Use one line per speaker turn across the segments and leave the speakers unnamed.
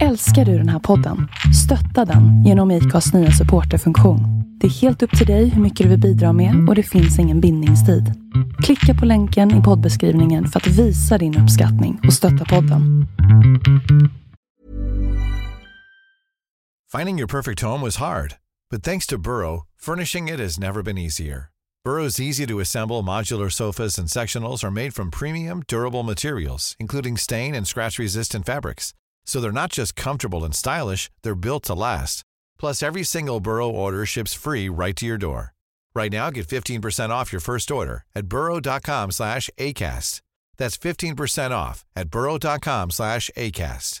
Älskar du den här podden? Stötta den genom IKAs nya supporterfunktion. Det är helt upp till dig hur mycket du vill bidra med och det finns ingen bindningstid. Klicka på länken i poddbeskrivningen för att visa din uppskattning och stötta podden.
Finding your perfect home was hard, but thanks to Burrow, furnishing it has never been easier. Burrow's easy to assemble modular sofas and sectionals are made from premium, durable materials, including stain and scratch resistant fabrics. So they're not just comfortable and stylish, they're built to last. Plus, every single Burrow order ships free right to your door. Right now, get 15% off your first order at burrow.com slash ACAST. That's 15% off at burrow.com slash ACAST.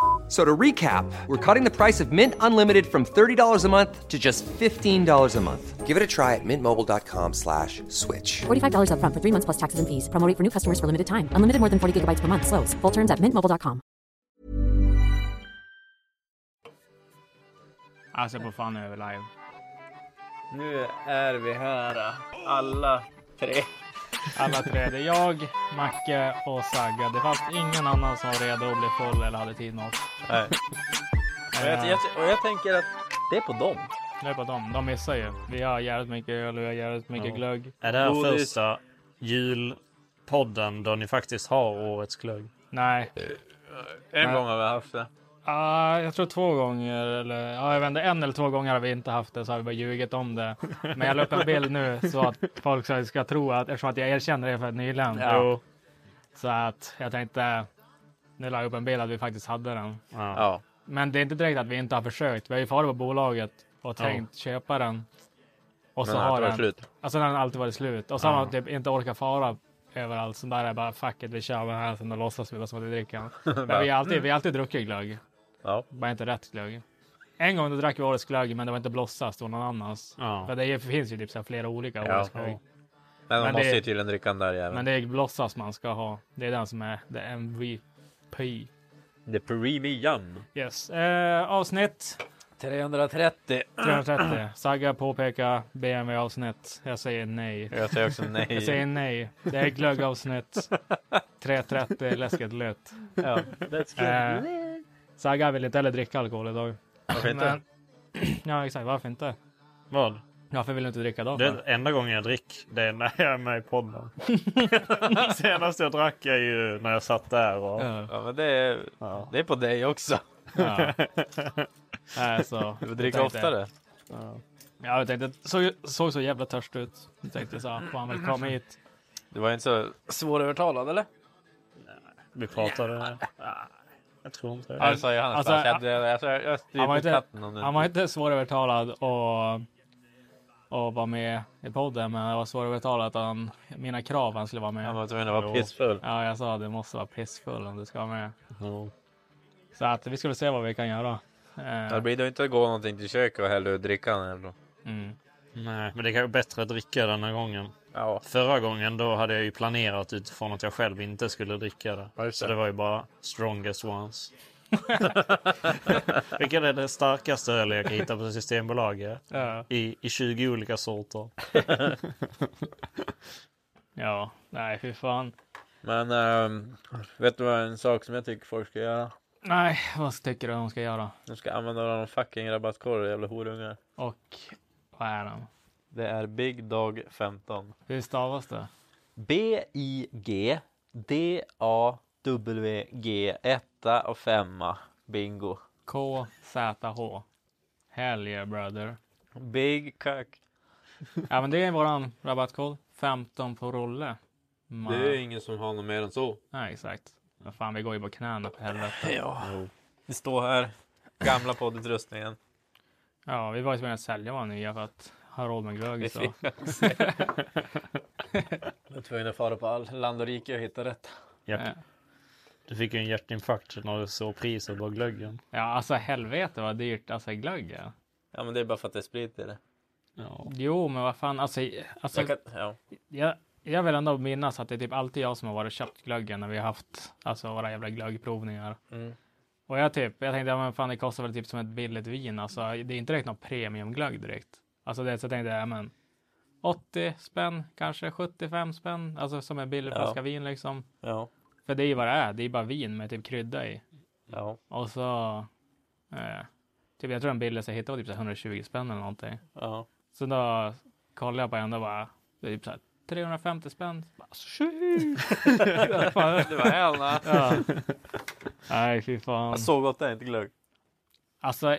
So to recap, we're cutting the price of Mint Unlimited from $30 a month to just $15 a month. Give it a try at mintmobile.com slash switch.
$45 upfront for three months plus taxes and fees. Promo rate for new customers for limited time. Unlimited more than 40 gigabytes per month. Slows. Full terms at mintmobile.com.
Alltså på fan över live.
Nu är vi här. Alla tre.
Alla tre. Det är jag, Macke och Sagga. Det fanns ingen annan som var redo att bli full eller hade tid Eh, med oss.
Nej. Och jag, jag, och jag tänker att det är på dem.
Det är på dem. De missar ju. Vi har jävligt mycket öl och vi har jävligt mycket glögg.
Är det här
Godis.
första julpodden då ni faktiskt har årets glögg?
Nej.
En gång har vi haft det.
Ah, jag tror två gånger eller ja, jag vet inte, en eller två gånger har vi inte haft det så har vi bara ljugit om det. Men jag la upp en bild nu så att folk ska- ska tro att eftersom att jag erkänner det för nyligen.
Jo.
Så att jag tänkte nu la jag upp en bild att vi faktiskt hade den.
Ja.
Ja.
Men det är inte direkt att vi inte har försökt. Vi har ju farit på bolaget och tänkt köpa den. Och så
Men
har
det
den.
var slut.
Alltså den har alltid varit slut. Och så har man typ inte orkat fara överallt. Så där är bara fuck it, vi kör den här sen och låtsas vi bara som att vi dricker den. Men vi har
mm.
alltid, vi har alltid druckit glögg.
Ja.
Bara inte rätt glögg. En gång då drack vi årets glögg, men det var inte blossas, det var någon annans.
Ja.
För det är- finns ju typ så här flera olika
Ja.
årets glögg.
Men man
Men det-
måste ju tydligen dricka den där
Men
jäveln.
det är blossas man ska ha. Det är den som är the MVP.
The premium.
Yes, eh, avsnitt
330.
330. Sagga påpekar BMW-avsnitt. Jag säger nej.
Jag säger också nej.
Jag säger nej. Det är glöggavsnitt. 330 läskigt lätt.
Ja.
Eh, Sagga vill inte heller dricka alkohol idag.
Varför inte?
Ja exakt, varför inte?
Vad?
Varför vill du inte dricka idag?
Det
för?
är enda gången jag drick, det är när jag är med i podden. Senast jag drack jag ju när jag satt där och...
Ja.
Ja, men det är, det är på dig också.
Ja. Nej, så.
Du får dricka
Jag tänkte-
oftare.
Ja, jag tänkte, såg, såg så jävla törst ut. Jag tänkte så här, fan väl kom hit.
Du var inte så svårövertalad eller?
Vi pratade... Ah, Jag tror inte
Ja, det
det.
sa Johannes.
Alltså,
Alltså, jag, jag, jag, jag, jag stryper
Han var inte,
katten om du
han var inte svårövertalad och, och var med i podden, men jag var svårövertalad att han, mina krav han skulle vara
Han
med.
var tvungen att vara pissfull.
Ja, jag sa att du måste vara pissfull om du ska vara med.
Ja.
Så att vi skulle se vad vi kan göra. Eh,
Det blir då inte att gå någonting till köket och hälla ut drickan eller?
mm.
Nej, men det är kanske bättre att dricka den här gången.
Ja.
Förra gången då hade jag ju planerat utifrån att jag själv inte skulle dricka det.
Ja, just
Så
det.
det var ju bara strongest ones. Vilket är det starkaste öl jag kan hitta på Systembolaget.
Ja.
I, I 20 olika sorter.
ja, nej fy fan.
Men ehm, vet du vad en sak som jag tycker folk ska göra?
Nej, vad tycker du de ska göra?
De ska använda någon fucking rabattkorg jävla horungar.
Och vad är den?
Det är Big Dog 15.
Hur stavas det?
B-I-G D-A-W-G 1 och 5 Bingo.
K-Z-H. Hell yeah brother.
Big Kack.
Ja, men det är våran rabattkod. 15 på rulle. Man.
ingen som har något mer än så.
Nej, exakt. Vad fan, vi går ju på knäna för helvete.
Ja. Det står här. Gamla poddutrustningen.
Ja, vi var ju tvungna att sälja våra nya för att ha råd med glögg. Så.
Jag var tvungen att fara på all land och rike och hitta rätt.
Eh,
Japp. Du fick ju en hjärtinfarkt när du såg priset på glöggen.
Ja, alltså helvete vad dyrt alltså glögg är.
Ja men det är bara för att det är sprit i det.
Ja.
Jo, men vad fan, alltså, alltså
Jag kan, ja.
jag, jag vill ändå minnas att det är typ alltid jag som har varit och köpt glöggen när vi har haft alltså våra jävla glöggprovningar.
Mm.
Och jag typ, jag tänkte, ja men fan det kostar väl typ som ett billigt vin, alltså det är inte direkt någon premiumglögg direkt. Alltså det, så jag tänkte, ja men 80 spänn, kanske 75 spänn, alltså som en billig
Ja.
flaska vin liksom.
Ja.
För det är ju vad det är, det är bara vin med typ krydda i.
Ja.
Och så, eh, typ jag tror den billigaste jag hittade var typ så här 120 spänn eller någonting.
Ja.
Så då kollade jag på den och bara, det är typ så här 350 spänn. Bara, shit! Fan.
Det var hälna.
ja. Nej, fy fan.
Jag såg att det är inte glögg.
Alltså,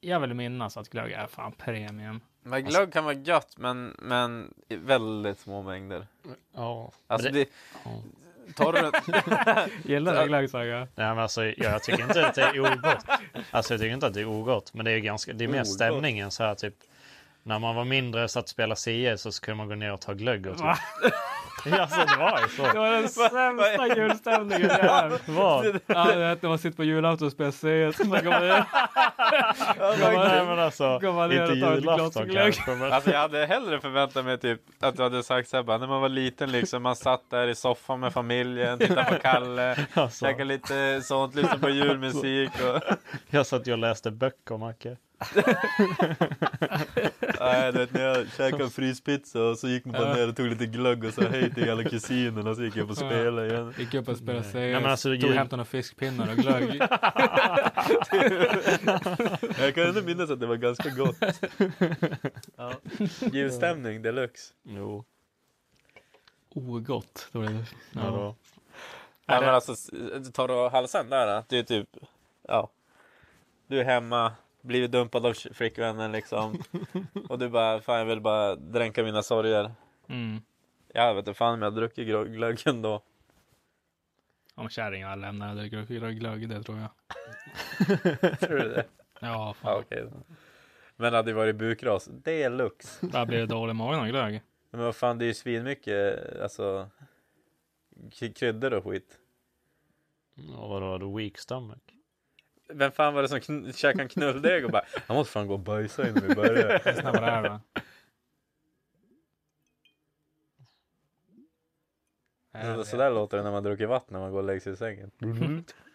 jag vill minnas att glögg är fan premium.
Men glögg kan vara gött, men, men i väldigt små mängder.
Ja.
Alltså
Men det-
det... Tar du det...
Gillar
du
glögg Saga?
Nej, men alltså, jag, jag tycker inte att det är ogott. Alltså, jag tycker inte att det är ogott, men det är, ju ganska, det är mer
Ogott.
stämningen. Så här, typ, när man var mindre och satt och spelade CS så skulle man gå ner och ta glögg. Och typ.
Va?
alltså, det var ju så.
Det var den sämsta julstämningen jag har haft.
Vad?
Ja, du vet när man sitter på julafton och spelar CS. Så går man ner.
Nej, men alltså,
Går man ner
inte
och tar ett glas
julafton
glögg?
kanske. Men...
Alltså jag hade hellre förväntat mig typ att du hade sagt såhär bara, när man var liten liksom, man satt där i soffan med familjen, tittade på Kalle,
Alltså.
käkade lite sånt, lyssnade på julmusik och...
Jag satt ju och läste böcker, Macke.
Nej, du vet när jag käkade fryspizza och så gick man bara ner och tog lite glögg och sa hej till alla kusinerna så gick jag på spela igen.
Gick upp och spelade CS.
men alltså,
tog
jul-
hämtade några fiskpinnar och glögg.
Jag kan ändå minnas att det var ganska gott. Ja. Julstämning deluxe.
Jo.
Ogott. Då blev det.
Ja. då.
Ja, men alltså, s- tar du halsen där, då? det är typ, ja. Du är hemma, blivit dumpad av tj- flickvännen liksom. Och du bara, fan jag vill bara dränka mina sorger.
Mm.
Jag vet inte fan om jag har druckit glö- glöggen då.
Om kärringar lämnar det dricker glögg, det tror jag.
Tror du det?
Ja,
Ja,
fan.
okej. Men det hade ju varit bukras deluxe.
Där blir det dålig magen av glögg.
Men vad fan, det är ju svinmycket, alltså, k- kryddor och skit.
Och vadå, har du weak stomach?
Vem fan var det som kn- käkade en knulldeg och bara, jag måste fan gå och bajsa innan vi börjar.
Lyssna på det här då.
Så, sådär låter det när man dricker vatten när man går och lägger sig i sängen.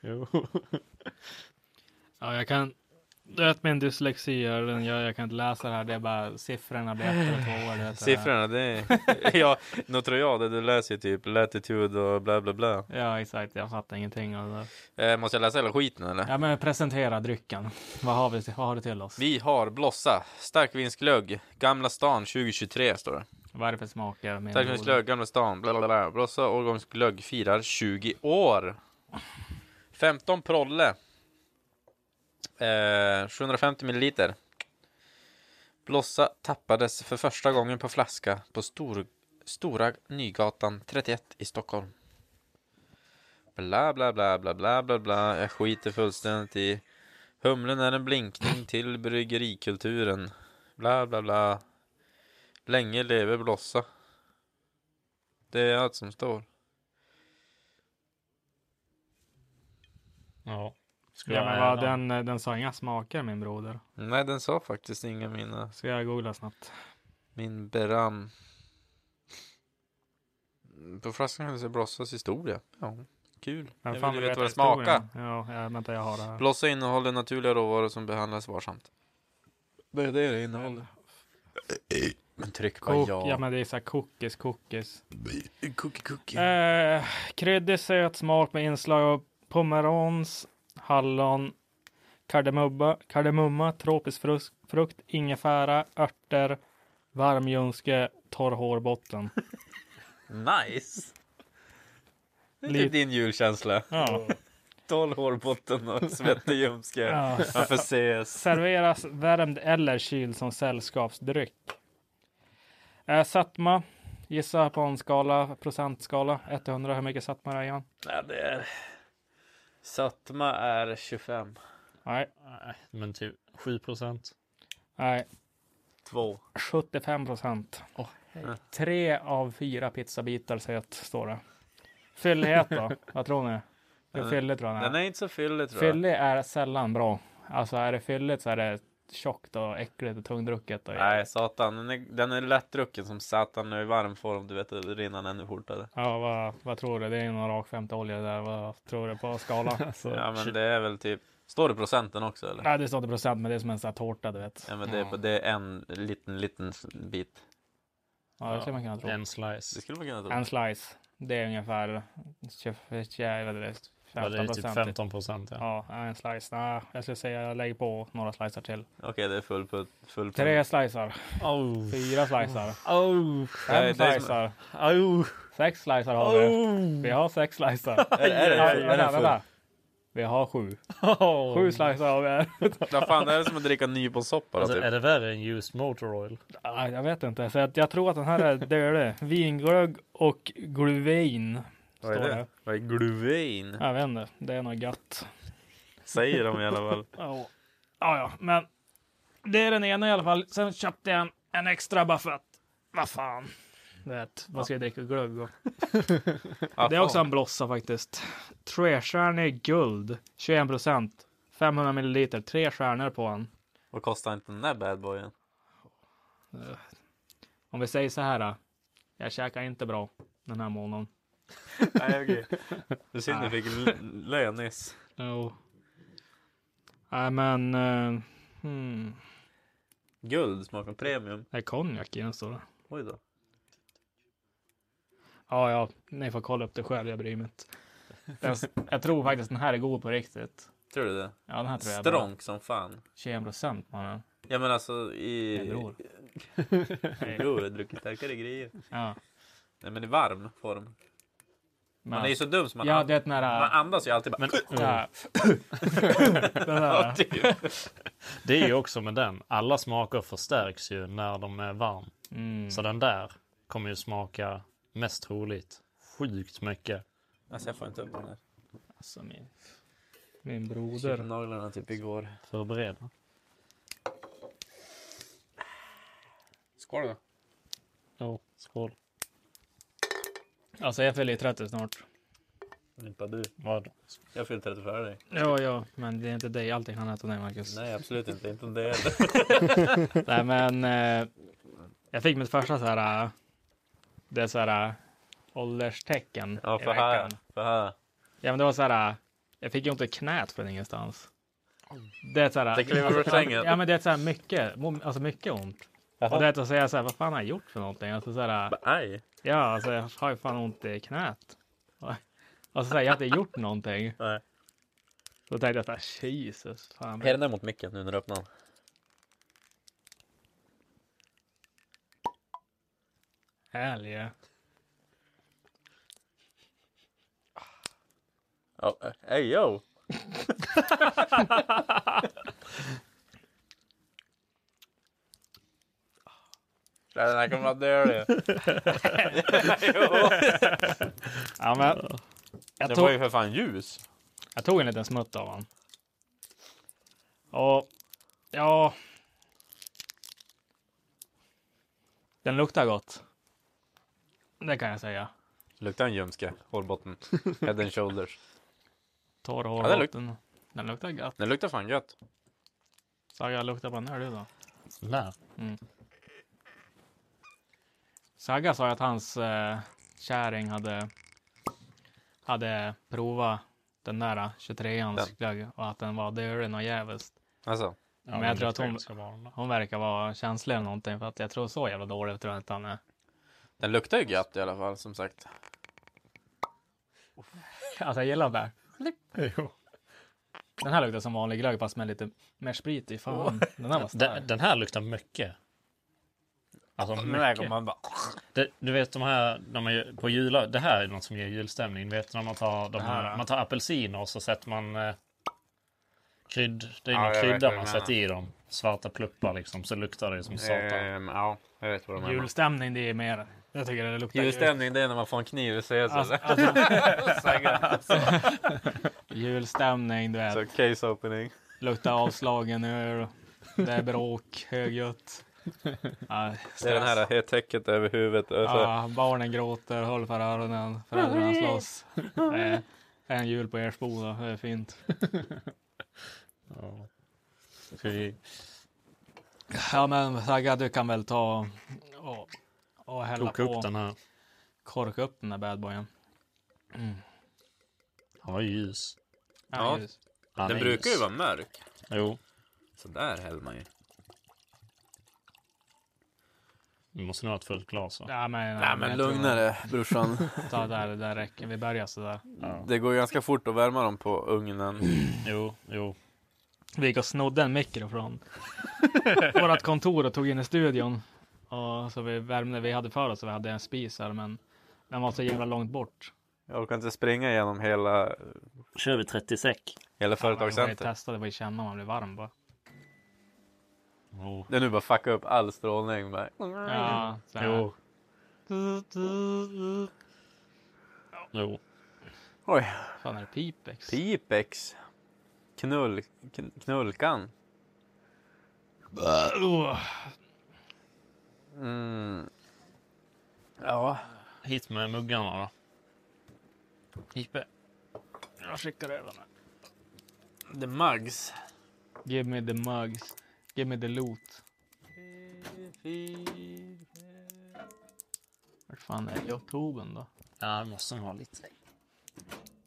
Jo.
Ja, jag kan... Du vet min dyslexi gör den gör jag kan inte läsa det här. Det är bara siffrorna blir ett eller två år. du vet det här.
Siffrorna, det är... ja, nu tror jag det. Du läser ju typ latitude och bla bla bla.
Ja, exakt. Jag fattar ingenting av det där.
Eh, måste jag läsa hela skiten eller?
Ja, men presentera drycken. Vad har, vi, till- vad har du till oss?
Vi har Blossa, starkvinsglögg, Gamla stan 2023 står det.
Vad är det för smaker? med
Starkvinsglögg, Gamla stan, bla bla bla. Blossa årgångsglögg firar 20 år. 15 prolle. Eh, 750 milliliter. Blossa tappades för första gången på flaska på Stor, Stora Nygatan 31 i Stockholm. Bla, bla, bla, bla, bla, bla, bla. Jag skiter fullständigt i. Humlen är en blinkning till bryggerikulturen. Bla, bla, bla. Länge leve Blossa. Det är allt som står.
Ja. Skulle
Ja,
jag
men vad,
äta?
den, eh, den sa inga smaker, min broder.
Nej, den sa faktiskt inga mina.
Ska jag googla snabbt?
Min Beram. På flaskan kan du se Blossas historia. Ja, kul. Jag,
fan
vill
vill
veta vad det
veta historien?
smakar.
Ja, ja, vänta, jag har det här.
Blossa innehåller naturliga råvaror som behandlas varsamt. Det är det det innehåller. Men tryck på
Kok, ja.
ja.
men det är så här cookies, cookies.
Cookie cookie.
Eh, kryddig söt smak med inslag av pomerans, hallon, kardemubba, kardemumma, tropisk frukt, frukt ingefära, örter, varm ljumske, torr hårbotten.
Nice! Det är
Lite-
typ din julkänsla.
Ja.
Tolv hårbotten och svettig ljumske.
Ja.
Man får ses.
Serveras värmd eller kyld som sällskapsdryck. Eh, satma, gissa på en skala, procentskala, 1 till 100, hur mycket satma är det Jan?
Ja, det är... Satma är 25.
Nej,
Nej, men typ 7 procent.
nej,
2.
75 procent. Tre av fyra pizzabitar söt, står det. Fyllighet då? Vad tror ni? Det är fylligt tror jag den
Den
är.
är inte så fyllig tror jag.
Fyllig är sällan bra. Alltså är det fylligt så är det tjockt och äckligt och tungdrucket. Och,
Nej, satan. Den är, den är lättdrucken som satan och i varm form. Du vet, det rinner ännu fortare.
Ja, vad, vad tror du? Det är någon rak 50 olja där. Vad tror du på skala?
Ja, men det är väl typ... Står det procenten också eller?
Nej, det står inte procent, men det är som en sån här tårta, du vet.
Ja, men det är, på, det är en liten, liten bit.
Ja, det skulle man kunna tro.
En
Det
slice.
skulle man kunna tro.
En slice. Det är ungefär 24, vad är det,
Ja, det
15
är typ
procent.
15 procent. Ja.
Ja, en slice. Nej, jag skulle säga jag lägger på några slicer till.
Okej, det är full på full på.
Tre slicer,
Oh.
fyra slicer,
Oh.
Nej,
fem
det är som-
slicer,
Oh.
sex slicer har vi.
Oh.
Vi har sex slicer.
Är, är, det-
Ja,
är, det- är
vänta,
den full?
vänta. Vi har sju.
Oh.
Sju slicer har vi här.
Vad fan, det här är som att dricka nyponsoppa då,
Alltså, är
typ.
det värre än used motor oil?
Ah, Jag vet inte, så att jag tror att den här är dölig. Vinglögg och gluvin.
Vad är
står
det?
det?
Vad är gluvin?
Jag vet inte, det är något gött.
Säger de i alla fall.
Ja, ja, ja, men det är den ena i alla fall. Sen köpte jag en, en extra bara för att, vad fan. Du Vet, man ska ju dricka glögg och. Det är också en blossa faktiskt. Trestjärnig guld, 21 procent, 500 milliliter, tre stjärnor på en.
Vad kostar inte den där badboyen?
Eh, Om vi säger så här, då. jag käkar inte bra den här månaden.
Nej, okej. Det är synd du fick l- lön nyss.
Jo. Nej men, eh, hmm.
Guld smakar premium.
det är konjak i den står det.
Oj då.
Ja, ja, ni får kolla upp det själv, jag bryr mig inte. Den, jag tror faktiskt den här är god på riktigt.
Tror du det?
Ja, den här tror jag är bra.
Stronk som fan.
21 procent mannen.
Ja men alltså i...
Jag tror.
Bror, jag har druckit starkare grejer.
Ja,
Nej men i varm form. Man är ju
men,
så dum som man,
ja,
an-
det är den
man
här...
andas ju alltid bara...
Ja. Den där.
typ.
Det är ju också med den. Alla smaker förstärks ju när de är varm.
Mm.
Så den där kommer ju smaka mest troligt sjukt mycket.
Alltså jag får inte upp den här.
Alltså, min, min
Typ
broder.
naglarna typ igår.
Förbered.
Skål då.
Ja, skål.
Alltså, jag fyller ju 30 snart.
Limpa du.
Vad?
Jag fyller 30 före dig.
Ja, ja, men det är inte dig allting handlar inte om dig, Marcus.
Nej absolut inte. Inte om det heller.
Nej men eh, jag fick mitt första så här. eh, Det är så här eh, ålderstecken
Ja
i
för här.
veckan.
För här.
Ja men det var så här. eh, Jag fick ju ont i knät från ingenstans. Det är så här. äh,
Det kliver ur sängen.
ja men det är så här mycket, mo- alltså mycket ont. Och det är att säga så här, vad fan har jag gjort för någonting? Alltså så här, eh,
Aj.
ja alltså jag har ju fan ont i knät. Och- Och så säger jag har inte gjort någonting.
Nej.
Då tänkte jag så här, Jesus fan.
Är den där mot micken nu när du öppnar den?
Härliga.
Ja. eh, Ey yo. Nej, Den här kommer vara dölig.
Ja men. Jag
Den
tog,
var ju för fan ljus.
Jag tog en liten smutt av honom. Och ja. Den luktar gott. Det kan jag säga.
Luktar en ljumske. Hårbotten. Head and shoulders.
Torr
Ja, den luk-
hårbotten. den luktar gott.
Den luktar fan gött.
Så jag luktar på den här du då.
Där.
Mm. Sagga sa ju att hans eh, kärring hade, hade provat den där 23ans
Den.
glögg och att den var dölig och jävligt.
Alltså.
men jag tror att hon,
det ska vara den där.
hon verkar vara känslig eller någonting för att jag tror så jävla dåligt tror jag inte han är.
Den luktar ju gött i alla fall som sagt.
Alltså jag gillar den där. Den här luktar som vanlig glögg fast med lite mer sprit i. Fan, den här var stark.
Den, den här luktar mycket. Alltså
Den här
mycket.
kommer man bara.
Det, du vet de här när man gör- på jula, det här är något som ger julstämning. Du vet när man tar, de
här,
här,
ja.
man tar apelsiner och så sätter man eh, krydd, det är
Ja,
någon
jag vet
krydda
vad
man
du
sätter
menar.
i dem. Svarta pluppar liksom, så luktar det som satan.
Ehm, ja, jag vet vad de menar.
Julstämning det är mer. Jag tycker det luktar
Julstämning det är när man får en kniv i sig.
Alltså,
Så,
alltså,
alltså,
julstämning du vet.
så Alltså, case opening.
Luktar avslagen öl. Det är bråk, högljutt. Ja,
Det är alltså- den här det är täcket över huvudet. alltså. Och så.
ja, barnen gråter, håll för öronen, föräldrarna slåss. Det är en jul på Ersboda, det är fint.
Fy.
Ja men Sagga du kan väl ta och, och hälla
Koka
på.
upp den här.
Korka upp den där badboyen.
Han var ju ljus.
Mm. Ja.
just.
Han
Den
är
brukar ju
ljus.
vara mörk.
Jo,
Så där häller man ju.
vi måste nog ha ett fullt glas va?
Ja men,
Nej men
jag tror
lugnare brorsan.
att Ta där, det där räcker. Vi börjar sådär.
Det går ju ganska fort att värma dem på ugnen.
Jo, jo.
Vi gick och snodde en mikro från vårt kontor och tog in i studion. Och så vi värmde, vi hade för oss att vi hade en spis här men den var så jävla långt bort.
Jag orkar inte springa igenom hela,
Kör vi 30 säck?
hela
Man får ju
företagscentret.
testa, det var ju känna om man blir varm bara.
Jo.
Det är nu bara fucka upp all strålning. Med.
Ja, så här.
Jo. Jo.
Oj,
Fan är det pipex?
Pipex. Knull, kn- knullkan.
Oh.
Mm. Ja,
Hit med muggarna då. Hippe.
Jag skickar över den. här.
the mugs.
Give me the mugs. Give me the loot. Vart fan är jag tog den då?
Ja, det måste nog ha lite.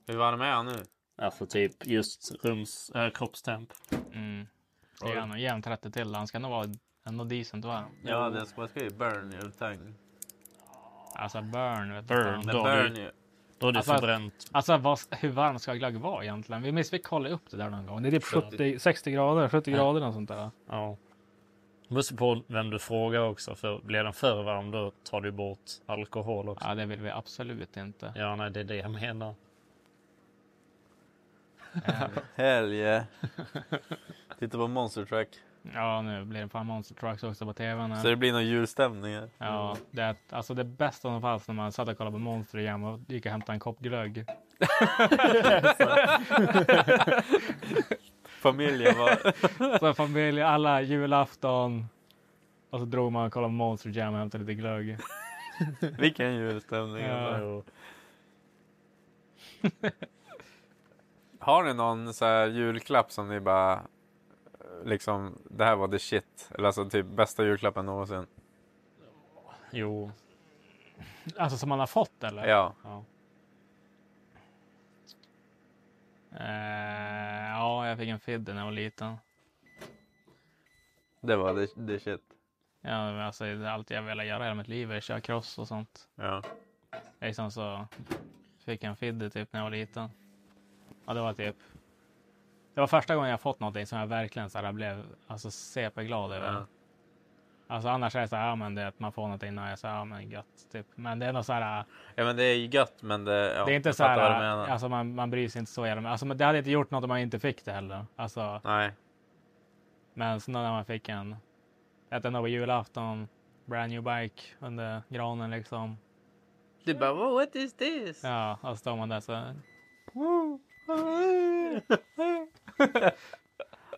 Hur varm är han nu?
Alltså typ just rums... Äh, kroppstemp.
Mm. Det är nog jämnt 30 till. Han ska nog vara ändå decent varm.
Ja, det ska, man ska ju burn your tongue.
Alltså burn. Vet du fan.
Burn.
The
Då har
burn
du-
you.
Då är det
Alltså-
förbränt.
Alltså vad, hur varm ska glögg vara egentligen? Vi minns vi kollade upp det där någon gång. Det är typ 70, 60 grader, 70 grader och sånt där.
Ja. Det beror på vem du frågar också. För blir den för varm då tar du bort alkohol också.
Ja, det vill vi absolut inte.
Ja, nej, det är det jag menar.
Eh,
Hell yeah. Titta på Monster Truck.
Ja, nu blir det fan Monster Trucks också på tvn. här.
Så det blir någon julstämning här.
Ja, det, är- alltså det bästa som fanns när man satt och kollade på Monster igen och gick och hämtade en kopp glögg.
Familjen var...
Så familj, alla julafton. Och så drog man och kollade på Monster Jam och hämtade lite glögg.
Vilken julstämning.
Ja.
alltså. Har ni någon så här julklapp som ni bara... Liksom, det här var the shit. Eller alltså typ bästa julklappen någonsin.
Jo.
Alltså som man har fått eller?
Ja.
Eh, ja, jag fick en fiddle när jag var liten.
Det var the, the shit.
Ja, men alltså, det är allt jag velat göra i hela mitt liv är att köra cross och sånt.
Ja.
Liksom så fick jag en fiddle typ när jag var liten. Ja, det var typ. Det var första gången jag fått någonting som jag verkligen så här, blev alltså, CP-glad över.
Ja.
Alltså annars är det så här, ja, men det, är att man får någonting när jag säger ja men gött. Typ. Men det är nog så här,
ja men det är ju gött men det... Ja,
det är inte
jag
så
fattar vad du
här,
menar.
alltså man, man bryr sig inte så jävla mycket. Alltså, men det hade inte gjort något om man inte fick det heller. Alltså,
Nej.
men sen när man fick en, att den var julafton, brand new bike under granen liksom.
Du bara what is this?
Ja, och så står man där så. här.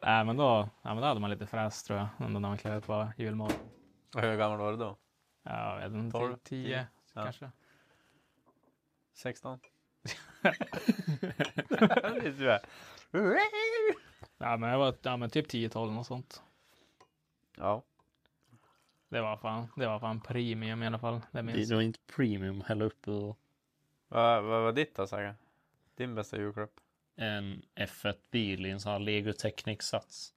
Nej, men då, ja, men då hade man lite fräs tror jag, ändå när man klev upp på julmorgon.
Och hur gammal var du då?
Ja, jag vet inte, typ
Tolv,
tio,
tio, ja.
kanske.
16. Visst du är.
Ja, men jag var ja, men typ 10-12 och sånt.
ja.
Det var fan, det var fan premium i alla fall. Det
Det
minns
det var inte premium hälla upp ur
Vad vad var ditt då Saga? Din bästa julklapp?
en F1-bil i en sån här Lego Technic-sats.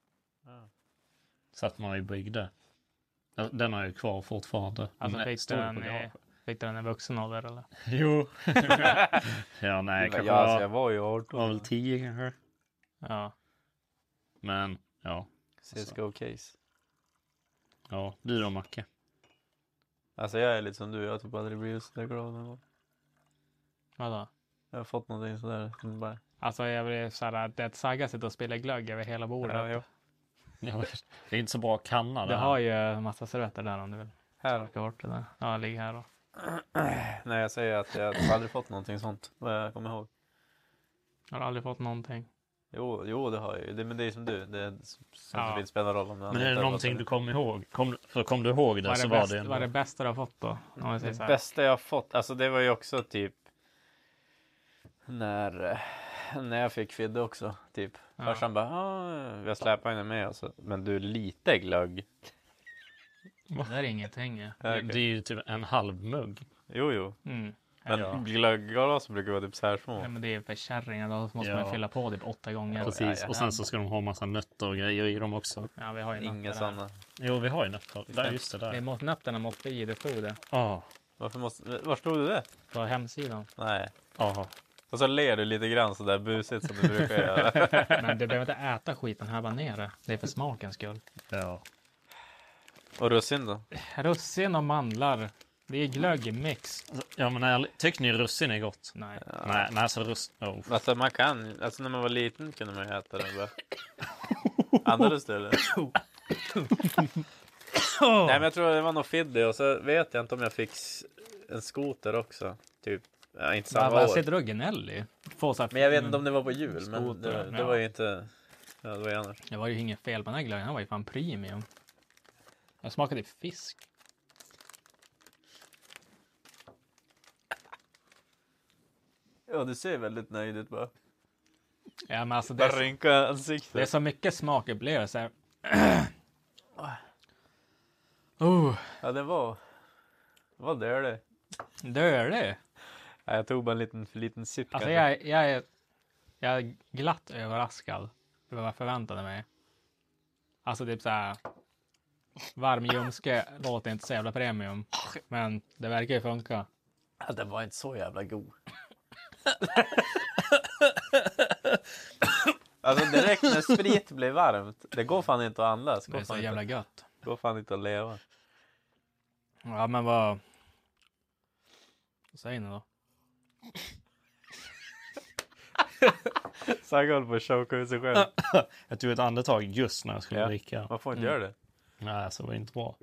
Så att man ju byggde. Ja, Den har jag ju kvar fortfarande.
Alltså
Men
fick
står
du,
på
den i,
garaget.
fick du den i vuxen ålder eller?
Jo. ja, nej,
Jag,
kanske
ja, alltså,
var,
jag var ju 18.
var väl tio kanske.
Ja.
Men ja,
CSGO case.
ja, du då Macke?
Alltså jag är lite som du, jag har typ aldrig blivit sådär glad någon gång.
Vadå?
Jag har fått någonting sådär som bara...
Alltså jag blev såhär, det är ett sagga sitter och spelar glögg över hela bordet.
Ja, jo.
Det är inte så bra kanna
Du
det
har
här.
ju en massa servetter där om du vill
Här då.
plocka bort det där. Ja, ligg här då.
Nej jag säger att jag har aldrig fått någonting sånt. Vad jag kommer ihåg.
Har du aldrig fått någonting?
Jo, jo det har jag ju. Det- Men det är som du. Det är som
Ja.
som inte spelar roll om någon
Men är
inte
det
har
någonting
fått
du kommer ihåg? Kom, för kom du ihåg det
Vad är
så
det,
var
bäst,
det
vad är det
ändå.
bästa du har fått då? Om vi säger
Det
så här.
bästa jag fått, alltså det var ju också typ när, eh, när jag fick Fidde alltså. också, typ. Farsan bara, "Ah, jag släpade henne med och så, men du lite glögg.
Det där är ingenting. Ja.
Okej.
Det är ju typ en halv mugg.
Jo, jo.
Mm.
Men
Ja.
glögggalas brukar vara typ så här små.
Nej, men det är för kärringar, då måste
Ja.
man fylla på typ åtta gånger.
Precis. Och sen så ska de ha massa nötter och grejer i dem också.
Ja, vi har ju
Inga
nötterna.
sådana.
Jo, vi har ju nötter. Där, just det
Det är
där.
mot nötterna måste vi i det sju det.
Ja.
Varför måste... Var stod du det?
På hemsidan.
Nej.
Ja.
Och så ler du lite grann så där busigt som du brukar göra.
Men du behöver inte äta skiten här bara nere. Det är för smakens skull.
Ja.
Och russin då?
Russin och mandlar. Det är glöggmix.
Ja, men ärligt. Tycker ni russin är gott?
Nej.
Nej, nej, alltså russin... Oh.
Alltså man kan Alltså när man var liten kunde man ju äta den bara. Andades du eller? Nej men jag tror det var någon fiddy och så vet jag inte om jag fick s- en skoter också. Typ, ja, inte
Vad
samma
vad
år.
sitter du och gnäller? Få så här-
Men jag vet inte om det var på jul. Men
Skoter,
det, det
ja.
var ju inte... Ja, det var ju annars.
Det var ju inget fel på den här glöggen. Den var ju fan premium. Den smakade typ fisk.
Ja du ser väldigt nöjd ut bara.
Ja, men alltså det,
Bara
är,
rynka
det är
ansiktet.
så mycket smakupplevelser. oh,
Ja det var... Det var det. det.
dör det?
Ja, jag tog bara en liten, för liten sipp
Alltså
kanske.
jag, är- jag, är, jag är glatt överraskad över vad jag förväntade mig. Alltså typ så här. Varm ljumske låter inte så jävla premium, men det verkar ju funka.
Ja, den var inte så jävla god. alltså direkt när sprit blir varmt, det går fan inte att andas.
Det
Går
är så
fan,
jävla
inte,
gött.
går fan inte att leva.
Ja, men vad... Vad säger ni då?
Sagge håller på att choka ut sig själv.
Jag tog ett andetag just när jag skulle
Ja.
dricka.
Man får inte göra det.
Nej, alltså det var inte bra.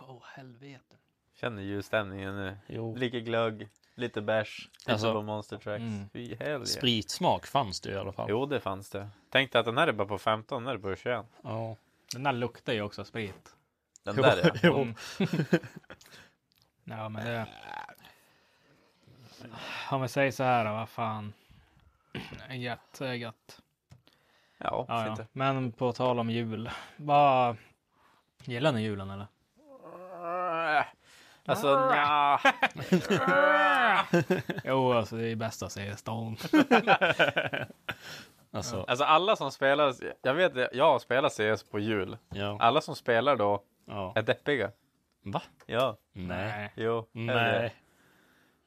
Åh, helvete.
Känner julstämningen nu.
Jo.
Lite glögg, lite bärs, lite
Alltså-
på Monster Tracks. Fy helg.
Spritsmak fanns det ju i alla fall.
Jo, det fanns det. Tänkte att den här är bara på 15, den här är på 21.
Ja.
Den där luktar ju också sprit.
Den där ja. Mm.
Jo.
Ja, men det... Om vi säger så här då, vad fan. Gött, det är gött.
Ja,
Ja, ja.
fint det.
Men på tal om jul. Vad... Gillar ni julen eller?
Alltså, nja.
Jo, alltså det är bäst att se stan.
Alltså,
alltså alla som spelar, jag vet, jag har spelat CS på jul.
ja.
Alla som spelar då
ja.
är deppiga.
Va?
Ja,
Nej.
jo. är det det?
Nej.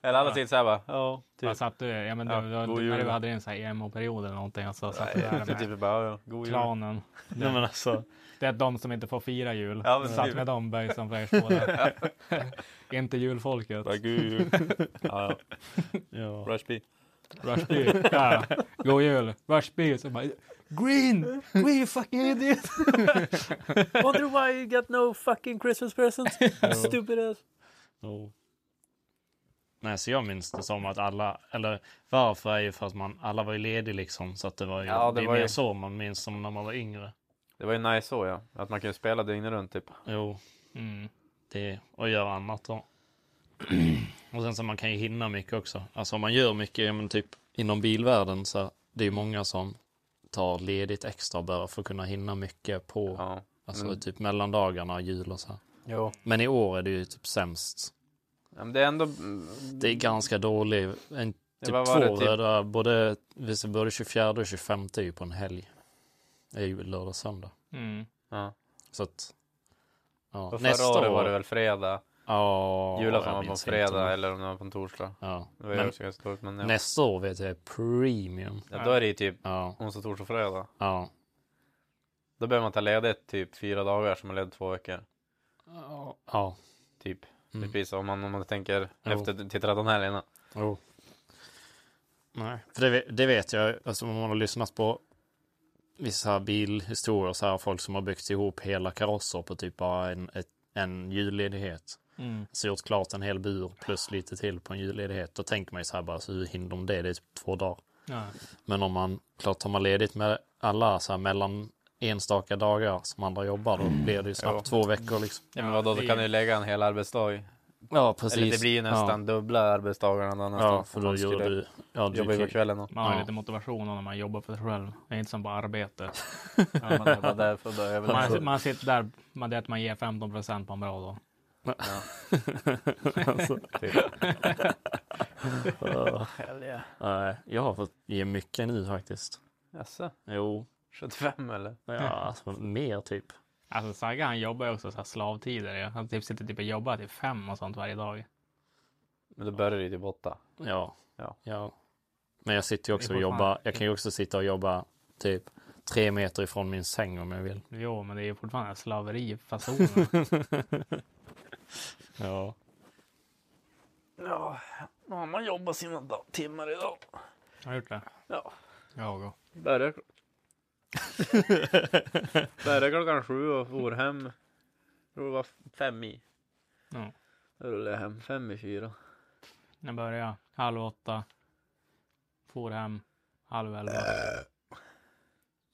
Eller alla sitter såhär bara, ja,
Vad
typ.
satt du? Ja, men du,
Ja,
du,
god
när
jul.
du hade din så här emo-period eller någonting. Och så satt du
Nej,
där
det är
med
typ bara, ja, ja, god jul.
klanen.
Nej men alltså.
Det är de som inte får fira jul.
Ja, men
satt
typ.
med dem böj som förstår Inte julfolket.
Bara, god jul. Ja, ja.
Ja.
Rushby.
Rushby. Ja. God jul. Rushby. Så bara, Green! Green you fucking idiot!
Wonder why you got no fucking Christmas presents? Stupid ass.
Jo. Nej så jag minns det som att alla, eller varför är ju för att man, alla var ju ledig liksom. Så att det var ju,
Ja, det
det är
var ju-
mer så man minns som när man var yngre.
Det var ju nice så ja, att man kunde spela dygnet runt typ.
Jo.
Mm.
det och göra annat då. Och sen så man kan ju hinna mycket också. Alltså om man gör mycket, ja, men typ inom bilvärlden så det är ju många som tar ledigt extra bara för att kunna hinna mycket på,
Ja. Mm.
alltså typ mellandagarna och jul och så. här.
Jo.
Men i år är det ju typ sämst.
Ja, men det är ändå,
Det är ganska dålig, en, typ
vad var det,
två
typ?
röda, både, visst, både 24 och 25 är ju på en helg. Det är ju lördag och söndag.
Mm.
ja.
Så att, ja.
Och förra året var det väl fredag.
Ja,
Julafton
jag
var på
minns
fredag
inte.
eller om det var på en torsdag.
Ja.
Det var ju
Men-
också ganska dåligt men ja.
Nästa år vet jag är premium.
ja. Då är det ju typ
Ja,
onsdag, torsdag, fredag.
ja.
Då behöver man ta ledigt typ fyra dagar som man led två veckor.
Ja.
Typ. Precis om man, om man tänker efter till 13 helgerna.
Jo. Nej, för det, ve- det vet jag, alltså om man har lyssnat på vissa bilhistorier, så här, folk som har byggt ihop hela karosser på typ bara en, ett, en julledighet.
Mm.
Så gjort klart en hel bur plus lite till på en julledighet. Då tänker man ju så här bara, så hur hinner de det? Det är typ två dagar.
Ja.
Men om man, klart tar man ledigt med alla så här mellan enstaka dagar som andra jobbar, då blir det ju snabbt två veckor liksom.
Ja, men vadå, då kan du ju lägga en hel arbetsdag
Ja, precis.
Eller det blir ju nästan dubbla arbetsdagarna någon
Ja, ja
annanstans.
för
om
då
man skulle
gör du... Ja, du
Jobba
kan-
över kvällen och...
Man har ju
Ja.
lite motivation när man jobbar för sig själv. Det är inte som bara arbete.
Ja, men det var därför då jag
Man,
väl...
man sitter där, man, det är att man ger 15 procent på en bra dag.
alltså.
Typ.
typ. Ja. Nej, jag har fått ge mycket nu faktiskt.
Jaså,
Jo,
75 eller?
ja, alltså, mer typ.
Alltså Saga han jobbar ju också så här slavtider. Han typ sitter typ och jobbar till fem och sånt varje dag.
Men då börjar det ju typ åtta.
Ja.
Ja.
Men jag sitter ju också
Det är
och
fortfarande-
jobbar. Jag kan ju också sitta och jobba typ tre meter ifrån min säng om jag vill.
Jo, men det är ju fortfarande slaveri i fasoner.
Ja.
Ja, mamma jobbar sina dag- timmar idag.
Har du gjort det?
Ja.
Jag och.
Börjar Börjar klockan sju och for hem. Tror det var fem i.
Ja.
Då rullade jag hem fem i fyra.
När började jag? Halv åtta. For hem. Halv elva.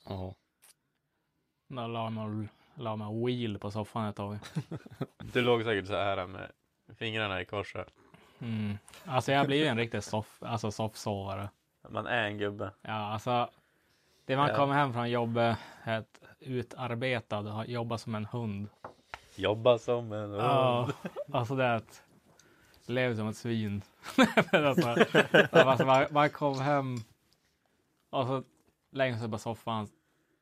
Ja.
Då la man, la man wheel på soffan ett tag.
Du låg säkert så här med fingrarna i kors. här.
Mm. Alltså jag blir ju en riktig soff, alltså soffsovare.
Man är en gubbe.
Ja, alltså. Det man
Ja.
kommer hem från jobbet är ett utarbetad, har- jobbar som en hund.
Jobbar som en
Ja, alltså det är att lev som ett svin. Men alltså, alltså man, man kom hem och så längst upp på soffan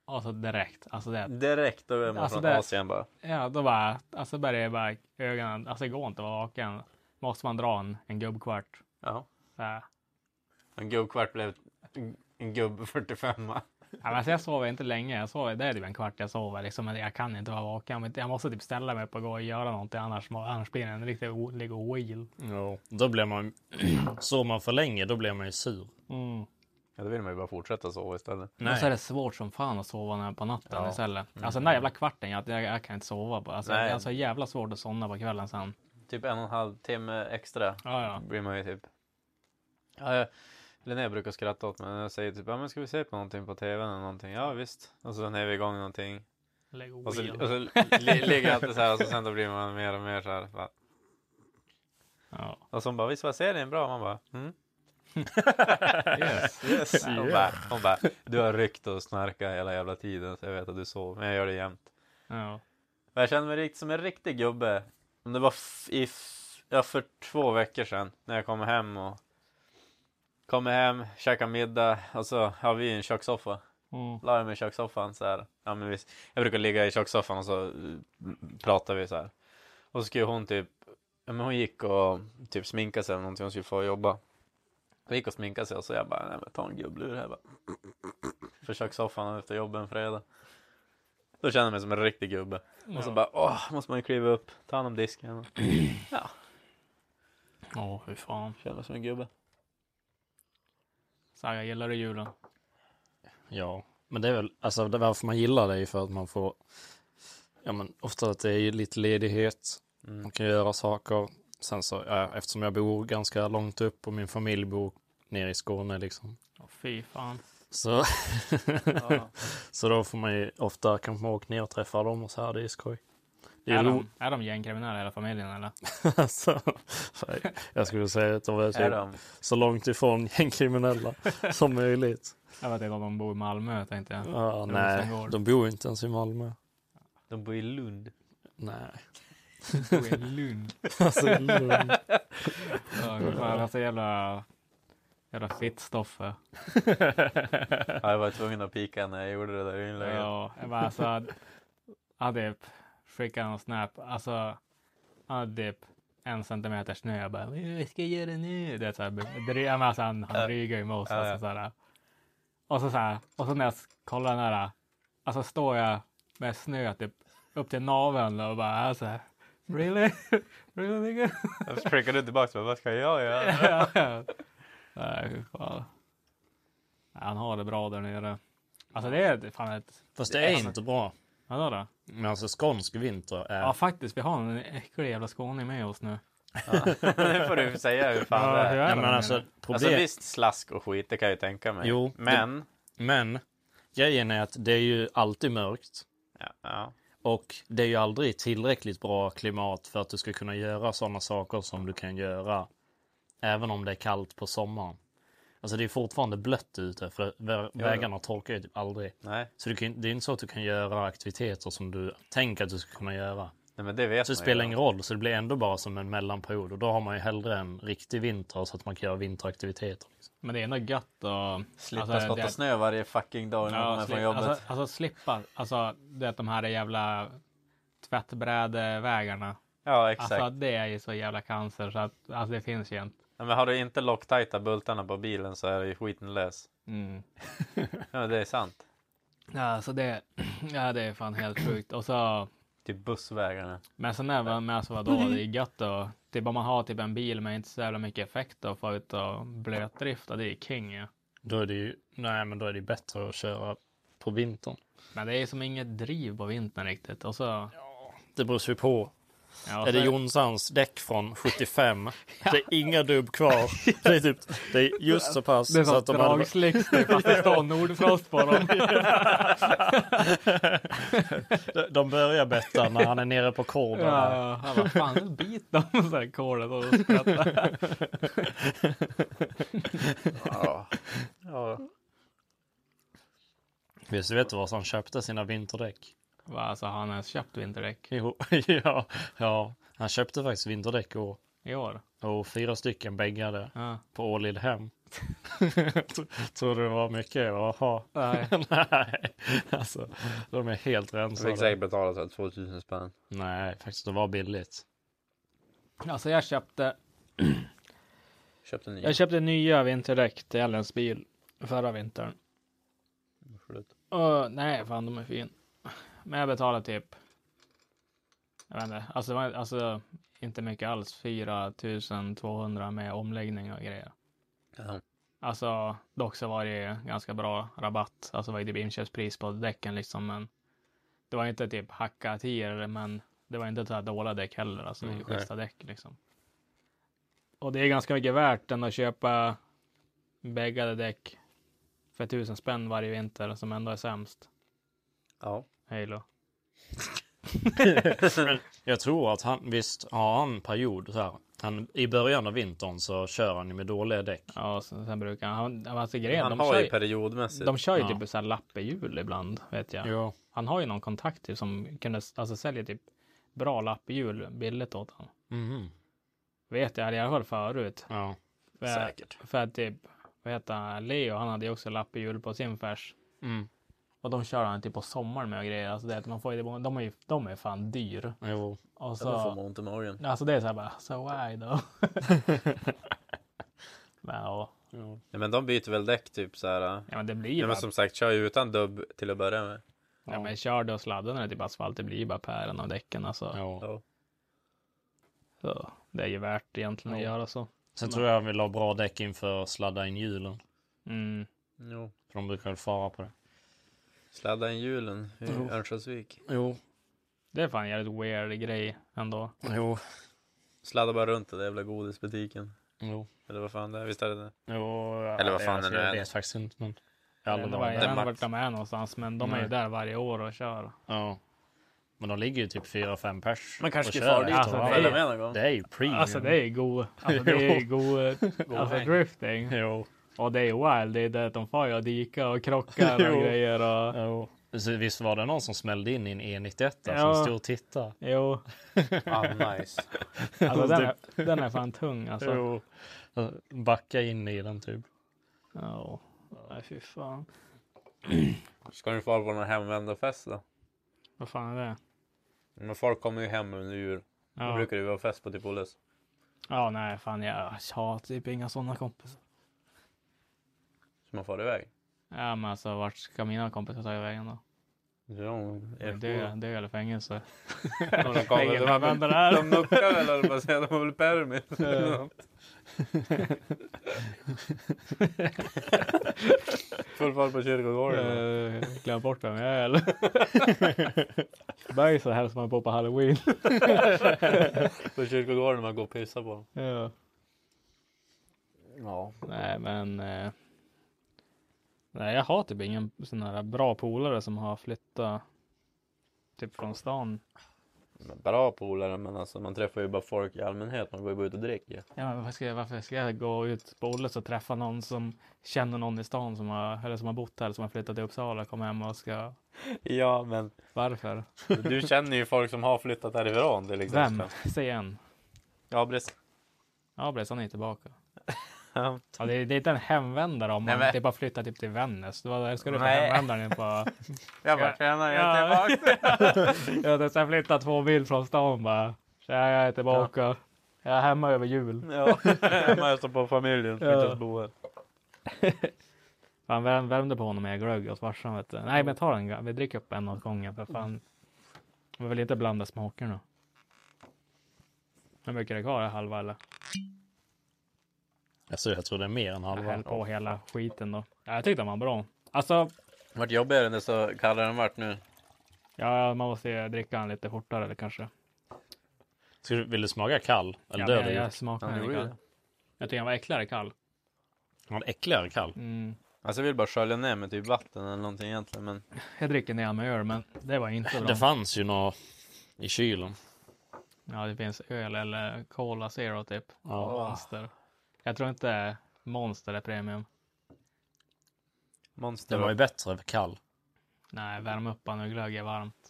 och så direkt, alltså det är-
Direkt då är man
Alltså
från
det-
Asien bara.
ja, då bara, alltså började jag bara ögonen, alltså det går inte att vara vaken. Måste man dra en, en gubbkvart.
Ja.
Så här.
En gubbkvart blev en gubb 45.
Ja, men alltså jag sover inte länge. Jag sover, det är typ en kvart jag sover. Liksom, men jag kan inte vara vaken. Men Jag måste typ ställa mig upp och gå och göra någonting. Annars, må- annars blir det en riktig o- lego wheel.
Ja. Då blir man... Sover man för länge, då blir man ju sur.
Mm.
Ja, då vill man ju bara fortsätta sova istället.
Och så är det svårt som fan att sova när, på natten
Ja. Mm.
istället. Alltså den där jävla kvarten, jag, jag, jag kan inte sova. På. Alltså,
Nej.
jag har så jävla svårt att somna på kvällen sen.
Typ en och en halv timme extra
Ja, ja.
blir man ju typ. Ja, jag, Linnea brukar skratta åt mig när jag säger typ, ja men ska vi se på någonting på tvn eller någonting? Ja visst. Och så när vi igång någonting.
Lego
Och så,
wheel.
och så li, ligger jag alltid så här och så sen då blir man mer och mer så här. Bara.
Ja.
Och så hon bara, visst var serien bra? Man bara, mm.
Yes.
Yes. Hon, bara, hon bara, du har ryckt och snarkat hela jävla tiden så jag vet att du sov. Men jag gör det jämt.
ja.
Men Jag känner mig rikt som en riktig gubbe. Om det var f- i f- ja, för två veckor sedan när jag kom hem och kommer hem, käkar middag och så har vi en kökssoffa.
Mm.
La jag mig i kökssoffan så här. Ja, men vi, jag brukar ligga i kökssoffan och så eh, pratar vi så här. Och så skulle hon typ, ja, men hon gick och typ sminka sig eller någonting, hon skulle få jobba. Hon gick och sminkade sig och så jag bara, nej men ta en gubblur här bara. För kökssoffan efter jobbet en fredag. Då känner jag mig som en riktig gubbe. Och så bara, åh, måste man ju kliva upp, ta hand om disken. Ja,
Åh, hur fan.
känner mig som en gubbe.
Saga, gillar du julen?
Ja, men det är väl, alltså det, varför man gillar det är ju för att man får, ja men ofta att det är ju lite ledighet, man kan göra saker. Sen så, ja, eftersom jag bor ganska långt upp och min familj bor nere i Skåne liksom.
Åh, fy fan.
Så, så då får man ju ofta kanske man åker ner och träffa dem och så här, det är ju skoj. Det är
Är
roligt.
de, är de gängkriminella hela familjen eller?
Alltså, jag skulle säga att de är, typ
Är de?
så långt ifrån gängkriminella som möjligt.
Jag vet inte om de bor i Malmö tänkte jag.
Ja, nej,
Rosengård.
de bor ju inte ens i Malmö.
De bor i Lund.
Nej.
De bor i Lund.
Alltså, lugn.
Ja, vad fan, alltså jävla... Jävla fittstoffe.
Ja, jag var tvungen att pika när jag gjorde det där inlägget.
Ja, jag bara alltså... Adip skickade en snap. Alltså, Adip en centimeter snö. Jag bara, vad ska jag göra nu? Det är så här, dry- ja, men alltså, han, han drygar ju med oss. Alltså, så här. Och så så här, och så när jag kollar den här, alltså står jag med snö typ upp till naveln och bara alltså, really? really nigga?
Jag skickade tillbaka mig, vad ska jag göra?
Ja, ja. Nej, fy fan. Nej, Han har det bra där nere. Alltså det är fan ett...
Fast det är inte bra.
Vadå då?
Men alltså skånsk vinter är...
Ja faktiskt, vi har en äcklig jävla skåning med oss nu.
Nu får du säga hur fan det
hur är
är.
ja,
den
men
menar
alltså,
jag?
problem...
Alltså visst, slask och skit, det kan jag ju tänka mig.
Jo, det-
Men,
Men grejen är att det är ju alltid mörkt.
ja, ja.
Och det är ju aldrig tillräckligt bra klimat för att du ska kunna göra sådana saker som du kan göra även om det är kallt på sommaren. Alltså det är fortfarande blött ute för vä- vägarna torkar ju typ aldrig.
Nej,
Så du kan, det är inte så att du kan göra aktiviteter som du tänker att du ska kunna göra.
nej men det vet
Så det
man ju
spelar
då.
ingen roll, så det blir ändå bara som en mellanperiod. Och då har man ju hellre en riktig vinter så att man kan göra vinteraktiviteter. Liksom.
Men det är ändå gött att...
Slippa
alltså, det-
skotta snö varje fucking dag när man
Ja,
kommer från
sli-
jobbet.
alltså, alltså slippa, alltså det att de här jävla tvättbrädevägarna.
ja, exakt.
Alltså det är ju så jävla cancer så att alltså, det finns ju inte.
Ja, men har du inte locktajta bultarna på bilen så är det ju skiten lös.
Mm.
Ja, men det är sant.
Ja, så det, ja, det är fan helt sjukt. Och så,
Typ bussvägarna.
men sen är väl med alltså vadå, det är gött och typ om man har typ en bil med inte så jävla mycket effekt och få ut och blötdrifta, det är king ju.
Då är det ju, nej men då är det ju bättre att köra på vintern.
Men det är som inget driv på vintern riktigt. Och så, ja,
Det beror ju på.
och
är det
så-
Jonssans däck från 75? Det är inga dubb kvar. Det är, typ, det är just så pass
Det är
så att de hade...
dragslicks typ, fast det står Nordfrost på dem.
De- De börjar betta när han är nere på korven.
Ja, ja. Han bara, fan nu bit dem så här kolet och så skrattar.
Ja. ja.
Visst vet du var han köpte sina vinterdäck?
Va, Alltså har han ens köpt vinterdäck
Jo, ja, ja. Han köpte faktiskt vinterdäck och,
i år?
och fyra stycken bäggade
Ja.
på Ålidhem. Tror du det var mycket? Jaha.
Nej.
Nej, alltså de är helt
Jag fick
rensade.
säkert betala så här 2000 spänn.
Nej, faktiskt det var billigt.
Alltså jag köpte,
Köpte nya.
Jag köpte nya vinterdäck till Ellens bil
förra vintern.
Absolut.
Och, nej, fan de är fin. Men jag betalade typ, jag vet inte, alltså, det var- alltså inte mycket alls, 4200 med omläggning och grejer.
Ja.
Alltså, dock så var det ju ganska bra rabatt. Alltså det var ju typ inköpspris på däcken liksom. Men det var ju inte typ hacka tier, men det var inte så här dåliga däck heller. Alltså det är ju
Mm, nej.
schyssta däck liksom. Och det är ganska mycket värt än att köpa bäggade däck för tusen spänn varje vinter som ändå är sämst.
ja.
Hej då.
Jag tror att han, visst har han period så här. Han, I början av vintern så kör han ju med dåliga däck.
Ja, och sen, sen brukar han, han alltså grejen,
Han
de,
har
kör,
ju
ju-
periodmässigt.
de kör ju
Ja.
typ så här lapp i hjul ibland, vet jag.
Jo.
Han har ju någon kontakt typ, som kunde, alltså säljer typ bra lapphjul billigt åt honom.
Mhm.
Vet jag, hade jag hört förut.
Ja.
För,
Säkert.
För att typ, vad heter han, Leo, han hade ju också lapphjul på sin färs.
Mm.
Och de kör han typ på sommaren med och grejer. Alltså det, är att man får ju, de, är ju, de är fan dyr.
Jo.
Och
Ja, Då får
så,
man ont i magen.
alltså det är så här bara, so why då? men, ja,
Jo.
Nej, men de byter väl däck typ så här.
ja, men det blir ju
Ja,
bara,
men som sagt, kör ju utan dubb till att börja med.
ja, men kör du och sladdar när det är typ asfalt, det blir ju bara pären av däcken alltså.
Jo.
Ja.
Så, det är ju värt egentligen att
Ja.
göra så.
Sen tror jag han vill ha bra däck inför att sladda in hjulen.
Mm.
Jo.
För de brukar väl fara på det.
Sladda in hjulen i Örnsköldsvik.
Jo.
Det är fan en jävligt weird grej ändå.
Jo.
Sladda bara runt i den jävla godisbutiken.
Jo.
Eller vad fan det är. Visst är det det?
jo.
Eller vad fan
alltså,
det nu är.
Jag vet faktiskt inte. Men jag har
Jag vet
aldrig
inte var-
varit
jag
där.
vet inte
Max.
vart de är någonstans, men de är ju
Nej.
där varje år och kör.
Ja. Men de ligger ju typ 4-5 pers.
Man kanske
och
ska
kör
fara dit
efter
och
varandra.
följa
med någon gång.
Det är ju premium.
Alltså det är ju god, alltså, det är ju god, alltså
häng.
drifting.
Jo.
Och det är ju wild, det är det att de far ju och dikar och krockar och
Jo.
grejer och...
jo. Så visst var det någon som smällde in i en E91
Ja.
som stod och tittade?
Jo,
Ah, nice.
alltså den är, den är fan tung alltså.
Jo. Backa in i den typ.
Ja, nej fy fan.
Ska du fara på någon hemvändarfest då?
Vad fan är det?
Men folk kommer ju hem under jul. Då
Ja,
brukar det ju vara fest på typ Olles.
ja nej fan jag har typ inga sådana kompisar.
Så man far iväg.
Ja men alltså vart ska mina kompisar ta vägen då?
Ja,
Dö, dö eller fängelse?
De kommer,
Ingen
de har väl-
använder det här.
de muckar väl höll jag på att säga. De har väl permis. Full fart på kyrkogården.
Eh, Glöm bort vem jag är eller? Bajs så hälsar man på på halloween.
På kyrkogården man går och pissar på dem.
ja.
Ja.
Nej men. Eh, nej jag har typ ingen sån här bra polare som har flyttat. typ från stan.
Men Bra polare men alltså man träffar ju bara folk i allmänhet. Man går ju bara ut och dricker.
Ja, men varför, ska jag, varför ska jag gå ut på Olles och träffa någon som känner någon i stan som har, eller som har bott här, som har flyttat till Uppsala, kommer hem och ska...
Ja men
Varför?
du känner ju folk som har flyttat härifrån. Det är liksom
Vem? Säg en.
Ja precis.
Ja, precis, han är tillbaka.
Ja.
Ja, det, är- det är inte en hemvändare om
Nej,
man
men-
det är bara flyttar typ till Vännäs. Vad ska du för
Nej.
hemvändaren på?
Jag bara tjena jag
Ja.
är tillbaka.
Jag har sen flyttat två mil från stan bara. Tja, jag är tillbaka. Jag är hemma över jul.
ja. Man hälsar på familjen.
Ja.
Ja. Boer.
Fan, värm, värmde på honom med glögg åt farsan vet du. Nej, men ta den. ga- Vi dricker upp en åt gången för fan. Vi vill inte blanda smakerna. Hur mycket är det kvar? Halva eller?
Alltså, jag tror det är mer än
Jag
halva.
häll på hela skiten då. Ja, jag tyckte den var bra. Alltså,
Vart jobbigare än det så kallare den vart nu.
ja, man måste ju dricka den lite fortare eller kanske.
Ska du- Vill du smaka kall? Eller
Ja,
död?
men jag,
Ja,
jag smakar
Ja,
den
det
inte.
gjorde
alls. Jag tycker den var äckligare kall.
ja. Äckligare kall?
Mm.
Alltså jag vill bara skölja ner med typ vatten eller någonting egentligen. Men
Jag dricker ner med öl, men det var inte bra.
Det fanns ju några i kylen.
Ja, det finns öl eller Cola Zero typ.
Ja.
Monster. Jag tror inte Monster är premium.
monster.
Det var ju bättre kall.
Nej, värm upp han nu. Glögg är varmt.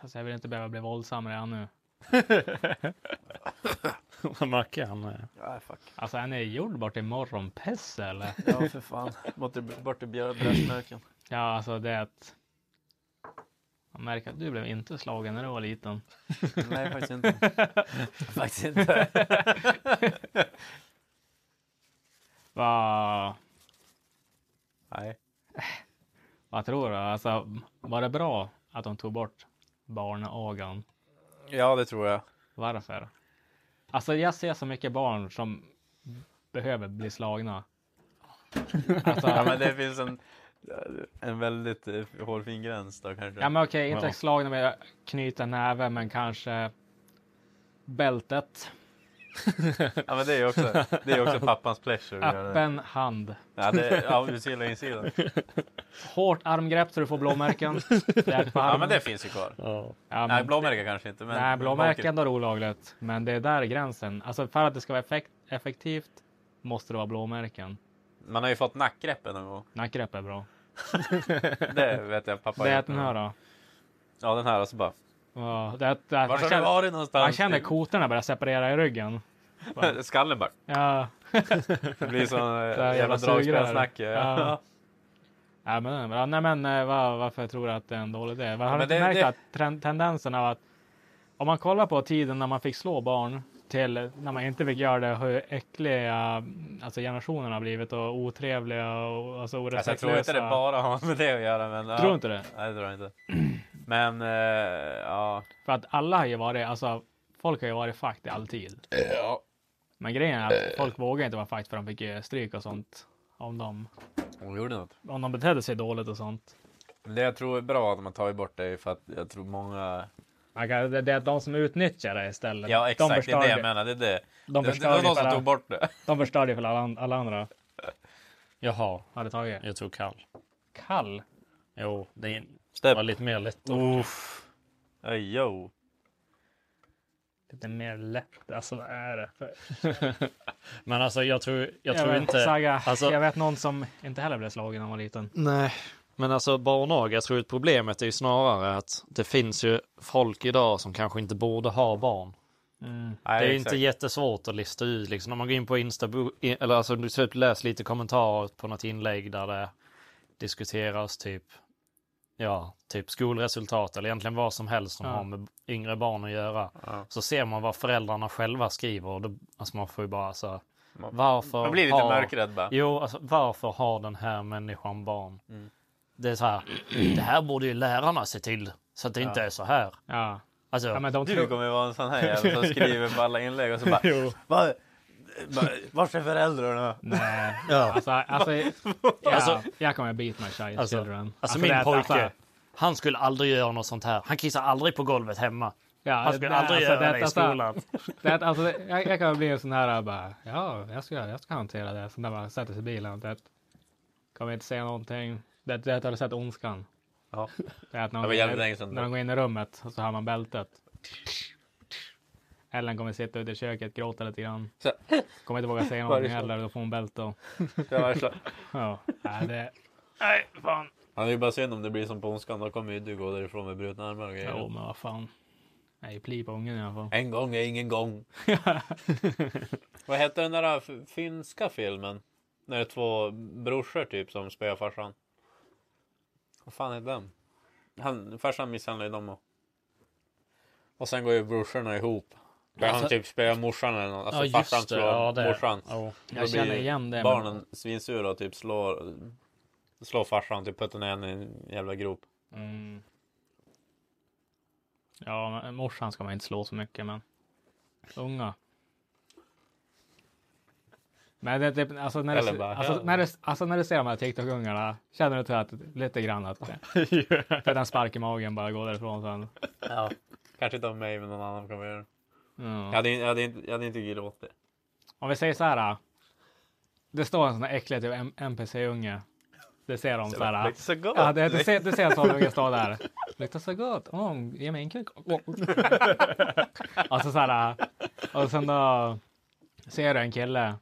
Alltså, jag vill inte behöva bli våldsam redan nu.
Mackan. eh,
Ja fuck.
Alltså, han är gjord bort i morgonpess eller?
Ja för fan. Bort i- Bort i bröstmjölken.
Ja, alltså det är att... Man märker att du blev inte slagen när du var liten.
Nej faktiskt inte. faktiskt inte.
Vad
Nej.
vad tror du? Alltså, var det bra att de tog bort barnagan?
Ja det tror jag.
Varför? Alltså jag ser så mycket barn som behöver bli slagna. Alltså,
Ja men det finns en, en väldigt eh, hårfin gräns där kanske.
ja, men okej, inte
Ja.
slagna med knyta näven, men kanske bältet,
Ja, men det är också, det är också pappans pleasure. att göra det.
öppen hand,
Ja, det är, ja du ser hela insidan.
hårt armgrepp så du får blåmärken. Jäkla
Ja
arm.
men det finns ju kvar.
Ja.
Ja,
Nej
men-
blåmärken kanske inte. Men
Nej, blåmärken är olagligt, men det är där gränsen. Alltså för att det ska vara effekt, effektivt måste det vara blåmärken.
Man har ju fått nackgreppen någon gång.
Nackgrepp är bra.
Det vet jag pappa har
Det är
gjort
att den
någon
här
gång.
då.
Ja den här och så bara.
Ja, det är att, det är att
Var
man
har du
känner-
varit någonstans?
Man känner kotorna börja separera i ryggen.
Skallen bara.
Ja,
Det blir sån eh,
här
jävla
jävla sugrör.
dragspelssnack. eh.
Ja. ja, men, ja, nej, men eh, va- varför tror du att det är en dålig idé? Var, har
men
du inte
det-
märkt
det-
att trend, tendensen av att om man kollar på tiden när man fick slå barn till när man inte fick göra det, hur äckliga alltså generationerna har blivit och otrevliga och alltså
Alltså,
orespektlösa.
jag tror inte det bara har med det att göra. Men, ja.
Tror du inte det?
Nej det tror jag inte. Men eh, ja.
För att alla har ju varit, alltså folk har ju varit fakt alltid. Men grejen är att folk vågar inte vara fakt för de fick ju stryk och sånt. Om de,
Hon gjorde något.
om de betedde sig dåligt och sånt.
Men det jag tror är bra att man tar bort det är för att jag tror många
Man kan, det, det är de som utnyttjar det istället.
Ja
de
exakt, det
förstör
är det jag
ju-
menar. Det, är det.
De
det, det var
förstör
någon
ju för
som
alla-
tog bort det.
de förstör ju för alla, alla andra.
Jaha,
Hade tagit.
jag tog kall.
Kall.
Jo, det
Stäpp.
var lite mer lätt.
Uff. Oj, jo.
Lite mer lätt. Alltså vad är det? För...
Men alltså jag tror, jag tror
vet,
inte...
Saga,
alltså,
Jag vet någon som inte heller blev slagen när han var liten.
Nej, men alltså barnaga, jag tror att problemet är ju snarare att det finns ju folk idag som kanske inte borde ha barn.
Nej,
Mm.
det är ju
exakt.
inte jättesvårt att lista ut liksom. När man går in på Insta, i- eller alltså du ser ut läs lite kommentarer på något inlägg där det diskuteras typ, ja, typ skolresultat eller egentligen vad som helst som
Ja.
har med yngre barn att göra. Så ser man vad föräldrarna själva skriver och då, alltså man får ju bara så varför
Man blir lite
har-
mörkrädd bara.
Jo, alltså varför har den här människan barn? Det är så här, det här borde ju lärarna se till så att det inte är så här.
Ja.
Alltså,
ja men de
Du
tror...
kommer ju vara en sån här jävel som skriver på alla inlägg och så bara... Va, va, vart är föräldrarna?
Nej.
ja.
Alltså, alltså, ja,
Alltså-
jag kommer beat my child
Alltså,
children.
alltså,
Alltså, det
min
är-
pojke,
alltså,
han skulle aldrig göra något sånt här. Han kissar aldrig på golvet hemma.
Ja,
Han skulle
nej,
aldrig
alltså,
göra det, i
alltså,
skolan.
Det, är- alltså, det- jag, jag kan bli en sån här bara, ja, jag ska, jag ska hantera det. Så när man sätter sig i bilen, det kommer inte säga någonting. Det, det har du sett Ondskan.
Ja.
Det är att när
Det
de,
var jävligt
går
länge
in,
sedan.
när de går in i rummet och så hör man bältet. Ellen kommer sitta ute i köket, gråta lite grann.
Så-
Kommer inte våga säga
Varje
någonting
sak.
heller, då får hon bälte. och-
Jag var klar.
Ja, nej, det... Nej, fan.
Ja, det är bara synd om det blir som på Ondskan. Då kommer ju du gå därifrån med brutna armar och grejer.
Jo, men vad fan. Nej, pli på ungen i alla fall.
En gång är ingen gång. Vad heter den där äh, f- finska filmen? När det är två brorsor typ som spöar farsan. Vad fan är den? Han, farsan misshandlar ju dem och... Och sen går ju brorsorna ihop. Där han typ spöar morsan eller något. Alltså farsan slår morsan.
Ja.
Då
Jag
blir
känner igen det.
Barnen svinsura och typ slår, slår farsan. Typ puttar ner henne i en jävla grop.
Men... Mm. Ja, men morsan ska man inte slå så mycket, men unga. Men det, det, alltså, när
Eller
du,
bara,
alltså,
ja.
när du, alltså när du ser de här TikTok-ungarna, känner du till att lite grann att för den spark i magen bara går därifrån sen?
Ja. Kanske inte av mig men någon annan kommer göra det.
Ja.
Jag hade, jag hade, inte- jag hade inte gråtit.
Om vi säger så här. äh, Det står en sån här äcklig typ M- NPC-unge. Det ser de så här. äh,
så gott.
Ja, det, du, ser, du ser en sån unge stå där. Luktar så gott. Åh, ge mig en kuk. Åh. Alltså så här. Och sen då ser du en kille.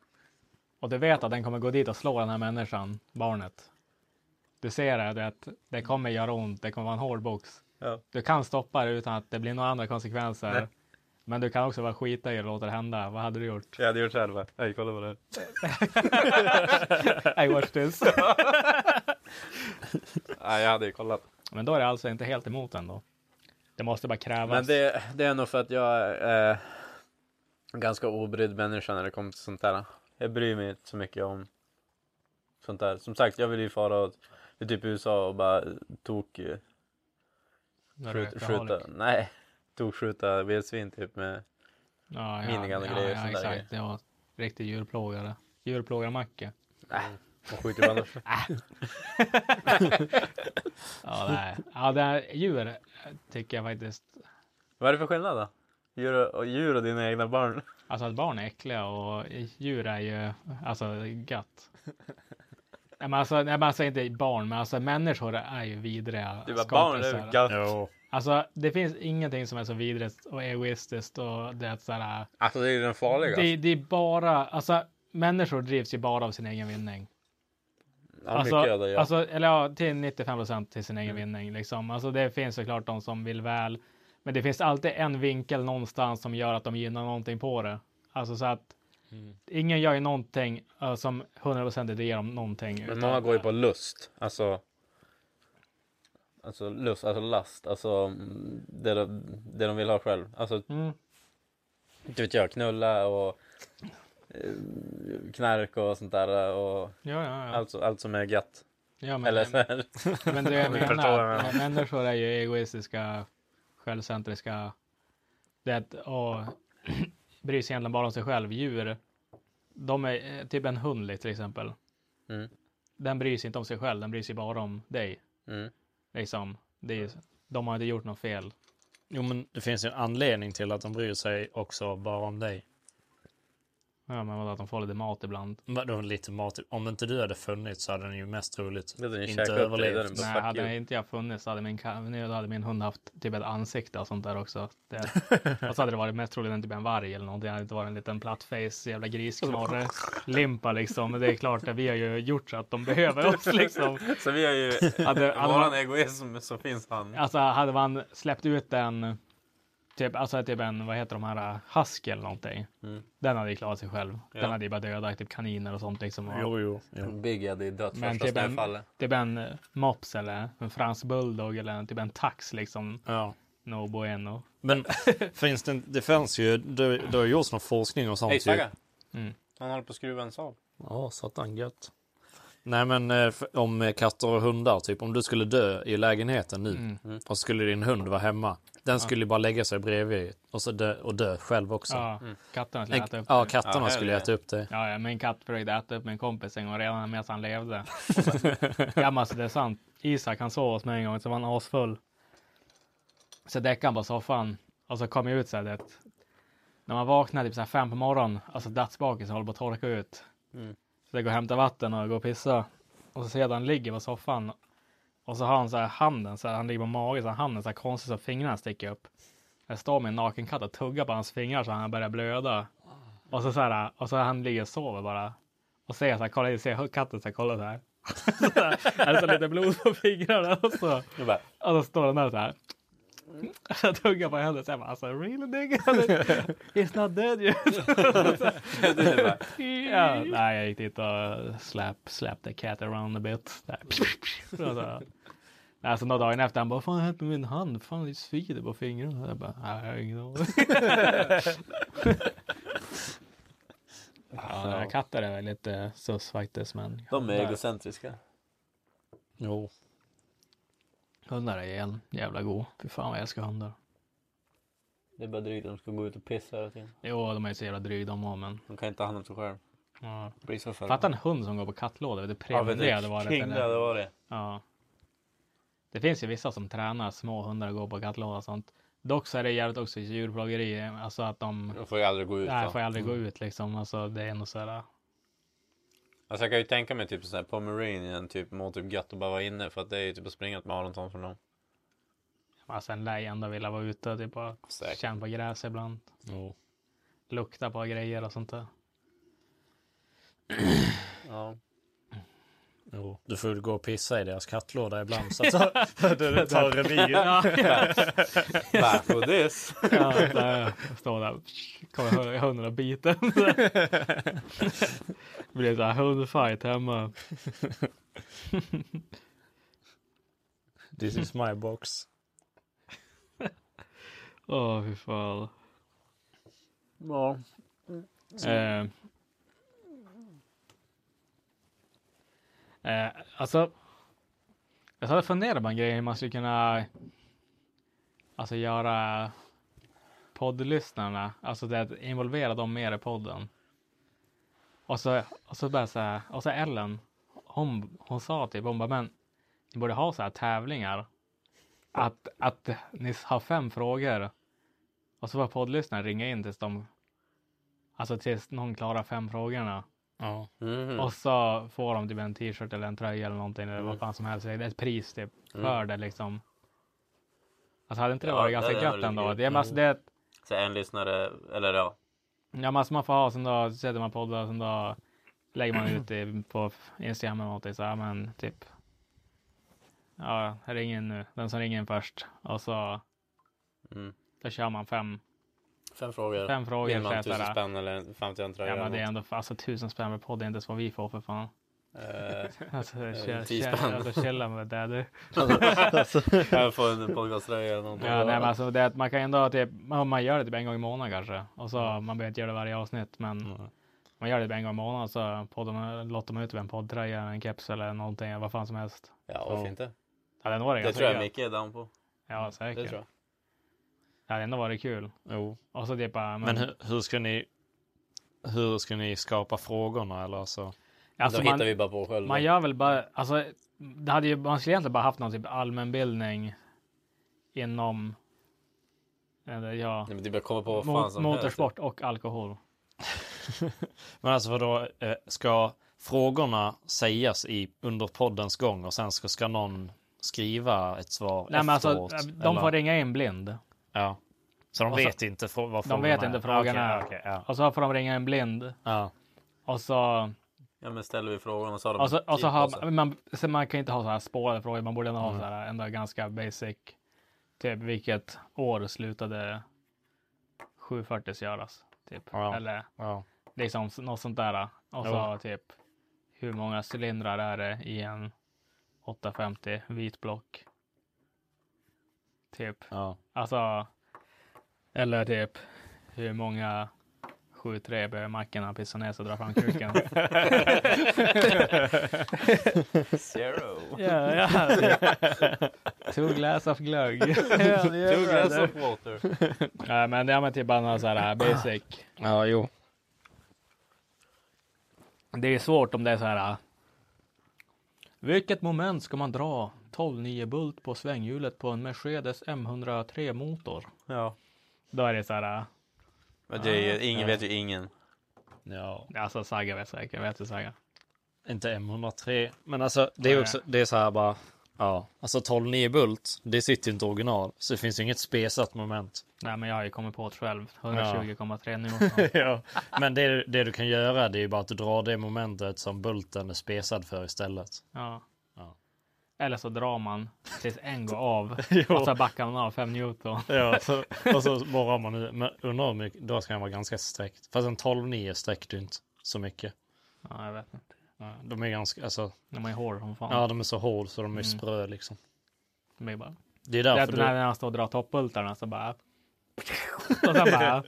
Och du vet att den kommer gå dit och slå den här människan, barnet. Du ser det, du vet, det kommer göra ont, det kommer vara en hård box.
Ja.
Du kan stoppa det utan att det blir några andra konsekvenser. Men du kan också bara skita i det och låta det hända. Vad hade du gjort?
Jag hade gjort så här bara. Hej, kolla på det här.
I watch this.
Nej, jag hade ju kollat.
Men då är det alltså inte helt emot ändå. Det måste bara krävas.
Men det, det är nog för att jag är eh, en ganska obrydd människa när det kommer till sånt där. Jag bryr mig inte så mycket om sånt där. Som sagt, jag vill ju fara åt till typ USA och bara tok eh,
När du är
skjut,
alkoholik.
skjuta. Nej, tok skjuta vildsvin typ med.
Ja,
minigun och grejer,
Ja,
sånt
ja
där
exakt. Det var riktig djurplågare. Djurplågarmacka.
Och skjuter på annars.
Ja, nej. ja, det här djur eh, tycker jag faktiskt.
Vad är det för skillnad då? Djur och, djur och dina egna barn?
Alltså att barn är äckliga och djur är ju alltså gatt. Nej, men alltså, nej, men alltså inte barn, men alltså människor är ju vidriga
Du bara barn, det är
skapelser.
gött.
Jo.
Alltså, det finns ingenting som är så vidrigt och egoistiskt och det är sådär.
Alltså det är ju den farliga.
Det, det är bara, alltså människor drivs ju bara av sin egen vinning.
ja,
Alltså,
mycket av det, ja.
alltså, eller ja, till 95 procent till sin egen vinning. Liksom. Alltså, det finns såklart de som vill väl, men det finns alltid en vinkel någonstans som gör att de gynnar någonting på det. Alltså så att
Mm.
ingen gör ju någonting eh, som 100 procent ger dem någonting.
Men
utan-
många går ju på lust. Alltså. Alltså lust, alltså last, alltså mm, det de, det de vill ha själv. Alltså,
Mm.
du vet jag, knulla och eh, knark och sånt där eh, och
Ja, ja, ja.
allt, så- allt som är gött.
ja men,
Eller så här.
men det jag
Ni förstår vad jag
menar,
menar.
att människor är ju egoistiska, självcentriska. Det är att, och bryr sig egentligen bara om sig själv. Djur, de är eh, typ en hund till exempel.
Mm.
den bryr sig inte om sig själv, den bryr sig bara om dig.
Mm.
Liksom. Det är, de har inte gjort något fel.
jo, men det finns ju en anledning till att de bryr sig också bara om dig.
Ja, men vadå, att de får lite mat ibland.
Vadå lite mat? Om inte du hade funnits så hade den ju mest troligt
Det hade den ju
inte
käkat upp dig, det
överlevt.
hade den
Nej,
fuck
hade
you.
inte jag funnits så hade min, ka- nu hade min hund haft typ ett ansikte och sånt där också. Det, och så hade det varit mest troligen typ en varg eller någonting. Det hade inte varit en liten plattface jävla grisknorre limpa liksom. Men det är klart att vi har ju gjort så att de behöver oss liksom.
Så vi har ju,
Hade- hade
våran
man-
egoism så finns han.
Alltså hade man släppt ut en, typ, alltså typ en, vad heter de här, husky eller någonting.
Mm.
Den hade ju klarat sig själv. Den hade ju bara dödat typ kaniner och sånt liksom. Och,
Jo, jo. jo.
Big hade ju dött
men
första
typ en,
snöfallet.
typ en eh, mops eller en fransk bulldog eller en- typ en tax liksom.
Ja.
No bueno.
Men finns det, det finns ju, det, det har gjorts någon forskning och sånt.
Hej
ju.
Saga!
Mm.
Han håller på att skruva en Saab.
Ja, satan gött. Nej men eh, f- om eh, katter och hundar, typ om du skulle dö i lägenheten nu
Mm.
och så skulle din hund vara hemma. Den skulle ju bara lägga sig bredvid och, så dö, och dö själv också.
Ja, katterna skulle
Mm.
äta
En,
upp.
ja,
det.
katterna
Ja,
skulle
hellre.
äta upp det.
Ja, ja, min katt försökte äta upp min kompis en gång redan medan han levde. Och så- ja, men alltså det är sant. Isak han sov hos mig en gång, så var han asfull. Så däckade han på soffan och så kom jag ut så här, det, när man vaknar typ så här fem på morgonen, alltså dagsbakelsen håller på att torka
Mm.
ut. Så jag går och hämtar vatten och går och pissar. Och så ser jag att han ligger på soffan Och så har han så här handen, så här, han ligger på magen, så har handen så här konstigt så fingrarna sticker upp. Jag står med en naken katt och tuggar på hans fingrar så han börjar blöda. Och så så här, och så han ligger och sover bara. Och ser så här, kolla, ser hur katten så här, kolla så här. så här, är det så lite blod på fingrarna och så.
Jag bara,
Och så står den där så här. Jag tuggar på henne och säger alltså really nigga? He's not dead yet.
du bara,
ja, nej, jag gick dit och slap, slap the cat around a bit. Där. Så, så. Alltså några dagen efter han bara, fan har hänt med min hand? Fan det svider på fingrarna. Jag bara, nej jag har ingen aning. Ja, katter är väl lite sus faktiskt men.
de är egocentriska.
Jo. Hundar är en jävla god. Fy fan vad jag älskar hundar.
Det är bara drygt att de ska gå ut och pissa hela tiden.
Jo, de är så jävla dryga de också men.
De kan inte ta hand om sig själv.
Ja.
Blir så full.
Fatta en hund som går på kattlåda. vet du,
Ja,
Premie
vet du,
det hade varit.
King det
eller?
hade varit.
Ja. Det finns ju vissa som tränar små hundar att gå på kattlåda och sånt. Dock så är det jävligt också djurplågeri. Alltså att de
De får ju aldrig gå ut.
nej,
så.
får aldrig gå ut liksom. Alltså det är nog så här.
Alltså jag kan ju tänka mig typ såhär pomeranien typ mår typ gött att bara vara inne för att det är ju typ att springa ett maraton för någon.
Alltså en lär ju ändå vilja vara ute. Typ bara
Säkert.
känna på gräs ibland.
Jo.
Lukta på grejer och sånt där.
Ja.
Jo. Du får ju gå och pissa i deras kattlåda ibland så att du tar revir.
Back for this!
Ja, så här, står där. Kommer hunden och biter. Det blir så här hundfight hemma.
This is my box.
Åh, fy fan.
Ja.
Eh, eh, alltså, jag satt och funderade på en grej hur man skulle kunna alltså, göra poddlyssnarna, alltså det att involvera dem mer i podden. Och så, och så bara så här, och så Ellen, hon, hon sa typ, hon bara, men ni borde ha så här tävlingar. Att, att ni har fem frågor och så får poddlyssnarna ringa in tills de Alltså tills någon klarar fem frågorna.
Ja.
Mhm. Mm.
Och så får de typ en t-shirt eller en tröja eller någonting eller vad fan som helst. Det är ett pris typ för det liksom. Alltså hade inte det
Mm. Ja,
varit ganska
det hade
gött
varit
ändå?
grymt.
Det är, men alltså, det är, ett-
Så en lyssnare, eller ja.
ja, men alltså man får ha sån då, sätter man poddar sån då lägger man ut det på Instagram eller någonting så här, men typ. Ja, ring in nu. Den som ringer in först. Och så.
Mm.
Då kör man fem.
Fem frågor.
Fem frågor,
Vill man
så här,
tusen
där.
spänn eller 51 tröja?
Ja, men det är
eller
ändå alltså tusen spänn per podd. Det är inte ens vad vi får för fan.
något. Eh,
Alltså, chill-
tio
chill-
spänn.
alltså chilla med det du.
Eh, Jag får en podcasttröja eller någonting.
Ja, nej, men alltså, det är att man kan ändå typ, man, man gör det typ en gång i månaden kanske. Och så, Man behöver inte göra det varje avsnitt, men man gör det typ en gång i månaden och så podden, lottar man ut typ en poddtröja, en keps eller någonting, vad fan som helst.
Ja, varför inte?
Ja, det hade varit
Det
ganska
tror jag
gött.
Micke är down på.
Ja,
Det
säkert.
tror jag.
Det hade ändå varit kul.
Jo.
Och så typ, ja, men,
Men hur, hur ska ni hur ska ni skapa frågorna eller så?
alltså,
De
man,
hittar vi bara på själva.
man gör väl bara, alltså, det hade ju, man skulle egentligen bara haft någon typ allmänbildning inom, eller ja,
Nej, men det är bara att komma på vad fan
mot,
som
motorsport och alkohol.
Men alltså vadå, eh, ska frågorna sägas i, under poddens gång och sen ska, ska någon skriva ett svar
Nej, men alltså,
efteråt?
de
eller?
får ringa in blind.
Ja. Så de
Och så-
vet inte frå- vad
De
frågorna
vet inte frågan
Ja,
är.
okej, okej, ja.
Och så får de ringa en blind.
Ja.
Och så,
helst. Ja, men ställer vi frågan och så har de typ
och
typ,
så,
en
och så
tid på
har
sig.
alltså.
man, Alltså, man, så man kan inte ha så här spårade frågor. Man borde ändå
Mm.
ha så här ändå ganska basic. Typ vilket år slutade 740 göras? Typ.
Ja.
Eller
Ja.
liksom s- något sånt där. Och så typ hur många cylindrar är det i en 850 vit block? Typ.
Ja.
Alltså, eller typ hur många 7-3 behöver mackorna pissa ner sig och dra fram kuken?
Zero.
ja, ja. Two glass of glögg.
Two glass of water.
Nej, men det är med typ bara några så här basic.
ja, jo.
Det är svårt om det är så här. äh, Vilket moment ska man dra 12-9 bult på svänghjulet på en Mercedes M103 motor?
Ja.
Då är det så här. äh,
Men det är, ingen vet ju ingen.
Ja.
Alltså Saga vet säkert, vet du Saga?
Inte M103. Men alltså det är också, det är så här bara. Ja, alltså 12-9 bult, det sitter ju inte original. Så det finns ju inget spesat moment.
Nej, men jag har ju kommit på det själv. 120,3 nu.
ja. Men det, det du kan göra det är ju bara att dra det momentet som bulten är spesad för istället.
Ja.
Ja.
Eller så drar man tills en går av och
Alltså,
så backar man av 5 newton.
Ja, så, och så borrar man nu. Men undrar hur mycket, då ska den vara ganska sträckt. Fast en 12-9 sträckte ju inte så mycket.
Ja, jag vet inte.
Ja, De är ganska, alltså,
De är hård som fan.
ja de är så hård så de är sprö liksom.
Det blir bara...
Det är
Det är
därför
att när
du...
han står och drar toppbultarna så bara... Och sen bara... och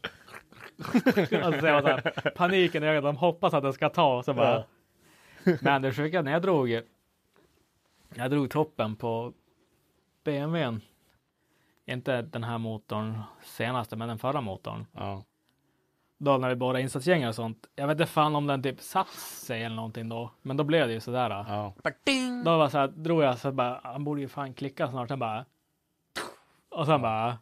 så ser man så här, paniken i ögonen, de hoppas att den ska ta och så bara... Men det sjuka när jag drog... Jag drog toppen på BMWn. Inte den här motorn senaste, men den förra motorn.
Ja.
Då när vi borrade insatsgängar och sånt. Jag vet inte fan om den typ satt sig eller någonting då. Men då blev det ju sådär.
Ja.
Då var så här, drog jag så bara, han borde ju fan klicka snart. Sen bara... Och sen bara...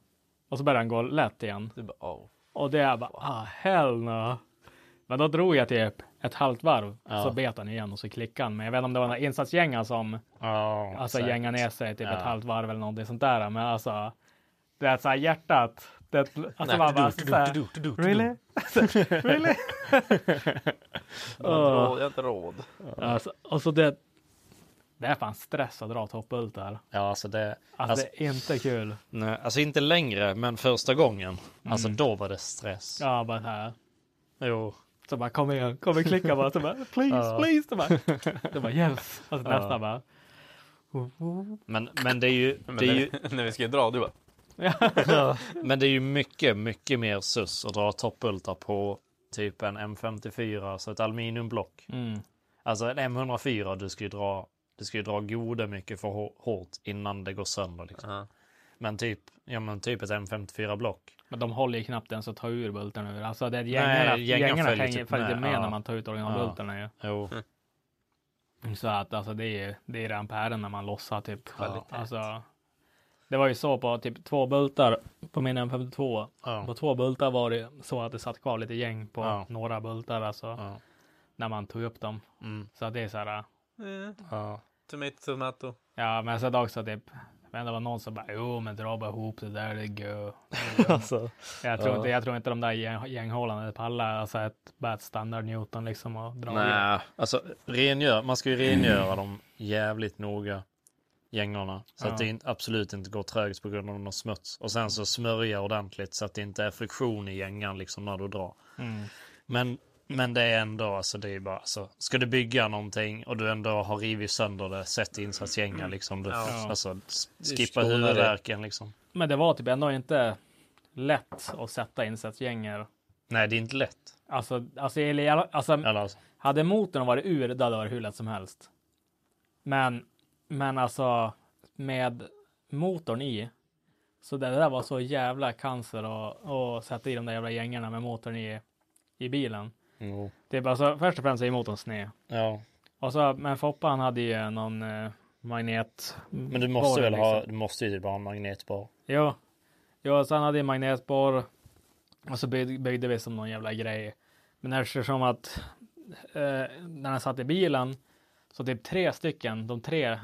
Och så började han gå lätt igen.
Du bara, oh.
Och det är bara, ah, hell no. Men då drog jag typ ett halvt varv. Så bet han igen och så klickade han. Men jag vet inte om det var några insatsgängare som
Ja,
alltså,
exakt.
gängade ner sig typ
Ja.
ett halvt varv eller någonting sånt där. Men alltså, det är så här hjärtat. Det, alltså man bara så här, really? really?
Jag har inte råd, jag har inte råd.
Alltså, och så det, det är fan stress att dra toppbultar.
Ja, alltså det...
Alltså,
Alltså-
det är inte kul. Mm.
Nej, alltså inte längre, men första gången. Alltså då var det stress.
Ja, bara så här.
Jo.
Så bara kom igen, kom och klicka bara. Så bara please, please. Så bara, så bara yes. Och så nästa bara.
Men, men det är ju...
Men
Det är ju
när vi ska dra, du bara,
men det är ju mycket, mycket mer sus att dra toppbultar på typ en M54, alltså ett aluminiumblock.
Mm.
Alltså en M104, du ska ju dra, du ska ju dra goda mycket för hå- hårt innan det går sönder. Liksom.
Ja.
Men, typ, ja, men typ ett M54-block.
Men de håller ju knappt ens att ta ur bulten ur. Alltså det är
Nej,
gängarna,
gängar
gängarna
följer
hänger
typ
följer
med,
med
ja.
när man tar ut originalbultarna ju.
Jo.
Så att alltså det är ju, det är rampären när man lossar typ.
Ja.
Alltså, det var ju så på typ två bultar på min M52.
Ja.
På två bultar var det så att det satt kvar lite gäng på
Ja.
några bultar alltså.
Ja.
När man tog upp dem.
Mm.
Så att det är så här.
eh,
Ja.
tomato, tomato.
Ja, men sen också typ. Men det var någon som bara, jo men dra bara ihop det där, det går.
Alltså,
Jag tror,
Ja.
inte, jag tror inte de där gäng, gänghållarna pallar alltså ett, bara ett standard Newton liksom och dra i.
nej, alltså rengör, man ska ju rengöra dem jävligt noga, gängorna. Så
Ja.
att det in, absolut inte går trögt på grund av någon smuts. Och sen så smörja ordentligt så att det inte är friktion i gängan liksom när du drar.
Mm.
Men, men det är ändå, alltså det är bara, alltså, ska du bygga någonting och du ändå har rivit sönder det, sätt insatsgängar liksom. Du, Alltså, s- skippa
skonar det.
huvudvärken liksom.
Men det var typ ändå inte lätt att sätta insatsgänger.
Nej, det är inte lätt.
Alltså, alltså, eller i alla- alltså
Eller, alltså,
hade motorn varit ur, då hade det varit hur lätt som helst. Men, men alltså med motorn i, så det där var så jävla cancer och, och sätta i de där jävla gängarna med motorn i, i bilen.
jo.
Det är bara så, först och främst är motorn sned.
Ja,
Och så, men Foppa han hade ju någon eh, magnet.
men du måste
borr, liksom.
väl ha, du måste ju typ ha en magnetbar.
Jo. Jo, så han hade ju magnetborr. Och så byggde, byggde vi som någon jävla grej. Men eftersom att eh, när han satt i bilen så typ tre stycken, de tre eh,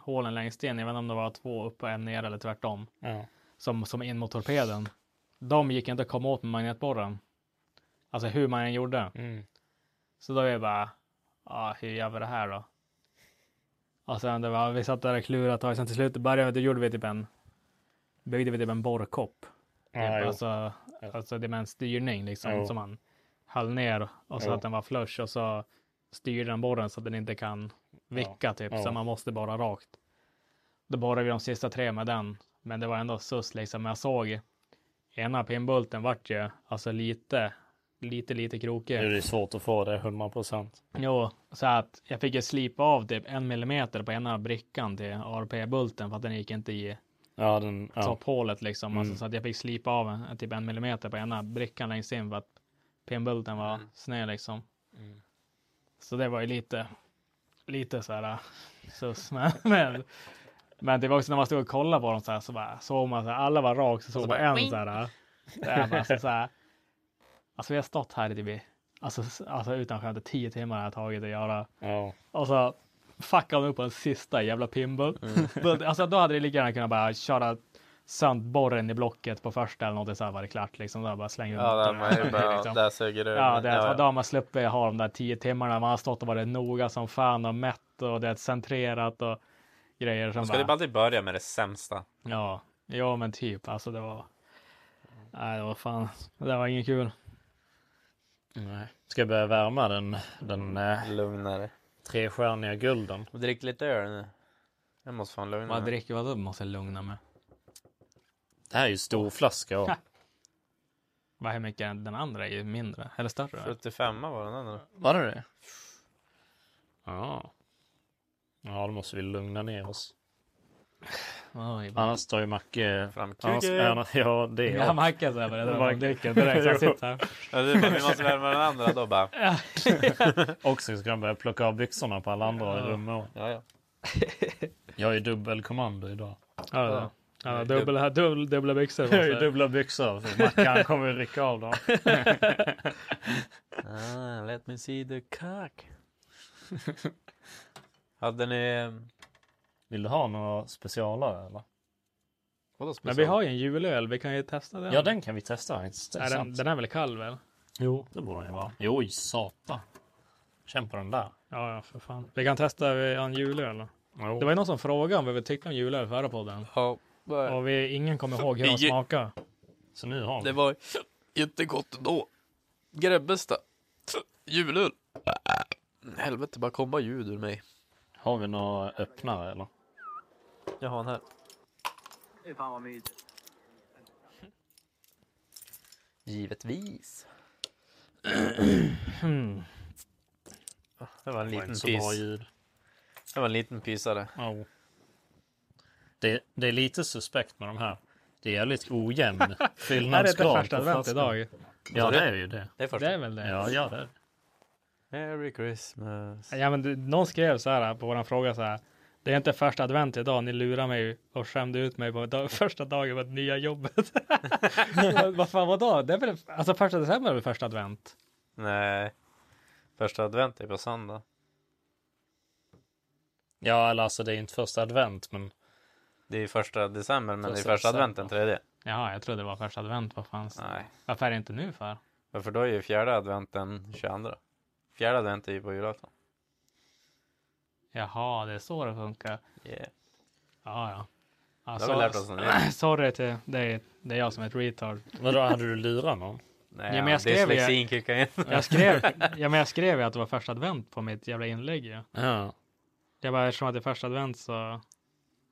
hålen längst in, jag vet inte om det var två upp och en ner eller tvärtom,
Ja.
som, som in mot torpeden. De gick inte att komma åt med magnetborren. Alltså hur man än gjorde.
Mm.
Så då är jag bara, ja hur gör vi det här då? Och sen det var, vi satt där och klurade ett tag, sen till slut började vi, då gjorde vi typ en, byggde vi typ en borrkopp.
Ja,
typ.
jo.
alltså, alltså det med en styrning liksom
Jo.
som man höll ner och så
Jo.
att den var flush och så styrde den borren så att den inte kan vicka typ,
Ja.
så man måste bara rakt. Då borrade vi de sista tre med den, men det var ändå sus liksom. Jag såg ena pinbulten vart ju alltså lite, lite, lite krokig.
Nu är det svårt att få det 100 procent.
Jo, så att jag fick ju slipa av typ en millimeter på ena brickan till ARP-bulten för att den gick inte i
Ja, den, ja.
topphålet liksom. Alltså,
Mm.
så att jag fick slipa av en, typ en millimeter på ena brickan längst in för att pinbulten var
Mm.
sned liksom. Så det var ju lite, lite så här äh, sus. Men, men, men det var också när man stod och kollade på dem så här så bara såg man så här, alla var rakt så såg man en så här. äh, Så här, bara, så så här alltså vi har stått här i typ i- alltså, s- alltså utan skämt i tio timmar har jag tagit att göra.
ja.
Och så fuckade de upp en sista jävla pinball.
Mm.
Men, Alltså, då hade det lika gärna kunnat bara köra sandborren i blocket på första eller något så här var det klart liksom. Då bara slänga
Ja, där,
ut
man är bara,
liksom.
där suger du.
Ja, det,
ja,
då har man sluppit ha de där tio timmarna. Man har stått och varit noga som fan och mätt och det är centrerat och grejer. Som
Ska
bara,
du alltid börja med det sämsta?
Ja, ja men typ alltså det var. Nej, det var fan. Det var ingen kul.
Nej. Ska jag börja värma den, den eh,
Lugnare.
trestjärniga gulden?
Och drick lite öl nu. Jag måste fan lugna
Vad
mig.
dricker vad du måste lugna mig.
Det här är ju stor flaska. Och,
Vad hur mycket är den andra är ju mindre eller större.
75 var den andra.
var det det? Ja. Ja, då måste vi lugna ner oss.
Oj, vad-
Annars tar ju Macke...
Fram
Annars,
kuken!
ja, det är
Ja, Mackan så här började dra
Mac-
om drycken direkt. Han sitter här.
Ja, du bara, vi måste värma den andra då bara.
Också ska han börja plocka av byxorna på alla andra i rummet.
Ja, ja.
Jag är ju dubbelkommando idag.
Ja, ja, dubbla, dubbla, dubbla byxor.
Jag har ju dubbla byxor. För Mackan kommer ju rycka av dem.
Ah, let me see the cock. Hade ni... eh,
Vill du ha några specialare eller?
Vadå
Men
special?
vi har ju en julöl. Vi kan ju testa den.
Ja, den kan vi testa faktiskt. Det är
är den,
sant.
den är väl kall väl?
Jo, det borde den ju vara. Jo, i satan. Känn på den där.
Ja, ja, för fan. Vi kan testa eh, en julöl. då. Det var ju någon som frågade om vad vi tyckte om julöl förra podden.
Ja,
Och vi, ingen kommer ihåg hur de
Ju-
smakar.
Så nu har vi.
det var jättegott då. Grebbesta. Julöl. Helvete, bara komma ljud ur mig.
Har vi några öppnare eller?
Jag har en här. Givetvis. Det var en
Det var inte
liten
så bra
pis.
ljud.
Det var en liten pisare.
Jo. Det, det är lite suspekt med de här. Det är jävligt ojämn
Är det inte
fyllnadsgrad
första
på
advent
flaskan.
idag?
Ja, det är ju det.
Det är första.
Det är väl det?
Ja, ja det är det.
Merry Christmas.
Ja, men det, någon skrev så här på våran fråga så här. Det är inte första advent idag. Ni lurar mig och skämde ut mig på dag, första dagen på det nya jobbet. Vad- Vad fan vadå? Det är väl, alltså första december är väl första advent?
Nej. Första advent är på söndag.
Ja, eller alltså det är inte första advent, men
Det är första december, men
Första
det är första
december.
advent den tredje.
Jaha, jag trodde det var första advent. Vad fanns?
Nej.
Varför är det inte nu för?
Varför då är ju fjärde advent den 22. Fjärde advent är ju på julafton.
Jaha, det är så det funkar.
Yeah.
Ja, ja.
Det
Alltså,
har vi lärt oss något nytt.
Sorry till dig. Det är jag som är ett retard.
vadå, hade du lurat någon?
Nej,
Ja, men jag skrev ju-
dyslexin kickar in.
Jag skrev, ja, men jag skrev ju att det var första advent på mitt jävla inlägg. Ja.
Ja.
Jag bara, eftersom att det är första advent så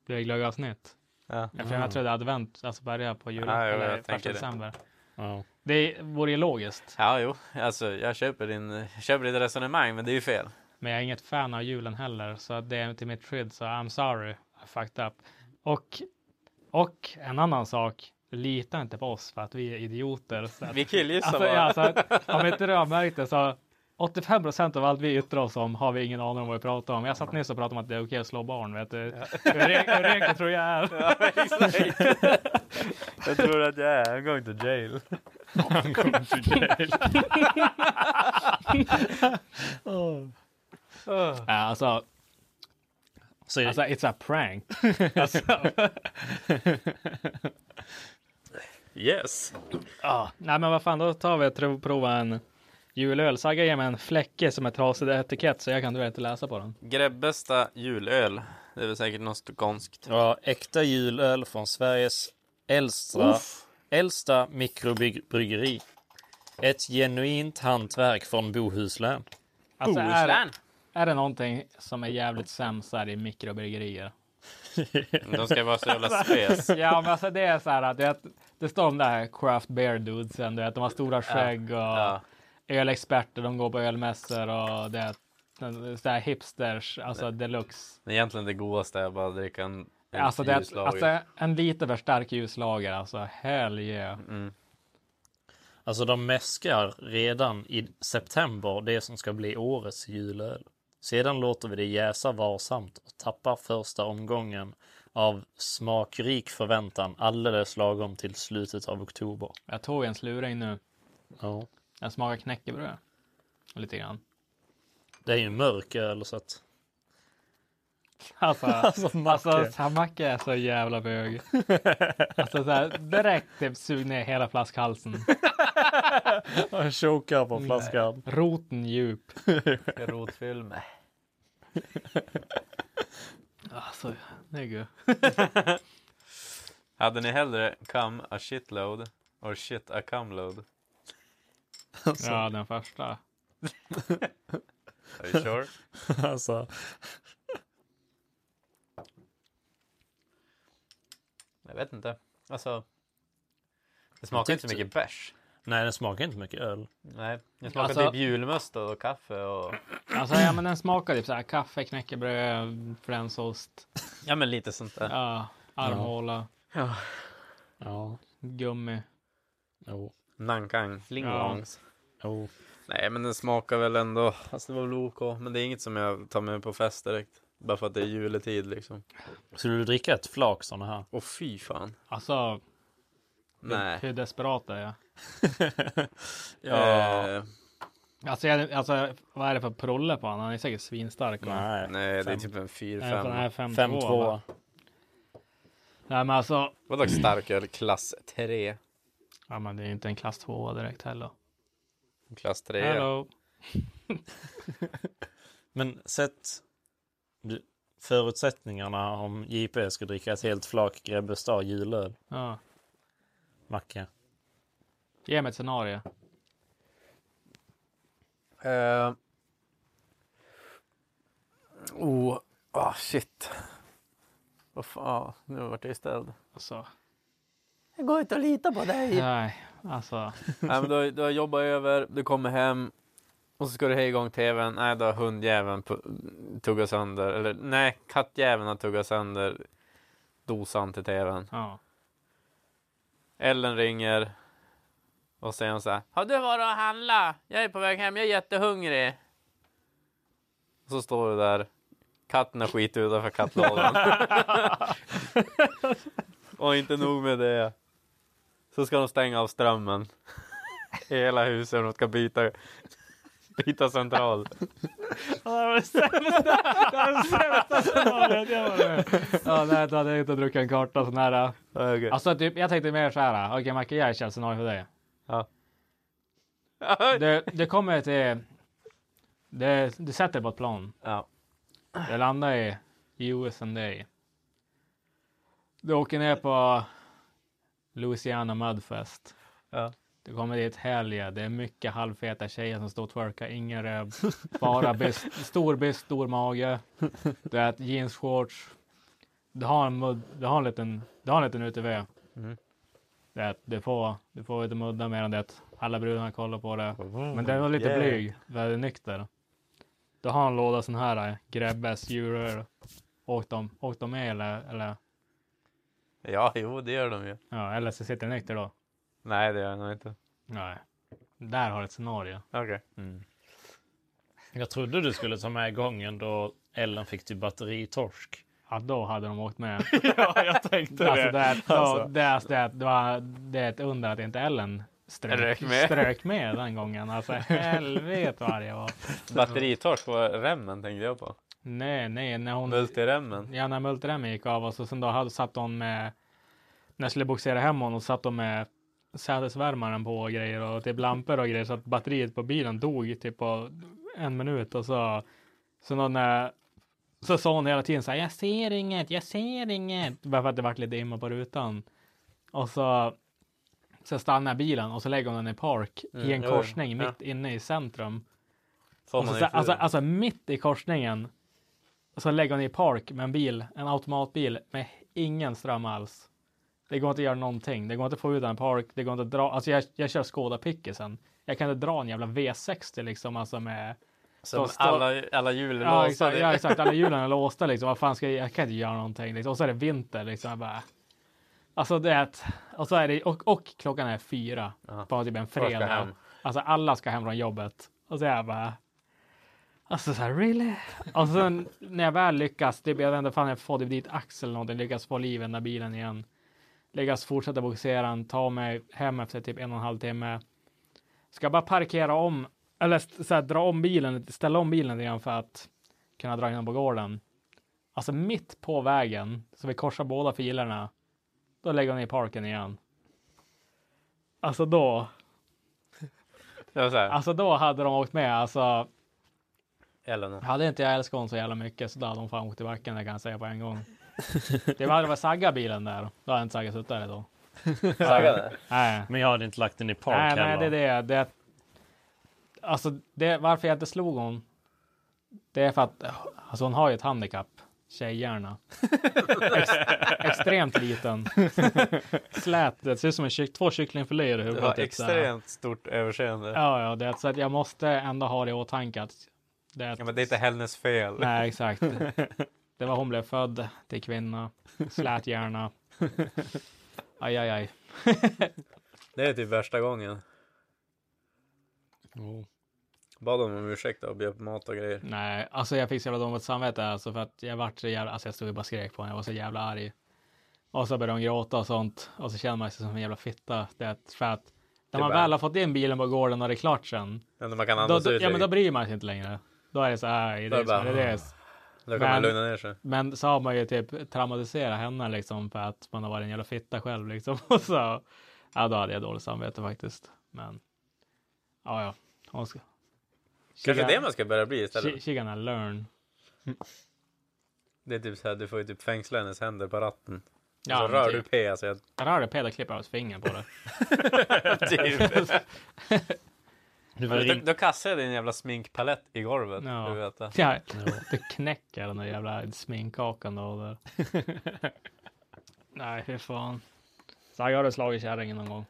blir det glöggasnitt.
Ja.
Eftersom jag trodde advent, alltså börja på jul,
Ja, jo, jag
eller första
tänker det.
december.
ja.
Det vore ju logiskt,
ja, jo, alltså jag köper, din, jag köper ditt resonemang, men det är ju fel.
men jag är inget fan av julen heller, så det är till mitt skydd, så I'm sorry, I fucked up. Och, och en annan sak, lita inte på oss för att vi är idioter. Så att,
Vi killgissar
alltså,
bara.
ja, så att, om inte du har märkt det så 85 procent av allt vi yttrar oss om har vi ingen aning om vad vi pratar om. Jag satt nyss och pratade om att det är okej att slå barn, vet du. Hur re- hur regler tror jag är.
Ja, exakt. jag tror att jag är, I'm going to jail.
Han kom till jail.
Ja, alltså,
Så
alltså, it's a prank.
Yes.
Ja, nej men vad fan, då tar vi och tro- provar en julöl. Sagga ger mig en fläcke som är trasig etikett så jag kan tyvärr inte läsa på den.
Grebbesta julöl. Det är väl säkert något skånskt.
Ja, äkta julöl från Sveriges äldsta, äldsta mikrobryggeri. Ett genuint hantverk från Bohuslän.
Alltså, är,
Bohuslän.
är det någonting som är jävligt sämst så här i mikrobryggerier?
De ska vara så jävla spes.
Ja, men alltså det är så här att det, det står de där craft beer dudesen, du vet, de har stora skägg och
Ja.
ölexperter, de går på ölmässor och det så här hipsters, alltså deluxe.
Men Egentligen det godaste är bara att dricka en, en
Alltså, det,
ljuslager.
alltså en lite för stark ljuslager, alltså hell yeah.
Alltså de mäskar redan i september det som ska bli årets julöl. Sedan låter vi det jäsa varsamt och tappar första omgången av smakrik förväntan alldeles lagom till slutet av oktober.
Jag tog en sluring nu.
Ja.
Den smakar knäckebröd. Lite grann.
Det är ju mörk öl så att
Alltså,
Alltså, Macke.
alltså Samacke är så jävla bög. Alltså så här, direkt typ sug ner hela flaskhalsen.
Han chokar på flaskan.
Roten djup.
Rotfylld med.
Alltså, det är gud.
Hade ni hellre come a shitload or shit a cumload?
Ja, den första.
Are you sure?
Alltså,
Jag vet inte. Alltså, det smakar inte så mycket bärs.
nej, den smakar inte mycket öl.
Nej, det smakar
Alltså-
typ julmust och kaffe och...
Alltså, ja, men den smakar typ så här kaffe, knäckebröd, fränsost,
Ja, men lite sånt där.
ja, armhåla,
Ja,
gummi.
jo,
Nankang, lingongs.
jo.
Nej, men den smakar väl ändå... Alltså, det var väl OK. Men det är inget som jag tar med på fest direkt. Bara för att det är juletid liksom.
Skulle du dricka ett flak sådana här?
Åh fy fan.
Alltså,
Nej.
hur desperat är jag?
Ja.
Eh,
Alltså, jag, alltså vad är det för prolle på honom? Han är säkert svinstark. va?
nej.
nej, det är
Fem.
typ en
Nej, för den
4-5.
här 5-2.
5-2.
va? Nej, men alltså.
Vadå starköl klass 3?
Ja, men det är ju inte en klass 2 direkt heller.
Klass 3?
Hello.
Men sett du- förutsättningarna om JP ska dricka ett helt flak Grebbestad julöl,
Ja.
Macke.
Ge mig ett scenario.
Eh. oh, ah shit. Vad fan, nu vart jag ställd.
Alltså.
Det går inte att lita på dig.
Nej, alltså.
Nej, men du, har- du har jobbat över, du kommer hem och så ska du ha igång tvn. Nej, då har hundjäveln pu- tuggat sönder. Eller nej, kattjäveln har tuggat sönder dosan till tvn.
Ja.
Ellen ringer och säger så här. Har du varit och handlat? Jag är på väg hem, jag är jättehungrig. Och så står du där. Katten har skit utanför kattlådan. och inte nog med det. Så ska de stänga av strömmen. I hela huset och de ska byta, byta central.
Ja, nej, då hade jag inte druckit en karta så nära.
Okay.
Alltså, typ, jag tänkte mer så här. äh, Okej, Macke, jag kör ett scenario för dig.
Ja.
Du, du kommer till... Du, du sätter dig på ett plan.
Ja.
Det landar i US and day. Du åker ner på Louisiana Mudfest.
Ja.
Du kommer dit helge. Det är mycket halvfeta tjejer som står och twerkar. Ingen röv. Bara byst, stor byst, stor mage. Du har ett jeansshorts. Du har en mudd. Du har en liten, du har en liten UTV. Det är att du får, du får inte mudda mer än det. Alla brudarna kollar på det. Men den var lite
yeah.
blyg. Väldigt nykter. Du har en låda sån här eh, Grebbes djuröl. Åkte de, åkte de med eller, eller,
ja, jo, det gör de ju.
ja, eller så sitter du nykter då?
Nej, det gör de nog inte.
Nej. Där har du ett scenario.
Okej. Mm.
Jag trodde du skulle ta med gången då Ellen fick till batteritorsk.
Ja, då hade de åkt med.
ja, jag tänkte
Alltså, det, är, då,
Alltså.
det, är, det, är, det, var, det är ett under att inte Ellen strök,
Rök med.
strök med den gången. Alltså helvete vad det var.
Batteritorsk var remmen tänkte jag på.
Nej, nej, när hon...
Multiremmen.
Ja, när multiremmen gick av och så sen då hade, satt hon med... När jag skulle boxera hem honom satt hon med sädesvärmaren på och grejer och typ lampor och grejer så att batteriet på bilen dog typ på en minut och så... Så då när... Så sa hon hela tiden så här, jag ser inget, jag ser inget. Bara för att det vart lite dimma på rutan. Och så... Så stannar bilen och så lägger hon den i park i en
Mm, jo, jo.
korsning
Ja.
mitt inne i centrum.
Får
Och så,
man
så,
i
alltså,
fjol.
alltså mitt i korsningen så lägger hon i park med en bil, en automatbil med ingen ström alls. Det går inte att göra någonting. Det går inte att få ut den i park. Det går inte att dra. Alltså jag, jag kör Skoda Pickisen. Jag kan inte dra en jävla V60 liksom alltså med.
Som
Som står-
alla, alla hjul
Ja
ja,
exakt, ja, exakt. Alla hjulen är låsta liksom. Vad fan ska jag, jag kan inte göra någonting liksom. Och så är det vinter liksom. Jag bara... Alltså det är ett... Och så är det och, och klockan är fyra på typ en
ska
fredag.
hem.
Alltså alla ska hem från jobbet. Och så är jag bara... Alltså så här, really? Och sen när jag väl lyckas, typ, jag vet inte fan jag får typ dit axel eller någonting, lyckas få liv i den där bilen igen. Lyckas fortsätta bogsera den, ta mig hem efter typ en och en halv timme. Ska bara parkera om, eller st- så här, dra om bilen, ställa om bilen lite grann för att kunna dra in den på gården. Alltså mitt på vägen, så vi korsar båda filerna. Då lägger hon i parken igen. Alltså då,
Det var så här.
alltså då hade de åkt med. Alltså,
Ellen.
hade inte jag älskat hon så jävla mycket så då hade hon fan åkt i backen, det kan jag säga på en gång. Det var, det var Sagga-bilen där. Då hade inte Sagga suttit där idag.
Saggade.
Nej.
Men jag hade inte lagt den i park
Nej, nej,
heller.
det är det. det är- alltså, det, varför jag inte slog hon. Det är för att alltså, hon har ju ett handikapp. Tjejhjärna. Ex, extremt liten. Slät. Det ser ut som en kyck, två kycklingfiléer i
Det
huvudet.
var
typ, så här.
extremt stort överseende. Ja.
Ja, ja, det, är så att jag måste ändå ha det i åtanke. Att det är ett,
men det är inte hennes fel.
Nej, exakt. Det var hon blev född till kvinna. Slät hjärna. Aj, aj, aj.
Det är typ värsta gången.
Oh.
Jo.
Bad dem om ursäkt och bjöd på mat och grejer.
Nej, alltså jag fick så jävla dåligt samvete alltså för att jag vart så jävla, alltså jag stod och bara skrek på henne, jag var så jävla arg. Och så började hon gråta och sånt och så kände man sig som en jävla fitta. Det, är för att när
är
man
bara-
väl har fått in bilen på gården och det är klart sen,
Men man kan
då,
andas
då,
ut
ja men då
lite.
bryr man sig inte längre. Då är det så här, det
Då är
är
det
som
bara- "Ah."
det är.
Då kan
men-
man lugna ner sig.
Men så har man ju typ traumatiserat henne liksom för att man har varit en jävla fitta själv liksom. Och så, ja då hade jag dåligt samvete faktiskt. Men, ja ja. Hon ska...
Kanske det man ska börja bli istället.
She, she gonna learn.
Det är typ så här, du får ju typ fängsla hennes händer på ratten.
Ja,
så
men
rör
typ.
du P alltså. så
Jag
jag...
rörde Peder klipper av ett finger på det.
typ.
Du får
Men då,
ring...
då kastade jag din jävla sminkpalett i golvet.
Ja.
Du vet det.
Ja, du knäcker den där jävla sminkkakan då. Där. Nej, fy fan. Så jag hade slagit kärringen någon gång.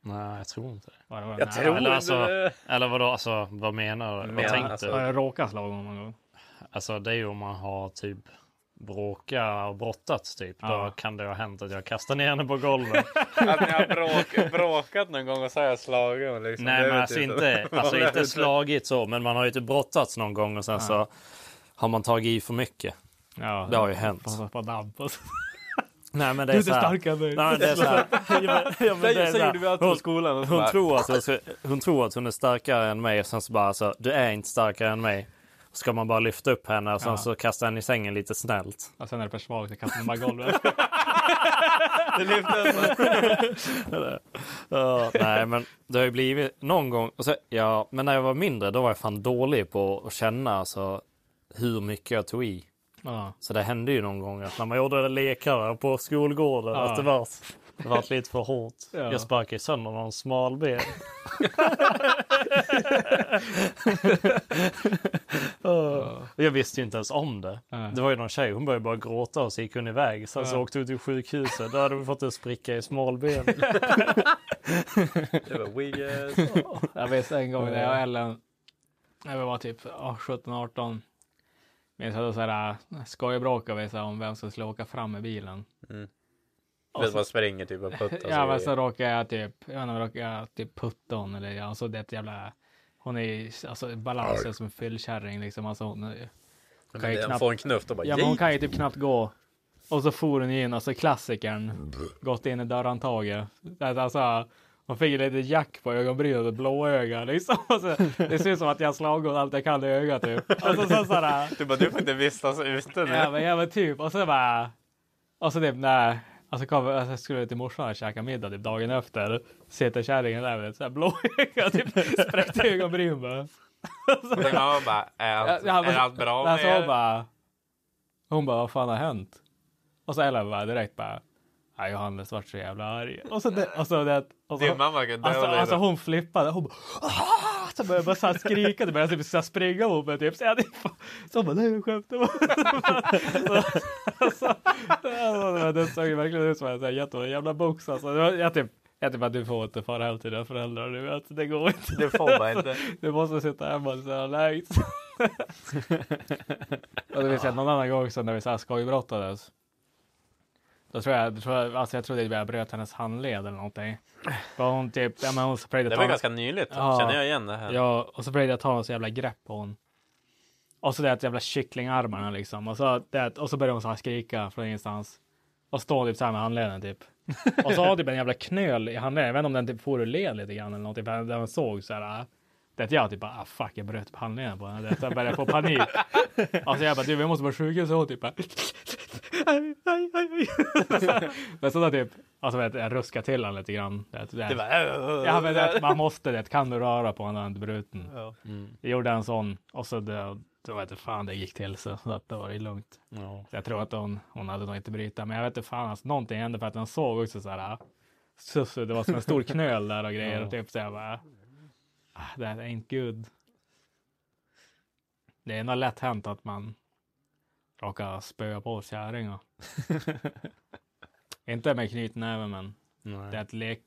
Nej, jag tror inte det.
Var det, var
Jag tror
Eller
inte
alltså-
det.
Eller vadå, alltså vad menar du?
Men,
Vad tänkte
alltså-
du?
Har jag råkat slå honom någon gång?
Alltså det är ju om man har typ bråkat och brottats typ. Då
Ja.
kan det ha hänt att jag kastar ner henne på golvet.
Att ni har bråk, bråkat någon gång och så har jag slagit honom liksom. Det
Nej men
vet
alltså
jag
inte, alltså inte slagit så. Men man har ju inte brottats någon gång och sen så har man tagit i för mycket.
Ja,
Det har ju hänt.
På, på damp alltså. och så.
Nej men det
Du
är
är
så här.
starkare än mig.
Nej, men det är så här. Ja, men- ja, men det är så
Så
här.
gjorde vi alltid
Hon-
på skolan. och så
Hon
bara-
tror, att hon, ska- hon tror att hon är starkare än mig och sen så bara alltså, du är inte starkare än mig. Ska man bara lyfta upp henne och sen
Ja.
så kastar henne i sängen lite snällt.
Och sen är det för svagt, jag kastar den bara i golvet.
Ja, nej men det har ju blivit någon gång, och så, ja, men när jag var mindre då var jag fan dålig på att känna alltså, hur mycket jag tog i.
Ja.
Så det hände ju någon gång att när man gjorde lekar på skolgården
Ja.
att det var, det var lite för hårt.
Ja.
Jag sparkade sönder någon smalben. Ja. Och jag visste ju inte ens om det.
Nej.
Det var ju någon tjej, hon började bara gråta och så gick hon iväg. Sen så åkte hon till sjukhuset, då hade hon fått en spricka i smalbenet.
Det var weird.
Jag vet en gång när jag och Ellen, när vi var typ 17-18, vi hade så här äh, skojbråk och vi sa om vem som skulle åka fram med bilen.
Du vet man springer typ och puttar.
Ja, men
grejer.
så råkade jag typ, jag vet inte, om jag råkade typ putta hon eller ja, alltså det är ett jävla, hon är ju, alltså i balans är som en fyllkärring liksom, alltså hon, är- hon kan ju
Men Han
knappt,
får en knuff och bara
ja men hon kan ju typ knappt gå. Och så for hon in, alltså klassikern, gått in i dörrhandtaget. Alltså, hon fick ju lite jack på ögonbrynet, ett blåöga liksom. Alltså, det ser ut som att jag slagit hon allt jag kan i ögat typ. Alltså så sådär.
Du bara, du får inte vistas ute nu.
Ja men, ja men typ. Och så bara. Och så typ när. Alltså, kom, alltså skulle jag till morsan och käka middag typ dagen efter. Sitter kärringen där med ett sånt här blåöga. Typ spräckt ögonbryn bara.
Din mamma bara, är allt,
Ja, men-
är allt bra
alltså,
med
hon
er?
bara. Hon bara vad fan har hänt? Och så Ellen bara direkt bara. Nej Johannes vart så jävla arg. Och så det. Och så det. Och så,
Din mamma kan döda
Alltså,
dig.
alltså hon flippade. Hon bara "Ah!" så började jag bara så här skrika. Det började typ så här springa mot mig. Typ. Så, jag, hade- så hon bara nej jag skämtar bara. Så- alltså, alltså, Det såg ju verkligen ut som en sån här jätte- jävla box. Alltså. Det var- Jag typ, jag typ att du får inte fara hem till dina föräldrar nu. Alltså, det går inte.
Det får man inte.
Du måste sitta hemma och säga nej. och det vill säga någon annan gång sen när vi så här skojbrottades. Då tror jag, då tror jag, alltså jag trodde att jag bröt hennes handled eller någonting. För hon typ, ja men hon sprayade
Det var ganska nyligt.
Ja.
Känner jag igen det här?
Ja, och så försökte jag ta något så jävla grepp på hon. Och så det att jävla kycklingarmarna liksom. Och så, det, och så började hon så här skrika från ingenstans. Och stå typ så här med handleden typ. Och så har hon typ en jävla knöl i handleden. Jag vet inte om den typ for ur led lite grann eller någonting. Där man såg så här. Det att jag typ bara, ah, fuck, jag bröt upp handleden på den. Jag började få panik. Alltså jag bara, du, vi måste på sjukhus. Och hon typ bara, aj, aj, aj, aj. Men så då typ, alltså vet, jag ruskar till honom lite grann. Det, det,
Det var...
ja, men det, man måste det. Kan du röra på honom när han är bruten?
Mm.
Jag gjorde en sån och så det, då vet jag fan det gick till så. Så att då var det lugnt.
Ja.
Så jag tror att hon, hon hade nog inte bryta. Men jag vet inte fan, alltså, någonting hände för att den såg också så här. Sussu, det var som en stor knöl där och grejer.
Ja.
Typ så jag bara. "Ah, Det här är inte good. Det är nog lätt hänt att man råkar spöa på kärringar. inte med knytnäven men det är
Nej.
ett lek,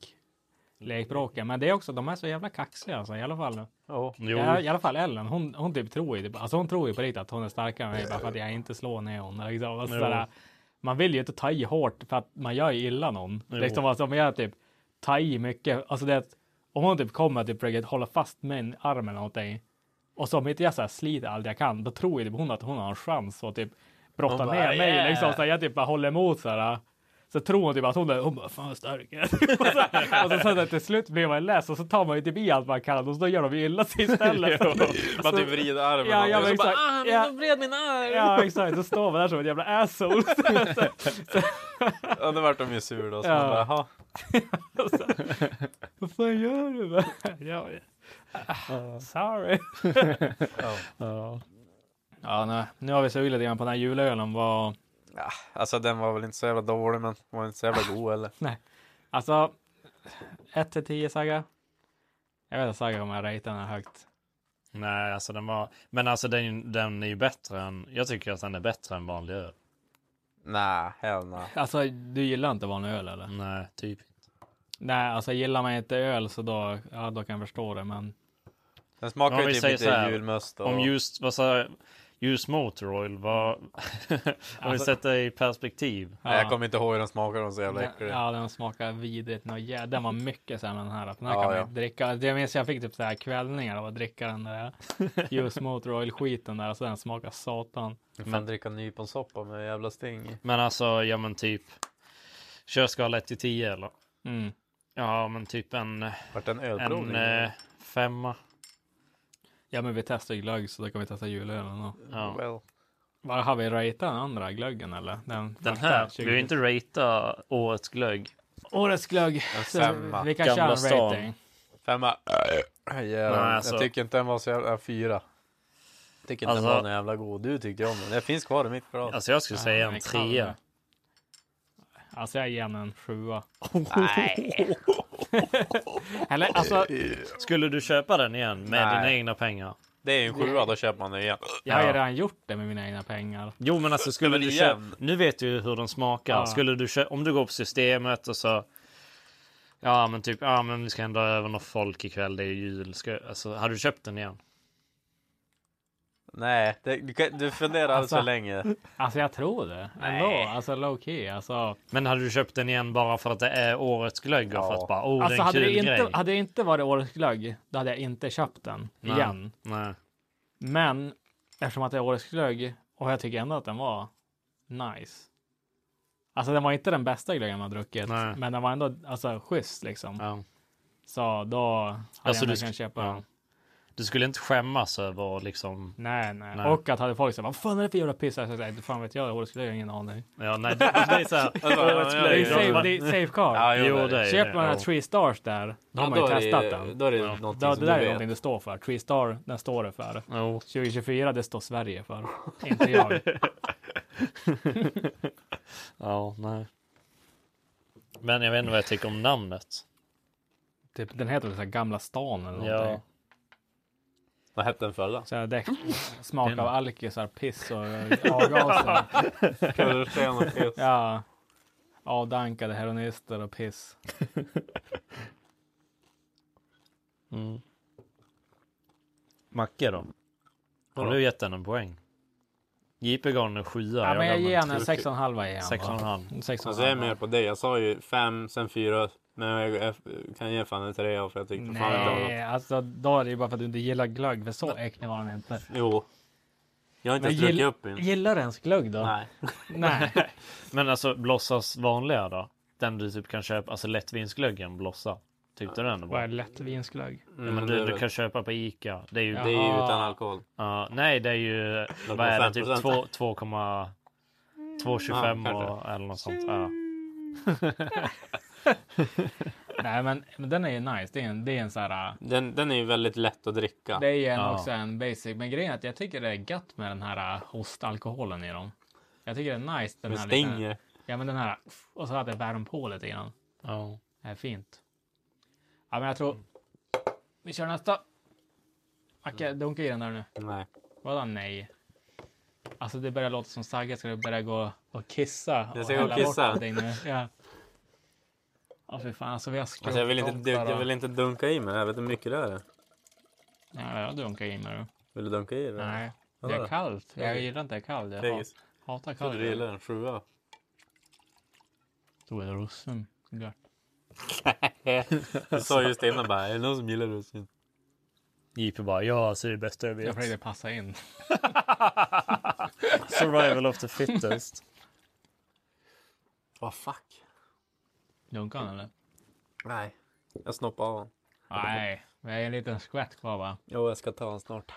lekbråke. Men det är också, de är så jävla kaxiga alltså, i alla fall.
Jo,
Ja, alltså- I alla fall Ellen, hon, hon typ tror ju, alltså hon tror ju på riktigt att hon är starkare än mig bara för att jag inte slår ner henne. Liksom. Alltså,
Jo.
sådär, man vill ju inte ta i hårt för att man gör ju illa någon.
Jo.
Liksom, alltså, om jag typ tar i mycket, alltså det är att om hon typ kommer typ försöker hålla fast min arm eller någonting och så om inte jag så här sliter allt jag kan, då tror ju typ hon att hon har en chans att typ brotta
Hon bara,
ner mig.
"Yeah."
Liksom, så jag typ bara håller emot så här. Så tror hon typ att hon är, hon bara, fan vad stark jag är." och så, och så, sen att till slut blir man less och så tar man ju typ i allt man kan och så gör de ju illa sig istället.
Man typ vrider armen
Ja,
om
ja,
det,
men
så bara,
exakt.
ah, men
Ja.
jag vred min arm!
ja exakt, då står man där som ett jävla asshole.
Ja, då vart de ju sur då. Så
Ja.
man bara, "Jaha."
Vad fan gör du? va? ja, ja. Sorry. ja. ja, nej. Nu har vi sugit lite grann på den här julölen. Vad...
ja, alltså den var väl inte så jävla dålig, men var inte så jävla god eller?
Alltså, 1 till 10 Saga. Jag vet inte Saga om jag ratear den här högt.
nej, alltså den var... Men alltså den, den är ju bättre än... Jag tycker att den är bättre än vanlig öl.
Nej, hell nah.
Alltså, du gillar inte vanlig öl eller?
Nej, typ inte.
Nej, alltså gillar man inte öl så då, ja, då kan jag förstå det. Men
Den
Om
smakar
vi
ju typ
säger
lite
så här,
julmust och...
Om just... Vad sa jag? Just Motor Oil var... Om
Alltså-
vi sätter det i perspektiv.
Nej, jag kommer inte ihåg hur den smakar, de är så jävla
den,
äcklig.
ja, den smakar vidrigt. Nå, jä- Den var mycket sämre än den här. Den här
Ja,
kan man
ja.
inte dricka. Det minns jag fick typ så här kvällningar av att dricka den där Just Motor Oil skiten där. Alltså den smakar satan.
Men dricka nyponsoppa med jävla sting.
Men alltså, ja men typ... Kör skala 1 till 10 eller?
Mm.
Ja, men typ en...
Vart det en
En
ölprovning?
eh, femma.
Ja, men vi testar ju glögg så då kan vi testa julölen då.
Ja.
Well.
Vad har vi ratat den andra glöggen eller? Den,
Den
första,
här, vi
20.
vill inte ratea årets glögg.
Årets glögg. Så
femma.
Vi kan
Gamla
köra en
stan.
rating.
Femma. Jävlar.
Nej, alltså.
Jag tycker inte den var så jävla... Fyra. Tycker inte
Alltså-
den var någon jävla god. Du tyckte ju om den. Den finns kvar i mitt glas.
Alltså jag skulle säga en
men kan
trea.
det. Alltså jag ger den en sjua. Eller alltså,
Skulle du köpa den igen med
Nej.
dina egna pengar?
Det är ju en sjua, då köper man den igen.
jag har ju
Ja.
redan gjort det med mina egna pengar.
Jo men alltså skulle
Men
du köpa...
igen.
Nu vet du ju hur de smakar.
Ja.
Skulle du köpa... Om du går på systemet och så... Ja men typ, ja men vi ska ändå över något folk ikväll, det är jul. Ska... Alltså, hade du köpt den igen?
Nej, det, du, kan- du funderar alldeles för
Alltså.
länge.
Alltså jag tror det. Ändå. Alltså low key. Alltså,
Men hade du köpt den igen bara för att det är årets glögg och för
Ja.
att bara, oh det
alltså
är en
hade, det
kul
inte,
grej.
hade det inte varit årets glögg, då hade jag inte köpt den
Nej.
igen.
Nej.
Men eftersom att det är årets glögg och jag tycker ändå att den var nice. Alltså den var inte den bästa glöggen man har druckit,
Nej.
men den var ändå alltså, schysst liksom.
Ja.
Så då hade
Alltså,
jag
du
inte kunnat
sk-
köpa
ja.
den.
Du skulle inte skämmas över att liksom...
Nej, nej,
Nej.
Och att hade folk sagt, vad fan är det för jävla piss? Jag säger, fan vet jag, årets glögg, jag har ingen aning.
Ja nej, det, det är så här... årets
ja,
Det är
glögg.
ju
ja, ja.
safe, det är safe card.
Ja,
Jo, det är det.
Köper man den här
Ja.
Three Stars där, då har man ju
då är det-
testat den.
Då är det
Ja.
någonting
Då,
som
det där är
du vet.
någonting det står för. Three Star, den står det för.
Jo.
2024, det står Sverige för. Inte jag.
Ja, nej. Men jag vet inte vad jag tycker om namnet.
Typ, den heter väl så här Gamla stan eller någonting.
Ja.
Vad hette den förra?
Så här däck, smak av alkisar, piss och eh, avgaser.
Kullersten och piss.
ja. Avdankade heroinister och piss.
Macke då? Har du gett den en poäng? JP gav den en sjua.
Ja, men jag
gav
ger
den
henne en 6,5 igen.
sex och en halv.
Alltså jag är mer på dig. Jag sa ju fem, sen fyra. Men jag, jag kan ge fan en trea för jag tyckte fan det var...
Nej, alltså då är det ju bara för att du inte gillar glögg, för så äcklig var den inte.
Jo. Jag har inte
Men
ens druckit
gill,
upp min.
gillar du ens glögg då?
Nej.
Nej.
Men alltså Blossas vanliga då? Den du typ kan köpa, alltså lättvinsglöggen Blossa. Tyckte du den
Vad
var
är
bra?
lätt vinglögg?
Mm,
Ja, men du, du kan köpa på Ica. Det är ju,
Det är ju utan alkohol.
Ja, nej, det är ju vad är det, typ
0,5%.
två- 2,25
Mm. Ja,
och,
kanske.
eller något sånt. Ja.
Nej, men, men den är ju nice. Det är en, det är en så här... äh,
Den, den är ju väldigt lätt att dricka.
Det är ju en,
Ja.
också en basic. Men grejen är att jag tycker det är gött med den här äh, hostalkoholen i dem. Jag tycker det är nice. Den
Den
här Lite,
stänger.
ja, men den här. Och så att det värmer på lite grann.
Ja.
Det är fint. Ja, men jag tror... Vi kör nästa. Macke, dunka i den där nu.
Nej.
Vadå nej? Alltså det börjar låta som Sagge ska du börja gå och kissa.
Jag ska
och
gå och
hälla
kissa.
bort någonting nu. Ja. Ja fy fan alltså vi har skruvat
Alltså jag, vill inte du, jag vill inte dunka i mig det här. Vet du hur mycket det här är?
Nej jag dunkar i mig nu.
Vill du dunka i det?
Nej. Det är kallt. Jag gillar inte det kallt. Jag
Fegis.
hat- hatar
Jag trodde du
kallt.
gillade den. Sjua.
Då är det russin. Gött.
Du sa just innan bara, är det någon som gillar russin?
JP bara, ja, så är det bästa jag
Jag
vet.
försökte passa in.
Survival of the fittest.
Vad fuck.
Dunkar han eller?
Nej. Jag snoppar av honom.
Nej. Vi har en liten skvätt kvar va?
Jo, jag ska ta honom snart.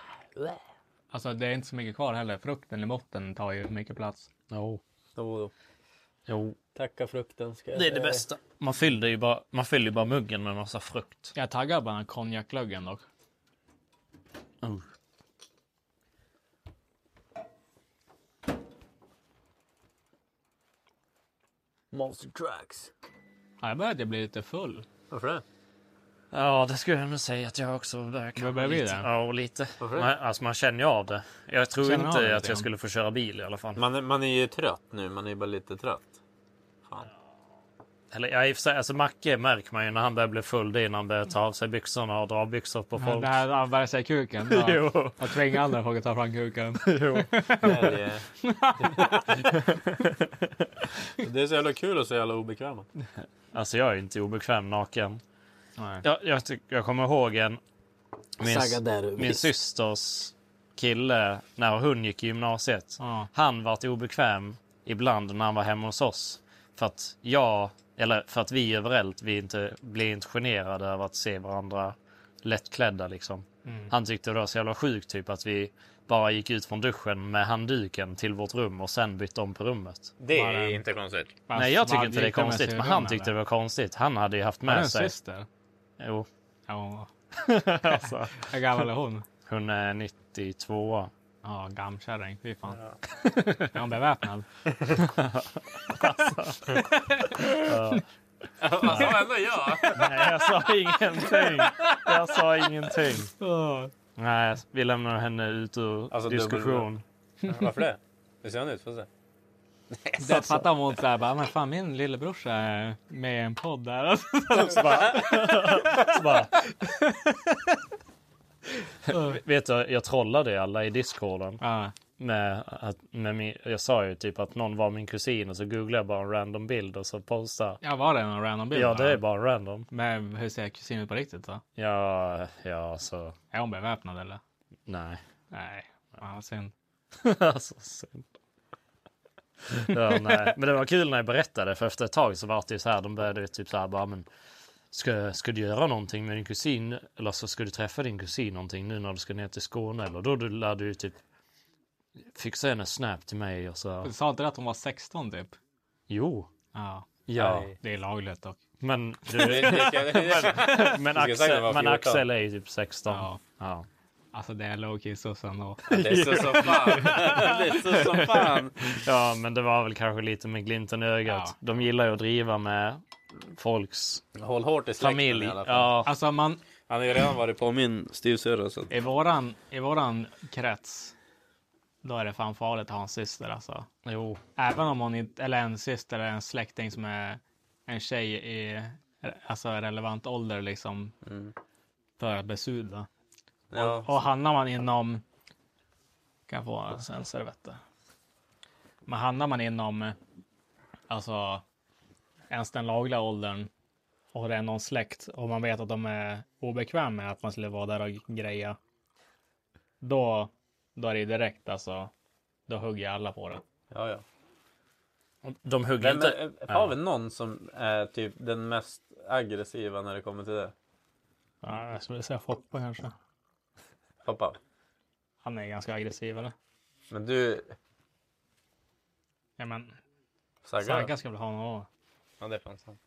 Alltså det är inte så mycket kvar heller. Frukten i botten tar ju mycket plats.
Jo.
Jo, då.
Jo.
Tacka frukten. Ska jag
Det är det
säga.
bästa. Man fyller ju bara, man fyller ju bara muggen med massa frukt.
Jag taggar bara konjaklöggen dock.
Oh.
Monster Trucks.
Ja, Jag börjar bli lite full.
Varför det?
Ja, det skulle jag nog säga att jag också börjar
Vad
kanna
börjar vi
lite.
det?
Ja, och lite.
Varför det?
Man, alltså man känner ju av det. Jag tror
Känner av det
inte
lite
att
grann.
jag skulle få köra bil i alla fall.
Man är, man är ju trött nu. Man är ju bara lite trött.
Eller ja, i och för sig, alltså Macke märker man ju när han börjar bli full. Det är när han börjar ta av sig byxorna och dra byxor på folk.
Det här använder sig kuken. då.
Jo,
Och tvinga andra folk att ta fram kuken.
jo.
Det är, det. det är så jävla kul och så jävla obekväma.
Alltså jag är inte obekväm naken.
Nej.
Jag, jag, tyck- jag kommer ihåg en... Min, min systers kille, när hon gick i gymnasiet.
Ja.
Han vart obekväm ibland när han var hemma hos oss. För att jag, eller för att vi överallt, vi inte blev inte generade över att se varandra lättklädda liksom.
Mm.
Han tyckte det var så jävla sjukt typ att vi bara gick ut från duschen med handduken till vårt rum och sen bytte om på rummet.
Det är inte konstigt.
Fast
Nej jag tycker
vad
inte det är
gick med
konstigt
sig i
men han
rummet,
tyckte det
eller?
var konstigt. Han hade ju haft
Var det
med
en
sig...
syster?
Jo,
Ja.
alltså,
Hur gammal är hon?
hon är 92.
Ja, gammkärring. Fy fan. Är hon beväpnad?
Vad sa ändå jag?
Nej jag sa ingenting. Jag sa ingenting. Nej, vi lämnar henne ut ur
Alltså,
diskussion.
Varför det? Hur ser han ut? Får se.
Det
Alltså.
fattar hon så här bara, men fan min lillebrorsa är med i en podd där. Alltså,
Så bara... Vet du, jag trollade alla i discorden.
ja.
Med att, med min, jag sa ju typ att någon var min kusin och så googlade jag bara en random bild och så postade.
ja, var det någon random bild?
Ja,
bara?
det är bara en random.
Men hur ser kusinen ut på riktigt då?
Ja, ja, så
Är hon beväpnad eller?
nej.
Nej. Fan vad synd.
alltså, synd. Ja, nej. Men det var kul när jag berättade för efter ett tag så var det ju så här, de började ju typ så här bara men ska, ska du göra någonting med din kusin eller så ska du träffa din kusin någonting nu när du ska ner till Skåne eller då du lär du ju typ fixa hennes snap till mig och så.
Du sa inte det att hon var 16 typ?
Jo,
Ja.
ja,
Det är lagligt dock.
men du, men,
säkert
Axel,
vara
men
14.
Axel är ju typ 16.
Ja.
Ja.
Alltså det är lowkey sus ändå.
Det är så som fan. Det är så som fan.
ja, men det var väl kanske lite med glimten i ögat.
Ja.
De gillar ju att driva med folks
Håll hårt i släkten
familj.
i alla fall.
Ja,
Alltså man,
Han har ju redan varit på min styvsyrra. så att-
I våran, I våran krets, då är det fan farligt att ha en syster alltså.
jo.
Även om hon inte, eller en syster eller en släkting som är en tjej i alltså relevant ålder liksom. För att besudla.
Mm. Ja.
Och hamnar man inom, kan få alltså en servett Men hamnar man inom, alltså ens den lagliga åldern och det är någon släkt och man vet att de är obekväm med att man skulle vara där och greja. Då, då är det ju direkt alltså, då hugger alla på det.
Ja, ja.
De hugger
Men, eh,
inte.
men, har vi någon som är typ den mest aggressiva när det kommer till det?
Ja, jag skulle säga Foppa kanske.
Pappa?
Han är ganska aggressiv eller?
Men du,
Ja men
Sagga?
Sagga ska väl ha något.
Ja, det är fan sant.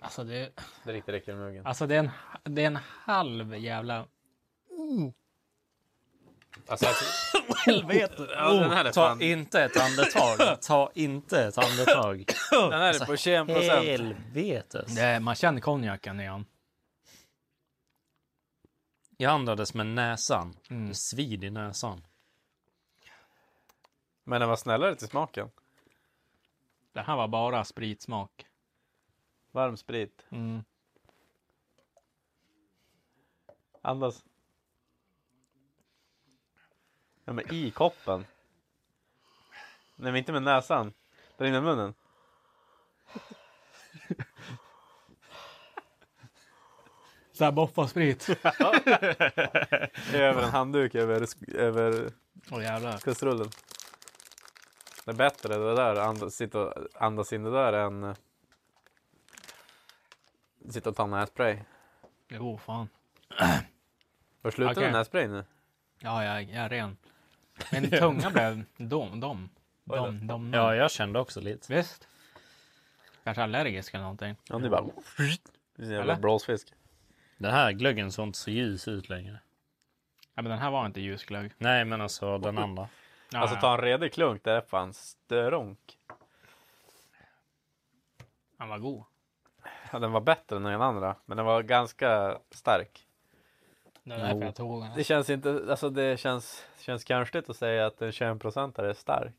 Alltså det,
Det är riktigt räcker i muggen.
alltså det, är en, det är en halv jävla...
Alltså, jag,
Helvete! Oh,
Ja, den här är
ta
fan-
inte ett andetag. Ta inte ett andetag. Alltså,
den här är på 21 procent.
Helvetes.
Det, man känner konjaken i honom.
Jag andades med näsan. Det svid i näsan.
Men den var snällare till smaken.
Det här var bara spritsmak.
Varm sprit.
Mm.
Andas. Ja, men i koppen. Nej, men inte med näsan. Där inne i munnen.
Så här boffa-sprit.
Över en handduk över, sk- över
Åh jävlar.
kastrullen. Det är bättre det där, andas, sitta och andas in det där än eh, sitta och ta nässpray.
Jo fan.
Var slutar
Okej.
okay. nässpray nu?
Ja, jag, jag är ren. Min tunga blev dom, dom. Dom, dom,
Ja,
dom.
jag kände också lite.
Visst? Kanske allergisk eller någonting.
Ja, nu bara... Det är en jävla
Eller?
blåsfisk.
Den här glöggen såg inte så ljus ut längre.
Ja, men den här var inte ljusglögg.
Nej, men alltså den andra.
Ja,
Alltså
ja.
ta en redig klunk, det är fan stronk.
Han var god.
Ja, den var bättre än den andra, men den var ganska stark.
Det var därför jag tog den.
Det känns inte, alltså det känns, känns konstigt att säga att en 21-procentare är stark.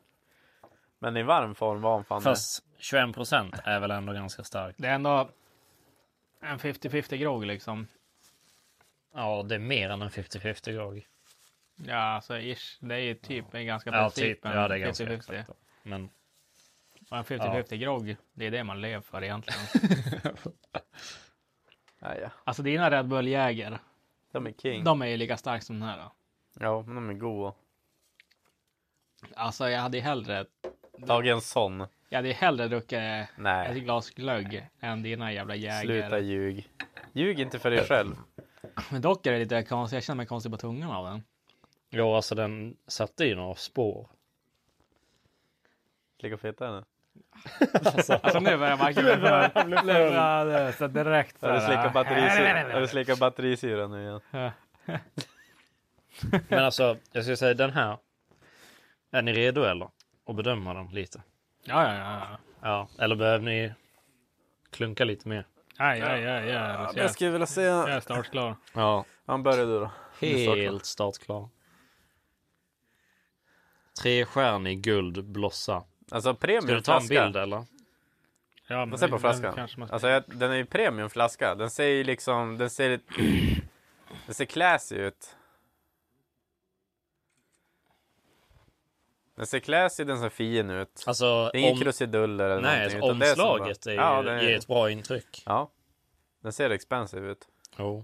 Men i varm form var han fan
Fast 21 procent är väl ändå ganska starkt.
Det är ändå en 50-50 grogg liksom.
Ja, det är mer än en 50-50 grogg.
Ja, alltså ish. Det är ju typ en ganska
Ja,
princip.
typ.
en
Ja, det är ganska
50-50.
exakt. då. Men
Och en 50-50 grogg, det är det man lever för egentligen.
det. Ja, ja.
alltså dina Red Bull Jäger,
De är king.
de är ju lika starka som den här. då.
Ja, men de är goa.
Alltså jag hade ju hellre,
Tag en sån.
jag hade ju hellre druckit ett
Nej,
glas glögg än dina jävla Jäger.
sluta ljug. Ljug inte för dig själv.
Men dock är det lite konstigt, jag känner mig konstig på tungan av den.
jo, alltså den satte ju några spår.
Klicka feta nu.
Alltså nu börjar jag verkligen bli full. Lurad, så direkt så
Har du slickat
här.
batterisyra, har du slickat batterisyra nu igen?
Men alltså, jag skulle säga den här. Är ni redo eller? Att bedöma den lite?
Ja, ja, ja, ja.
Ja, eller behöver ni klunka lite mer?
Ja, ja, ja, ja. Jag
skulle vilja se...
jag är startklar.
Ja,
Han börjar du då.
helt startklar. Trestjärnig guld blossa.
Alltså
Ska du ta en
premiumflaska.
bild eller?
Ja, men
Man ser på
den
flaskan.
kanske man ska-
Alltså jag, den är ju premiumflaska. Den ser ju liksom, den ser lite... den ser classy ut. Den ser classy, den ser fin ut.
Alltså,
det är inga
om...
krusiduller eller
Nej,
någonting.
alltså,
utan det är som
omslaget är ju,
bara- ja, den,
ger ett bra intryck.
ja, den ser expensive ut.
Jo.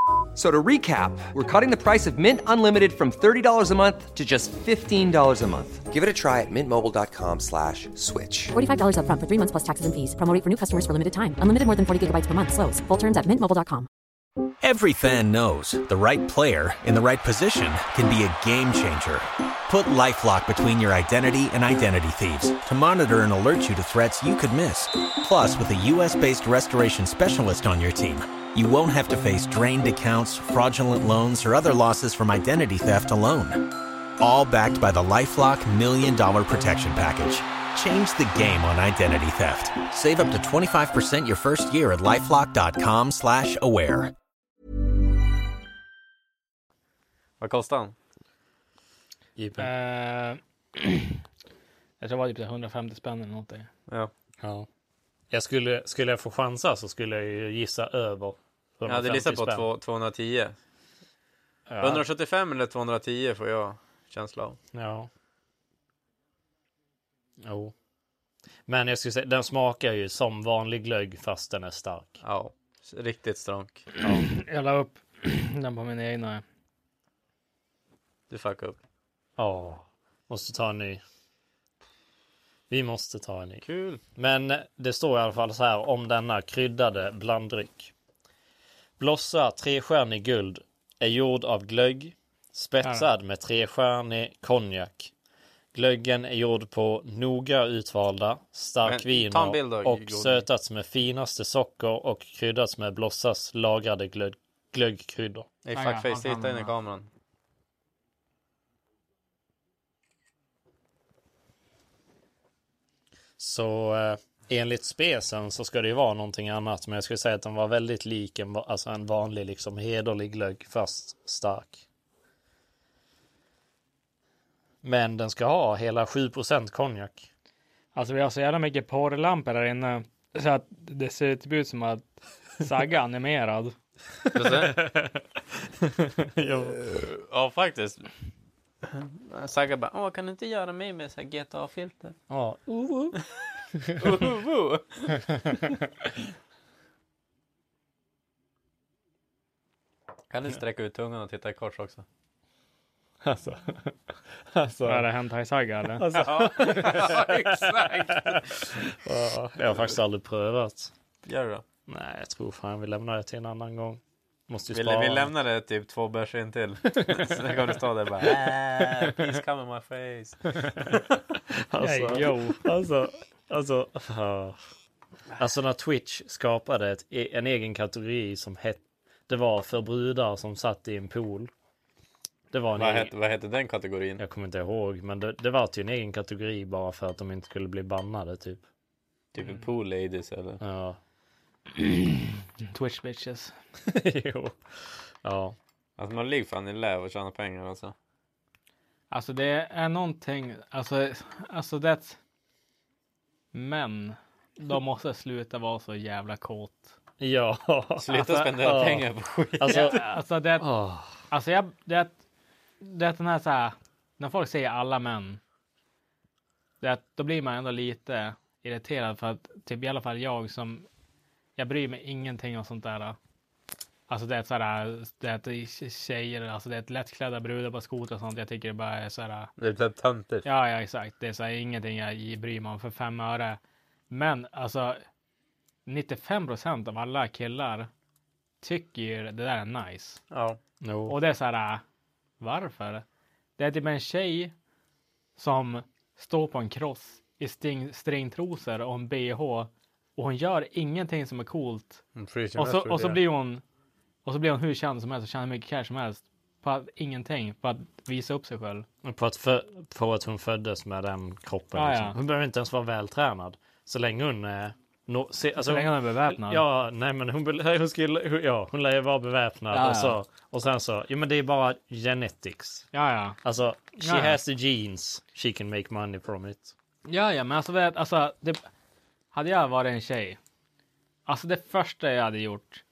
So to recap, we're cutting the price of Mint Unlimited from $30 a month to just $15 a month. Give it a try at mintmobile.com slash switch.
$45 upfront for three months plus taxes and fees. Promo rate for new customers for limited time. Unlimited more than 40 gigabytes per month. Slows. Full terms at mintmobile.com.
Every fan knows the right player in the right position can be a game changer. Put LifeLock between your identity and identity thieves to monitor and alert you to threats you could miss. Plus, with a U.S.-based restoration specialist on your team, you won't have to face drained accounts, fraudulent loans, or other losses from identity theft alone. All backed by the LifeLock Million Dollar Protection Package. Change the game on identity theft. Save up to 25% your first year at LifeLock.com slash aware.
Vad kostar den?
JP.
Eh, jag tror det var typ 150 spänn eller någonting.
Ja.
Ja. Jag skulle, skulle jag få chansa så skulle jag ju gissa över
Jag hade
150
listat på
spänn.
två, 210.
Ja.
175 eller 210 får jag känsla av.
Ja. Jo. Men jag skulle säga, den smakar ju som vanlig glögg fast den är stark.
Ja, riktigt stronk.
Jag la upp den på min egna.
Du fuckar upp.
Ja, måste ta en ny. Vi måste ta en ny.
Kul.
Men det står i alla fall så här om denna kryddade blanddryck. Blossa trestjärnig guld är gjord av glögg spetsad med trestjärnig konjak. Glöggen är gjord på noga utvalda
Men, ta en bild
starkviner
då,
och
Gordon.
sötats med finaste socker och kryddats med Blossas lagrade glögg, glöggkryddor.
Nej,
Ja, ja,
fuckface,
han-
titta in i
han-
kameran.
Så eh, enligt spesen så ska det ju vara någonting annat. Men jag skulle säga att den var väldigt lik en, va- alltså en vanlig liksom hederlig glögg fast stark. Men den ska ha hela 7% konjak.
Alltså vi har så jävla mycket porrlampor här inne. Så att det ser typ ut som att Sagga är animerad.
Ska jag se?
jo.
Eh, ja, faktiskt. Saga bara, åh, kan du inte göra mig med så här GTA-filter?
Ja.
Uhuhu. kan du sträcka ut tungan och titta i kors också?
Alltså. alltså.
Är det Hentai-Sagga eller?
ja, exakt!
ja, Det har jag faktiskt aldrig prövat.
Gör det då.
Nej, jag tror fan vi lämnar det till en annan gång. Måste ju
Vill
spara.
vi lämna det typ två bärs in till? Sen kommer du stå där och bara "Äh, Please come in my face.
Alltså,
Hey, yo.
alltså, alltså, ah. alltså när Twitch skapade ett, e, en egen kategori som hette, det var för brudar som satt i en pool. Det var en
Vad
egen,
hette, vad hette den kategorin?
jag kommer inte ihåg, men det, det var till en egen kategori bara för att de inte skulle bli bannade typ.
Typ pool ladies eller?
Ja,
Twitch bitches.
jo. Ja,
Alltså man ligger fan i lä och tjänar pengar alltså.
Alltså det är någonting, alltså, alltså det. Men de måste sluta vara så jävla kåt.
ja,
Sluta spendera
ja.
pengar på skit.
alltså,
Alltså det,
ah.
alltså jag, det, det är den här så här, när folk säger alla män. Det, att då blir man ändå lite irriterad för att typ i alla fall jag som, jag bryr mig ingenting om sånt där. Alltså det är så här, det är tjejer, alltså det är lättklädda brudar på skoter och sånt. Jag tycker det bara är så här.
Det blir töntigt.
Ja, ja, exakt. Det är så här, ingenting jag bryr mig om för fem öre. Men alltså, 95 procent av alla killar tycker ju det där är nice.
Ja.
no.
Och det är så här, äh, varför? Det är typ en tjej som står på en kross i sting, stringtrosor och en bh och hon gör ingenting som är coolt. Och så, och så blir hon och så blir hon hur känd som helst och tjänar hur mycket cash som helst på att, ingenting, på att visa upp sig själv.
På att, för, på att hon föddes med den kroppen.
Ja,
liksom.
ja.
Hon behöver inte ens vara vältränad. Så länge hon är... nå- se, alltså,
Så länge hon är beväpnad.
Ja, nej men hon, be- hon, skulle, hon- ja, hon lär ju vara beväpnad.
Ja,
och,
ja.
så, och sen så, ja men det är bara genetics.
Ja, ja.
Alltså, she
Ja, ja.
has the genes. She can make money from it.
Ja, ja, men alltså, det, alltså det, hade jag varit en tjej. Alltså det första jag hade gjort.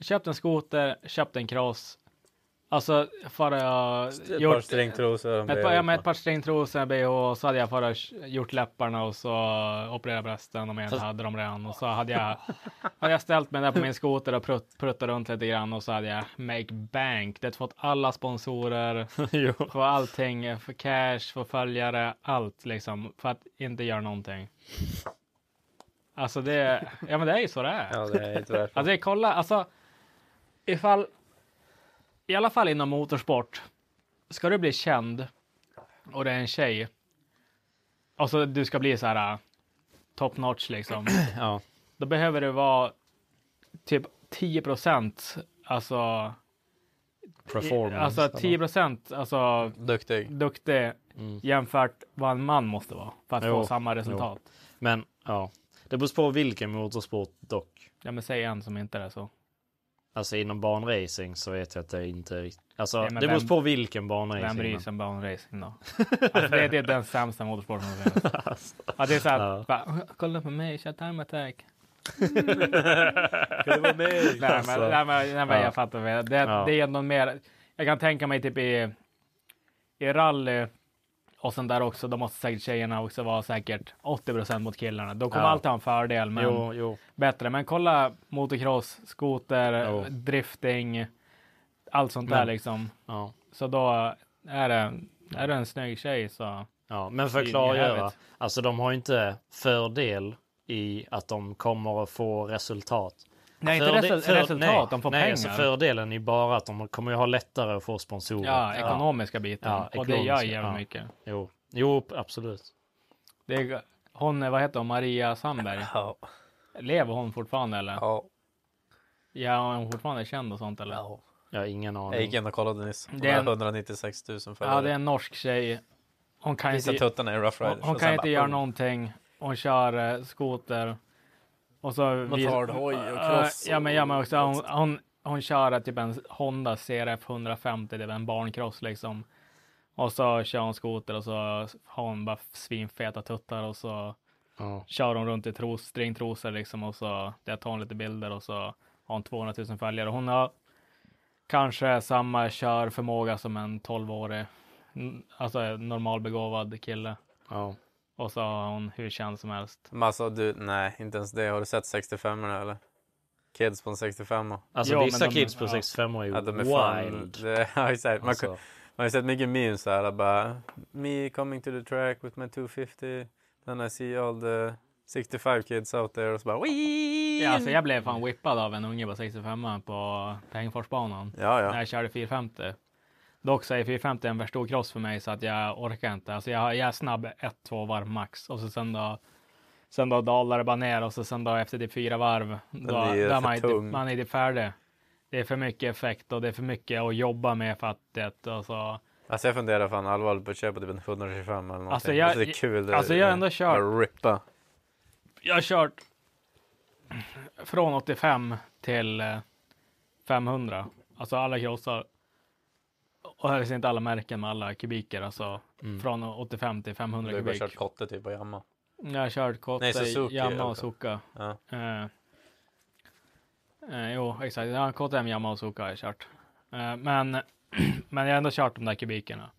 Köpt en skoter, köpt en cross. Alltså fara jag
Ett par stringtrosor och en
ett par, ja, men
bh.
ett par stringtrosor, en bh och så hade jag fara gjort läpparna och så opererat brösten om jag inte hade dem redan. Och så hade jag, hade jag ställt mig där på min skoter och prutt, pruttat runt lite grann och så hade jag make bank. Det fått alla sponsorer.
jo.
Få allting, för cash, för följare, allt liksom. För att inte göra någonting. Alltså det, ja men det är ju så det är.
Ja, det är tyvärr.
Alltså det, kolla, alltså ifall, i alla fall inom motorsport, ska du bli känd och det är en tjej. Och så du ska bli så här äh, top notch liksom.
Ja.
Då behöver du vara typ 10 procent, alltså,
Performance.
alltså 10 procent, alltså
Duktig.
duktig jämfört vad en man måste vara för att
Mm. Jo,
få samma resultat.
Men, ja. Det beror på vilken motorsport dock.
Ja, men säg en som inte är så.
Alltså inom banracing så vet jag att det inte rikt- Alltså,
Ja, men
det beror
vem-
på vilken banracing.
Vem bryr
men-
sig om banracing då? Alltså, det, det är den sämsta motorsporten som finns. Att det är så här,
Alltså. Ja.
bara, kolla på mig, kör time attack.
Kan du vara med?
Nej, men,
Alltså,
nej, men, nej, men
ja.
jag fattar. Med. Det,
Ja.
det är någon mer. Jag kan tänka mig typ i, i rally Och sen där också, de måste säkert tjejerna också vara säkert 80 procent mot killarna. De kommer
Ja.
alltid ha en fördel, men
Jo, jo.
bättre. Men kolla motocross, skoter,
Jo.
drifting, allt sånt där
Men-
liksom.
Ja.
Så då är det, är det en snygg tjej så.
Ja, men för
Det är
att
ju
klargöra.
jävligt.
Alltså de har ju inte fördel i att de kommer att få resultat.
Nej, inte resul- resultat, de får
nej,
pengar.
Alltså fördelen är bara att de kommer ju ha lättare att få sponsorer.
Ja, ekonomiska biten. och det gör
ekonomiska,
jävligt
ja.
mycket.
Jo, jo absolut.
Det är, hon, vad heter hon, Maria Sandberg?
Ja.
Lever hon fortfarande eller? Ja,
Ja.
är hon fortfarande känd och sånt eller?
Ja.
Jag har ingen
Jag
aning.
gick in och kollade nyss. Hon
Det är
har
en-
196 000 följare.
Ja, det är en norsk tjej. Hon kan
Visa
inte,
tuttarna i Rough
hon,
Riders.
hon
och sen
kan inte
bara- "Mm,
göra någonting. Hon kör eh, skoter. Och så... vi-
Motardhoj och
Ja,
cross
ja, men, ja, men också,
och-
hon, hon, hon kör eh, typ en Honda CRF 150, det är en barncross liksom. Och så kör hon skoter och så har hon bara svinfeta tuttar och så
Ja.
kör hon runt i tros, stringtrosor liksom och så jag tar hon lite bilder och så har hon 200 000 följare. Hon har kanske samma körförmåga som en 12-årig, n- alltså en normalbegåvad kille.
Ja.
Och så har hon hur känd som helst.
Men alltså du, nej inte ens det. Har du sett 65 erna eller? Kids på en 65 a
Alltså
Ja, men
vissa
de-
kids på
ja.
65 år är ju
ja, de är fan...
wild.
Det, ja, exakt. Man,
Alltså,
kan- man har ju sett mycket memes så här bara Me coming to the track with my 250 Then I see all the 65 kids out there och så bara Wii!
Ja, alltså jag blev fan whippad av en unge på 65 på Tengforsbanan.
ja,
när
ja.
jag körde 450. Dock så är 450 en för stor cross för mig så att jag orkar inte. Alltså jag, jag är snabb 1-2 varv max och så sen då Sen då dalar det bara ner och så sen då efter det fyra varv, då, då
är
är
för
man, inte,
tung.
man är inte färdig. Det är för mycket effekt och det är för mycket att jobba med för att det och så.
Alltså jag funderar fan allvarligt på att köpa typ en 125 eller någonting.
Alltså, jag-
det är kul.
alltså, jag har ändå kört-
Bara rippa.
Jag har kört från 85 till eh, 500, alltså alla krossar. Och här finns inte alla märken med alla kubiker, alltså från 85 till 500
Mm. Du har bara
kubik.
kört kotte typ och jamma.
Jag har kört Kotte,
Nej, Suzuki,
Yamaha och
okej.
Suka.
Ja.
Eh, eh, jo, exakt. Ja, KTM, Yamaha och Suka har jag kört. Eh, men, men jag har ändå kört de där kubikerna.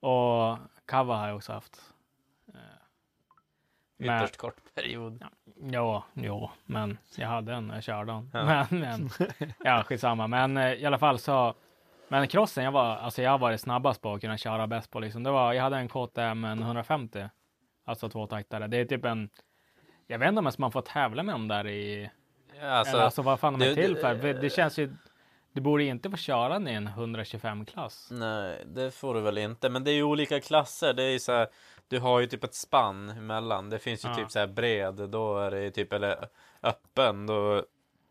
Och Kava har jag också haft. Eh, men,
Ytterst kort period.
ja, jo, men jag hade en, jag körde den. Men, men, ja, skitsamma. Men eh, i alla fall så. Men crossen, jag var, alltså jag har varit snabbast på att kunna köra bäst på liksom. Det var, jag hade en KTM en 150. Alltså tvåtaktare. Det är typ en, jag vet inte om ens man får tävla med dem där i,
Ja, alltså,
eller alltså vad fan de är
det-
till
det-
för. Det, det känns ju, du borde inte få köra den i en
Mm.
125-klass.
Nej, det får du väl inte. Men det är ju olika klasser. Det är ju så här, du har ju typ ett spann emellan. Det finns ju
Ja.
typ så här bred, då är det ju typ, eller öppen, då,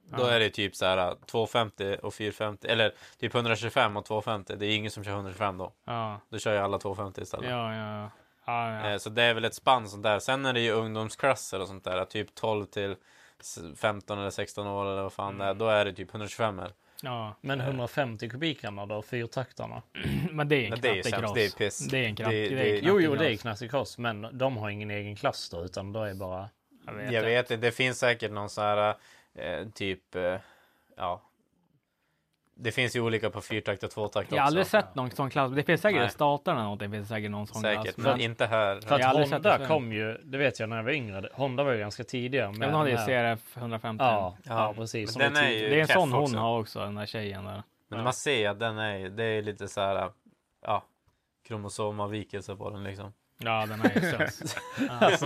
då är det typ så här 250 och 450, eller typ 125 och 250. Det är ingen som kör 125 då.
Ja,
Då kör ju alla 250 istället.
ja, ja. ja, ja.
Eh, Så det är väl ett spann sånt där. Sen är det ju ungdomsklasser och sånt där, typ 12 till s- 15 eller 16 år eller vad fan
Mm.
det är. Då är det typ 125 eller.
ja.
Men 150 kubikarna då, fyrtaktarna?
Men det är en
Men det är ju
knattig
sämst,
cross.
det är piss.
Det är en
Det-
knattig
det-
det är en
Jo, jo,
knattig
det är
cross.
knassig cross, men de har ingen egen klass då, utan då är bara...
Jag vet
Jag
inte.
vet inte, det finns säkert någon sån här eh, typ, eh, ja. Det finns ju olika på fyrtakt och tvåtakt också.
Jag har aldrig sett någon sån klass. Det finns säkert
Nej.
i staterna eller någonting. finns det säkert någon sån
Säkert,
klass.
men inte här.
För
Jag har
att
aldrig sett det
Honda
förut.
kom ju, det vet jag när jag var yngre, Honda var ju ganska tidiga.
Men
med-
hon hade ju
med-
CRF 150.
Ja, ja,
Men
precis.
den är
tidig.
ju
det är en
keff
sån hon
också.
har också, den där tjejen där.
Men man ser att den är, det är lite så här, ja, kromosomavvikelse på den liksom.
Ja, den är ju söt.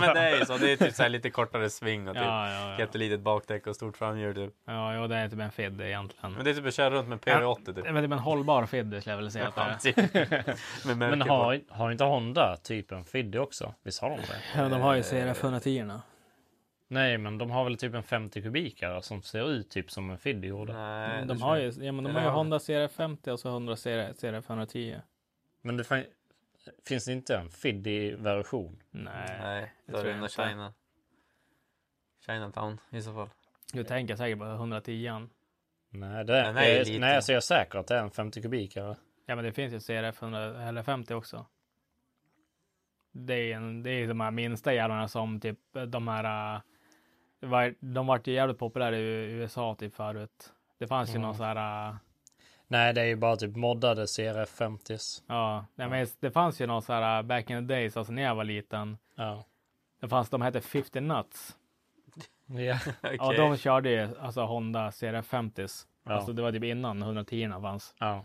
men det är ju så, det är typ så här lite kortare sving och typ.
Ja, ja, ja.
Jättelitet bakdäck och stort framhjul typ.
Ja, jo, det är typ en fiddy egentligen.
Men det är typ att köra runt med P80 typ.
Det är väl typ en hållbar fiddy skulle jag vilja säga att det är.
Fan, typ. Med
Men
märke på.
har, har inte Honda typ en Fiddy också? Visst har de det?
Ja, de har ju CRF 110 nu.
Nej, men de har väl typ en 50 kubikare som ser ut typ som en Fiddy gjorde.
Nej, det
De
tror
har
jag
ju, ja, men de
Eller
har ju
har de?
Honda CRF 50 och så 100 CRF 110.
Men det fin- finns det inte en Fiddy-version?
Nej,
Nej,
det
då är
tror
det
jag
under
inte.
China. Chinatown i så fall.
du tänker säkert på 110.
Nej, det är,
Den är ju
jag,
liten.
nej, så jag är säker att det är en 50 kubikare.
Ja, men det finns ju CRF 100, eller 50 också. Det är, en, det är de här minsta jävlarna som typ de här. äh, det var- De vart ju jävligt populära i USA typ förut. Det fanns ju någon så här. äh,
Nej, det är ju bara typ moddade CRF 50s.
Ja, nej, men det fanns ju någon så här äh, back in the days, alltså när jag var liten.
Ja.
Det fanns, de hette 50 Nuts.
Ja,
Ja, de körde ju alltså Honda CRF 50s.
Ja.
Alltså det var typ innan 110 fanns.
Ja.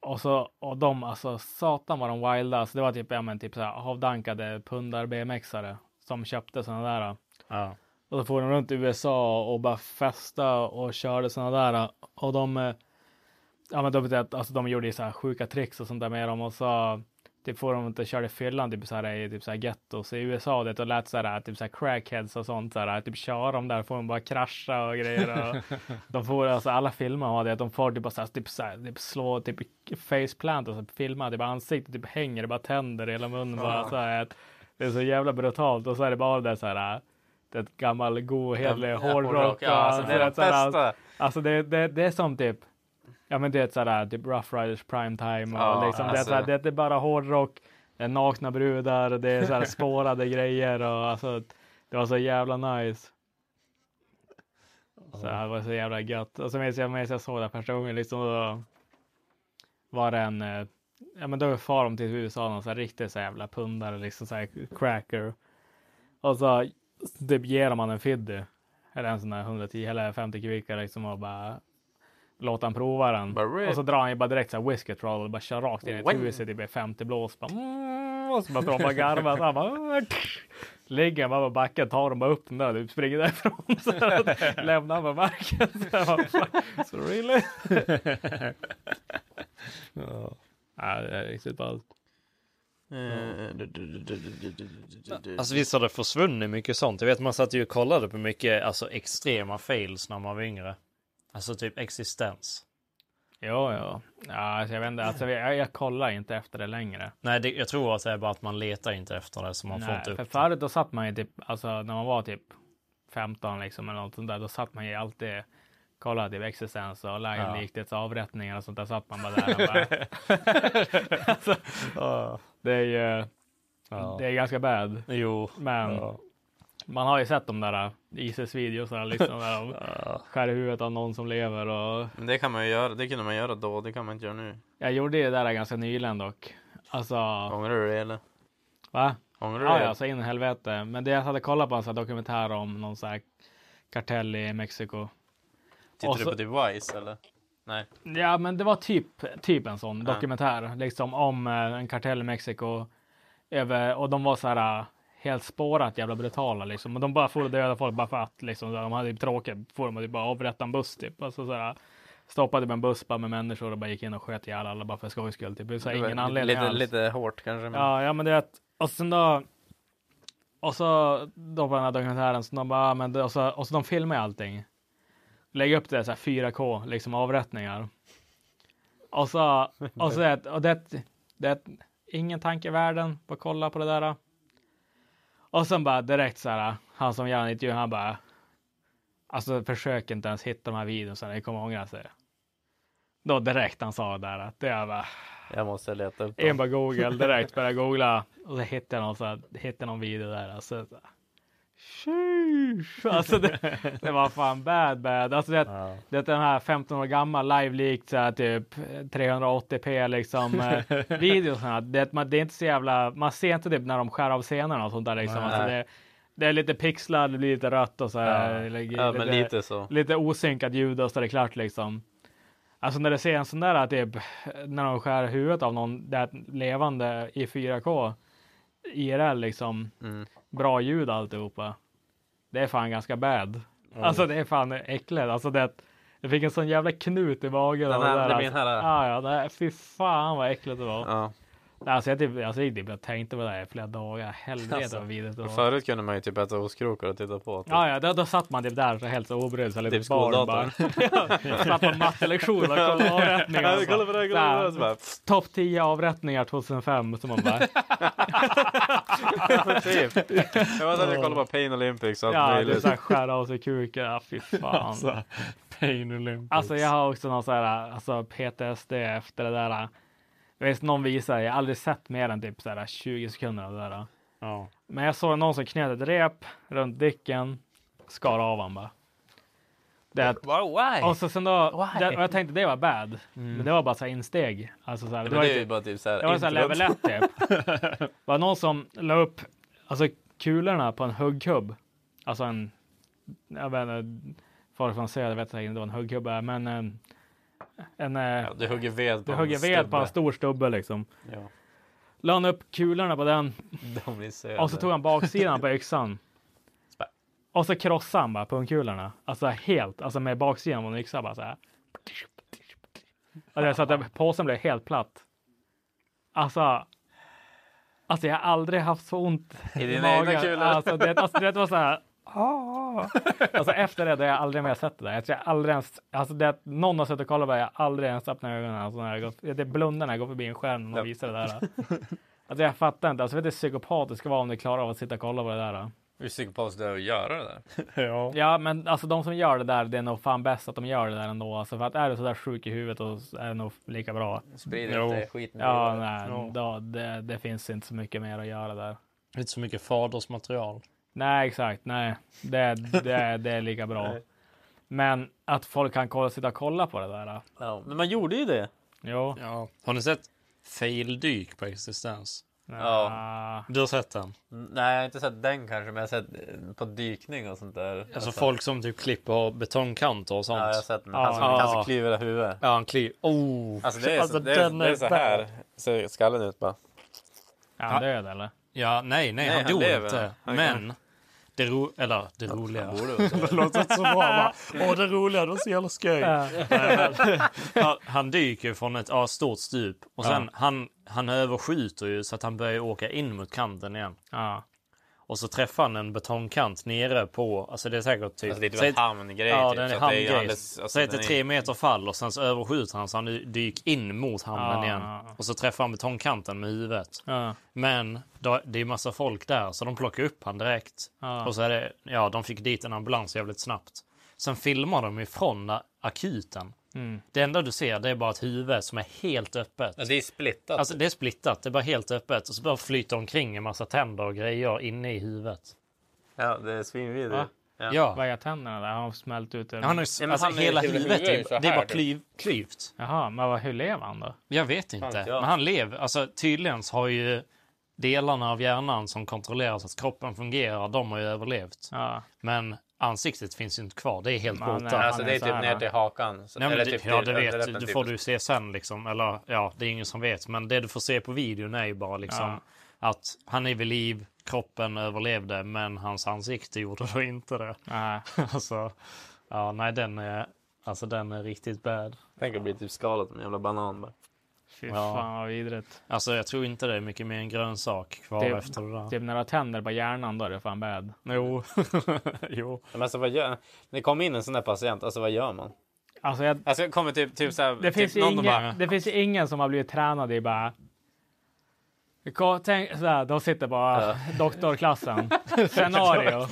Och så, och de, alltså satan vad de wilda. Alltså det var typ, ja men typ så här avdankade pundar BMXare som köpte sådana där.
Ja.
Och så for de runt i USA och bara festa och körde sådana där. Och de, eh, ja men de, vet att, alltså de gjorde ju så här sjuka tricks och sånt där med dem. Och så typ får de inte körde fyllan typ så här i typ så här gettos i USA det och lät så här typ så här crackheads och sånt så här typ köra dem där får de bara krascha och grejer. Och de får alltså alla filmer har det att de får typ bara så här, typ så här typ slå typ faceplant och så filma typ ansiktet typ hänger det bara tänder i hela munnen
Ah.
bara så här. Att det är så jävla brutalt och så är det bara det så här det är ett gammal god hederlig
Ja,
hårdrock.
hårdrock, ja, alltså, det är
att så
det
här,
bästa.
Alltså det, det, det är som typ Ja men det är ett sådär typ Rough Riders Primetime och
Ja,
liksom det, är
alltså.
såhär, det, det är bara hårdrock, det är nakna brudar, det är såhär spårade grejer och alltså det var så jävla nice. Så det var så jävla gött. Och så minns jag, minns jag såg det här första gången liksom då var det en, eh, ja men då far de till USA, någon så här riktig så här jävla pundare liksom så här cracker. Och så typ ger man en fiddy, eller en sån där 110 eller 50 kubikare liksom och bara låter han prova den.
Bara rip.
Och så drar han ju bara direkt så här whiskey roll och bara kör rakt in i ett
Wing.
hus i typ 50 blås. Bara, mm, och så bara står han bara och garvar. Så han bara, ligger han bara på backen, tar dem bara upp den där och springer därifrån. Så här, lämnar han på marken. Så, jag bara, "Fuck, so really? Ja, det är riktigt ballt.
Eh,
Alltså visst har det försvunnit mycket sånt. Jag vet man satt ju och kollade på mycket alltså, extrema fails när man var yngre. Alltså typ existens.
Ja, ja. ja alltså, jag, vet inte, alltså, jag, jag kollar inte efter det längre.
Nej, det, jag tror att det är bara att man letar inte efter det så man får
Nej,
inte upp
för
det.
förut då satt man ju typ, alltså när man var typ 15 liksom eller något sånt där, då satt man ju alltid kollade typ existens och live-liktets avrättningar och sånt där satt man bara där och bara. alltså, det är ju, det är ganska bad.
Jo.
Men man har ju sett de där ISIS-videosarna liksom, där de skär i huvudet av någon som lever och
Men det kan man ju göra. Det kunde man göra då. Det kan man inte göra nu.
jag gjorde det där ganska nyligen dock. Alltså,
Ångrar du det eller?
va?
Ångrar du
Ja,
det?
ja, så in i helvete. Men det jag hade kollat på en sån här dokumentär om någon sån här kartell i Mexiko.
Tittar
och
du
så-
på Device eller? Nej.
Ja, men det var typ, typ en sån dokumentär, liksom om eh, en kartell i Mexiko. Över, och de var så här eh, helt spårat jävla brutala liksom. Och de bara for och döda folk bara för att liksom. Så här, De hade typ tråkigt, for dem att typ bara avrätta en buss typ. Alltså så här, stoppade med en buss bara med människor och bara gick in och sköt ihjäl alla bara för skojs skull. Typ. Det är så här,
Det var
ingen
lite-
anledning
lite,
alls.
lite hårt kanske. Men...
Ja, ja men det är att, och sen då, och så då på den här dokumentären, så de bara, ah, men det, och, så, och så de filmar ju allting. Lägger upp det så här 4K, liksom avrättningar. Och så, och så är det, och det, det, ingen tanke i världen på att kolla på det där. Och sen bara direkt så här, han som gör intervjun, han bara, alltså försök inte ens hitta de här videorna, ni kommer ångra sig. Då direkt han sa det där, att det är bara,
Jag måste leta upp
in på Google direkt, började googla och så hittade jag någon, så här, hittade någon video där. Alltså, så här, sheesh. alltså det, det var fan bad bad. Alltså det, det är den här 15 år gammal live likt så här, typ 380p liksom eh, videos. här. Det, man, det är inte så jävla, man ser inte typ när de skär av scenerna och sånt där liksom. Alltså det, det är lite pixlar, det blir lite rött och så här. eller-
Ja, men lite så.
lite osynkat ljud och så är det klart liksom. Alltså när du ser en sån där typ, när de skär huvudet av någon där levande i 4K, IRL liksom,
Mm.
bra ljud alltihopa. Det är fan ganska bad. Alltså det är fan äckligt. Alltså det, jag fick en sån jävla knut i magen. av
Den här-
det där,
det blir
alltså.
den här-
Ja, ja, det här, fy fan vad äckligt det var.
Ja.
Alltså jag, typ, alltså, jag, typ, jag tänkte på det här i flera dagar. Helvete
Alltså,
vad vidrigt det var.
Förut kunde man ju typ äta ostkrokar och titta på. Typ.
Ja, ja då, då satt man typ där så helt så obrydd. så här
Typ
Lite barn bara. Ja, satt på mattelektionen och kollade avrättningar.
Ja, kolla på det här, kolla på det här. Så bara, pff,
Topp 10 avrättningar 2005. Så man bara,
typ. Jag var där och kollade på Pain Olympics och allt
ja, det är
möjligt.
så här, skära av sig kuken. Ja, fy fan.
Alltså, Pain Olympics.
Alltså jag har också någon så här, alltså PTSD efter det där. Jag vet någon visar, jag har aldrig sett mer än typ så här 20 sekunder av det där.
Ja.
Men jag såg någon som knöt ett rep runt dicken, skar av han bara. Det är att,
why?
Och så sen då,
Why?
det, och jag tänkte det var bad, men det var bara så här insteg. Alltså så här,
Men
var
det är
inte-
ju bara typ så här
det var så här
intro.
level 1 typ. Det var någon som la upp alltså, kulorna på en huggkubb. Alltså en, jag vet inte, folk från söder vet säkert inte vad en huggkubb är, men en, en eh,
Du hugger ved på
du hugger
en
ved på en stor
stubbe.
stubbe liksom.
Ja.
La han upp kulorna på den
De är söder.
och så tog han baksidan på yxan. Och så krossade han bara pungkulorna. Alltså helt, alltså med baksidan av en yxa bara så här. Alltså, så att den- påsen blev helt platt. Alltså. Alltså jag har aldrig haft så ont
I
i
dina egna
magen.
kulor?
Alltså det, alltså det var så här. "Ah." Alltså efter det, det har jag aldrig mer sett det där. Jag tror jag aldrig ens, alltså det att någon har suttit och kollat på det, jag har aldrig ens öppnat ögonen. Alltså när jag gått, det blundar när jag går förbi en skärm och visar det där. Alltså jag fattar inte, alltså vet du hur psykopat det ska vara om du klarar av att sitta och kolla på det där. då?
Hur psykopatiskt det är att göra det där.
Ja. men alltså de som gör det där, det är nog fan bäst att de gör det där ändå. Alltså för att är du sådär sjuk i huvudet och är det nog lika bra.
Sprid inte Jo. skiten
Ja,
vidare.
nej,
Ja.
Då, det, det finns inte så mycket mer att göra där.
Inte så mycket fadersmaterial.
Nej, exakt. Nej, det, det, det är lika bra.
Nej.
Men att folk kan kolla, sitta och kolla på det där. äh,
Ja, men man gjorde ju det.
Jo.
Ja. Har ni sett Faildyk på existens?
Ja.
Du har sett den?
Nej, jag har inte sett den kanske, men jag har sett eh, på dykning och sånt där.
Alltså folk som typ klipper betongkanter och sånt.
Ja, jag har sett den. Han som- han som klyver hela huvudet.
Ja, han klyver. Oh!
Alltså det är, så, det är, det är så här ser skallen ut bara.
Är han död eller?
Ja, nej, nej,
Nej,
han,
han
dog
lever.
inte.
Han-
men det ro... Eller det roliga.
borde väl säga.
det låter inte så bra. va? Åh, det roliga, det var så jävla skoj.
Ja.
Nej, men han, han dyker ju från ett ja, stort stup och sen
Ja.
han, han överskjuter ju så att han börjar åka in mot kanten igen. Och så träffar han en betongkant nere på, alltså det är säkert typ...
Alltså, det är typ
säg-
en hamngrej,
Ja,
typ,
den
så
är
att det är ju
hamngrej.
alldeles- alltså,
Säg att det är
den är-
tre meter fall och sen så överskjuter han så han dyker in mot hamnen
Ja,
igen.
ja, ja.
Och så träffar han betongkanten med huvudet.
Ja.
Men då, det är massa folk där så de plockar upp han direkt.
Ja.
Och så är det, ja, de fick dit en ambulans jävligt snabbt. Sen filmar de ifrån a- akuten.
Mm.
Det enda du ser det är bara ett huvud som är helt öppet.
Ja, det är splittat.
Alltså det är splittat, det är bara helt öppet. Och så bara flyter omkring en massa tänder och grejer inne i huvudet.
Ja, det är svinvidrigt.
Va?
Ja.
Ja.
Vad är tänderna där? Har de smält ut? ur-
Ja, han har ju s- Ja, men alltså, han är- hela huvudet är- huvudet är ju det är bara så här. typ. klyv- klyvt.
Jaha, men vad, hur lever han då?
Jag vet
Fan
inte.
vet jag.
Men han lever. Alltså, tydligen så har ju delarna av hjärnan som kontrollerar så att kroppen fungerar, de har ju överlevt. Men ansiktet finns ju inte kvar. Det är helt
Man är-
borta.
Alltså, det är typ
äh,
ner till hakan. Så-
Nej, men
eller
det,
typ
ja,
till-
det
eller typ
vet du.
en
får
typ-
du se sen liksom. Eller ja, det är ingen som vet. Men det du får se på videon är ju bara liksom att han är vid liv, kroppen överlevde, men hans ansikte gjorde då inte det.
Nej.
alltså, ja, nej, den är, alltså, den är riktigt bad.
Tänk att bli typ skalad med en jävla banan bara.
Fy fan vad vidrigt.
Alltså jag tror inte det är mycket mer än grönsak kvar
Typ-
efter det där.
Typ när du har tänder på hjärnan då är det fan bad.
Jo.
Mm.
jo.
Men alltså vad gör... När det kommer in en sån där patient, alltså vad gör man?
Alltså, jag...
alltså kommer typ, typ så här,
Det
typ
finns, ju
någon
ingen,
bara-
det finns ju ingen som har blivit tränad i bara... Ko- Tänk sådär, de sitter bara doktorklassen. Scenario.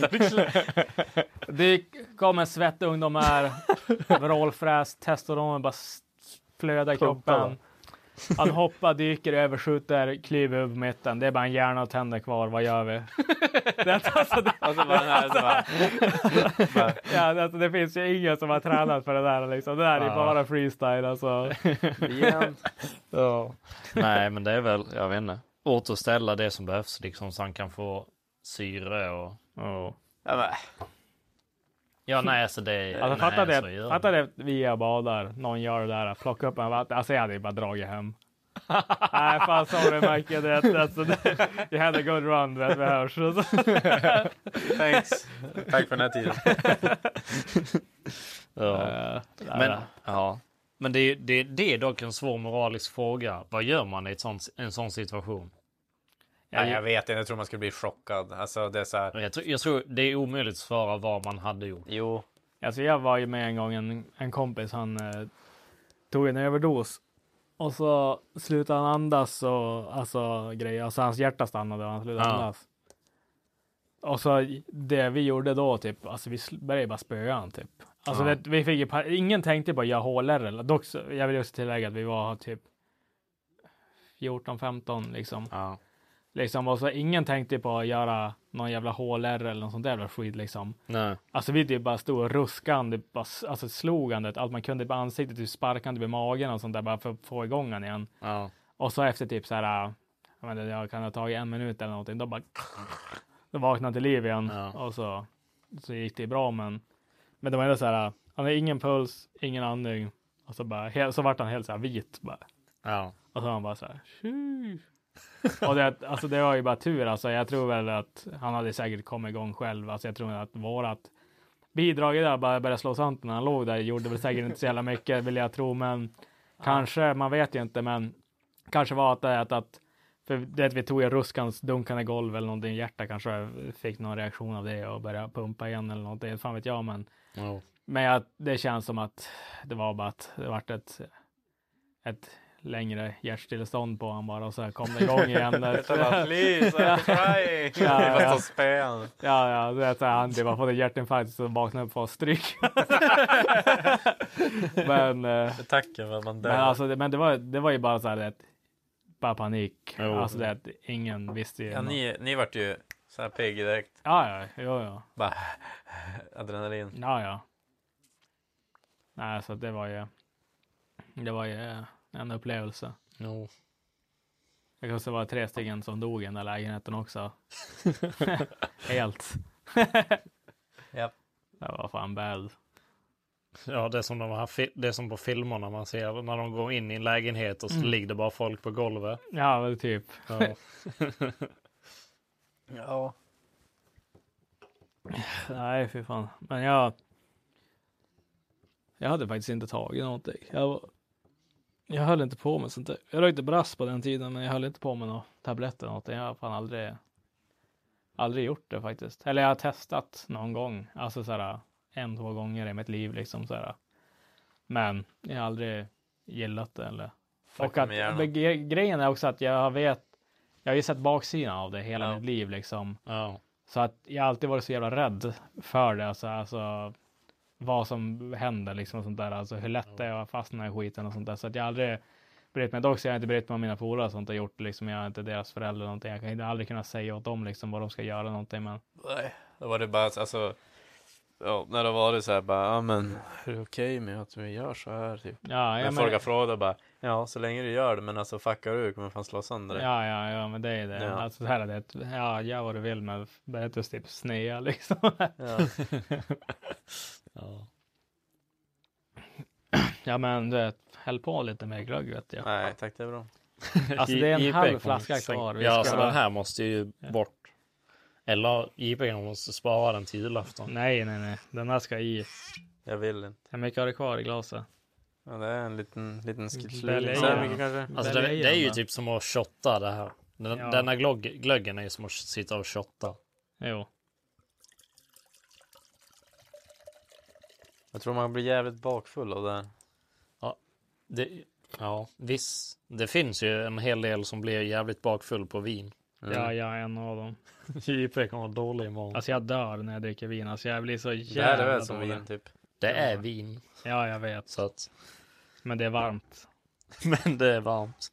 Det kommer svettig ungdom här. Vrålfräs, testosteron bara s- flödar i kroppen. Han hoppar, dyker, överskjuter, klyver över mitten. Det är bara en hjärna och tänder kvar. Vad gör vi?
Alltså bara den här så bara...
Ja, det- alltså, det finns ju ingen som har tränat för det där. Liksom. Det där är ju
Ja.
bara freestyle alltså.
Igen.
Ja. Nej, men det är väl, jag vet inte, återställa det som behövs liksom så han kan få syre och...
Ja, men...
ja nej, alltså det är...
Alltså
nej,
fatta
så gör
det,
man.
fatta det vi är och badar, någon gör det där, plocka upp en vatten. Alltså jag hade ju bara dragit hem. Nej fan sorry Macke, du vet, alltså, det- you had a good run, du vet vi hörs.
Thanks. Tack för den här tiden.
Ja.
Eh,
Men, ja. men det, är- det, det är dock en svår moralisk fråga. Vad gör man i ett sånt, en sån situation?
Ja, jag vet inte, jag tror man skulle bli chockad. Alltså det är så här...
Jag tror, jag tror det är omöjligt att svara vad man hade gjort.
Jo.
Alltså jag var ju med en gång en, en kompis, han eh, tog en överdos och så slutade han andas och alltså grejer, alltså hans hjärta stannade och han slutade
Ja.
andas. Och så det vi gjorde då typ, alltså vi sl- började bara spöa han typ. Alltså
Ja.
det, vi fick ju, pa- ingen tänkte på att göra HLR, eller- dock så, jag vill också tillägga att vi var typ 14-15 liksom.
Ja.
Liksom, och så ingen tänkte på att göra någon jävla HLR eller något sånt där jävla skit liksom.
Nej.
Alltså vi typ bara stod och ruskade, bara, s- alltså slog han det, allt man kunde på ansiktet, typ sparkade han typ i magen och sånt där bara för att få igång han igen.
Ja.
Och så efter typ så här, jag, menar, jag kan ha tagit en minut eller någonting, då bara då vaknade han till liv igen och så, så gick det bra. Men, men det var ändå så här, han hade ingen puls, ingen andning och så bara, he- så vart han helt så här vit bara.
Ja.
Och så var han bara så här, "Tju." och det, alltså det var ju bara tur alltså. Jag tror väl att han hade säkert kommit igång själv. Alltså jag tror att vårat bidrag i det där bara började slå sant när han låg där. Gjorde väl säkert inte så jävla mycket vill jag tro, men kanske, man vet ju inte, men kanske var att det att, att för det att vi tog ju ruskans dunkande golv eller någonting, hjärta kanske fick någon reaktion av det och började pumpa igen eller någonting, fan vet jag, men
Ja.
men jag, det känns som att det var bara att det vart ett, ett längre hjärtstillestånd på honom bara och så kom det igång igen.
Ett annat liv, så
Ja.
I'm trying.
ja,
Fast
ja.
av spön.
ja, ja, det är så här, han typ har fått en hjärtinfarkt och vaknade upp på stryk. men, eh,
Tacken för att man dör.
men, alltså, det, men det var, det var ju bara så här, det, bara panik.
Jo.
Alltså det att ingen visste ju.
Ja, ni, ni vart ju så här pigg direkt.
Ja, ja, jo, ja.
Bara adrenalin.
Ja, ja. Nej, så det var ju. Det var ju eh, en upplevelse.
Jo.
Det kanske var tre stycken som dog i den där lägenheten också. Helt.
Japp.
Det var fan bad.
Ja, det är, som de här, fi- det är som på filmerna man ser när de går in i en lägenhet och så
Mm.
ligger det bara folk på golvet.
Ja, väl typ.
Ja.
Ja.
Nej, fy fan. Men jag. Jag hade faktiskt inte tagit någonting. Jag, var- jag höll inte på med sånt där. Jag rökte brass på den tiden, men jag höll inte på med några tabletter eller någonting. Jag har fan aldrig. Aldrig gjort det faktiskt. Eller jag har testat någon gång, alltså så här en, två gånger i mitt liv liksom så här. Men jag har aldrig gillat det eller.
Fuck
och att
med hjärnan.
men gre- grejen är också att jag vet. Jag har ju sett baksidan av det hela mitt liv liksom. Så att jag har alltid varit så jävla rädd för det. Alltså, alltså vad som händer liksom och sånt där. Alltså hur lätt det är att fastna i skiten och sånt där. Så att jag har aldrig brytt mig. Dock så har jag inte brytt mig om mina polare och sånt har gjort liksom. Jag är inte deras förälder eller någonting. Jag kan inte- aldrig kunna säga åt dem liksom vad de ska göra någonting. Men
Nej, då var det bara alltså. Ja, när det var det så här bara, ja men är det okej med att vi gör så här typ?
Ja, ja,
men
men-
folk har frågat bara, ja så länge du gör det men alltså fuckar du kommer fan slå sönder dig.
Ja, ja, ja, men det är det.
Ja.
Alltså, så här är det. Ja, gör vad du vill, men börja inte typ snea liksom.
ja.
ja, men du vet, häll på lite mer glögg vet jag.
Nej, tack det är bra.
Alltså det är en
JP
halv
kommer
flaska
sänka-
kvar. Vi
Ja,
ska-
så den här måste ju bort. Eller JP kommer måste spara den till julafton.
Nej, nej, nej. Den här ska i.
Jag vill inte.
Hur mycket har du kvar i glaset?
Ja, det är en liten,
Välja
liten skitslurk. Så här
Mm. igen.
mycket kanske.
Alltså det, det är ju
Lejon, va?
typ som att shotta det här. Den,
Ja.
Denna glögg, glöggen är ju som att sitta och shotta.
Jo.
Jag tror man blir jävligt bakfull av det här.
Ja, det, ja visst. Det finns ju en hel del som blir jävligt bakfull på vin.
Mm.
Ja, jag är en av dem.
JP kommer vara dålig imorgon.
Alltså jag dör när jag dricker vin. Alltså jag blir så
Det här är
jävla
väl som
dålig.
vin, typ. Det är vin.
Ja, jag vet.
Så att...
Men det är varmt.
Men det är varmt.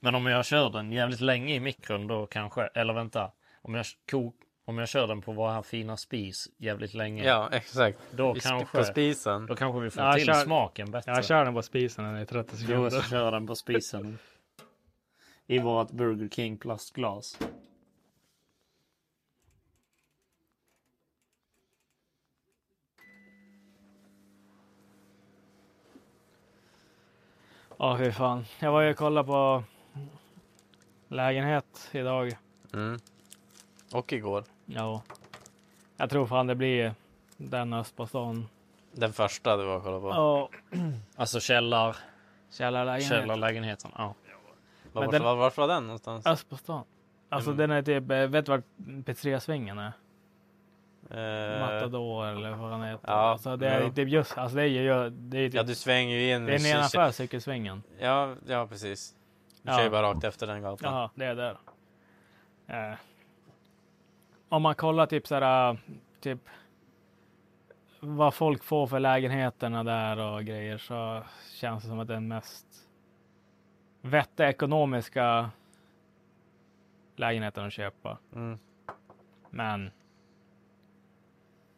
Men om jag kör den jävligt länge i mikron då kanske, eller vänta. Om jag, kok, om jag kör den på vår här fina spis jävligt länge.
Ja, exakt.
Då
I sp-
kanske,
På spisen.
Då kanske vi får
Ja,
till
kör-
smaken bättre.
Jag kör den på spisen när det är 30
Jo, så
sekunder.
kör den på spisen. I vårt Burger King plastglas.
Ja, fy fan. Jag var ju och kollade på lägenhet idag.
Mm. Och igår.
Ja. Jag tror fan det blir den öst på stan.
Den första du var och kollade på.
Ja.
Alltså källar...
Källarlägenhet.
Källarlägenheten, ja.
Var,
Men
var,
den-
var, varför var den någonstans?
Öst på stan. Alltså
Mm.
den är typ, eh, vet du vart pizzeriasvingen är?
Eh,
Matador eller vad han heter.
ja,
alltså det är
jo.
typ just, alltså det är ju, det är ju typ,
Ja, du svänger ju in.
det är
i-
nedanför cykelsvingen.
Ja, ja precis. Du
Ja.
kör ju bara rakt efter den gatan.
Jaha, det är där. Eh. Om man kollar typ så här, typ vad folk får för lägenheterna där och grejer så känns det som att den mest vettiga ekonomiska lägenheten att köpa. Men.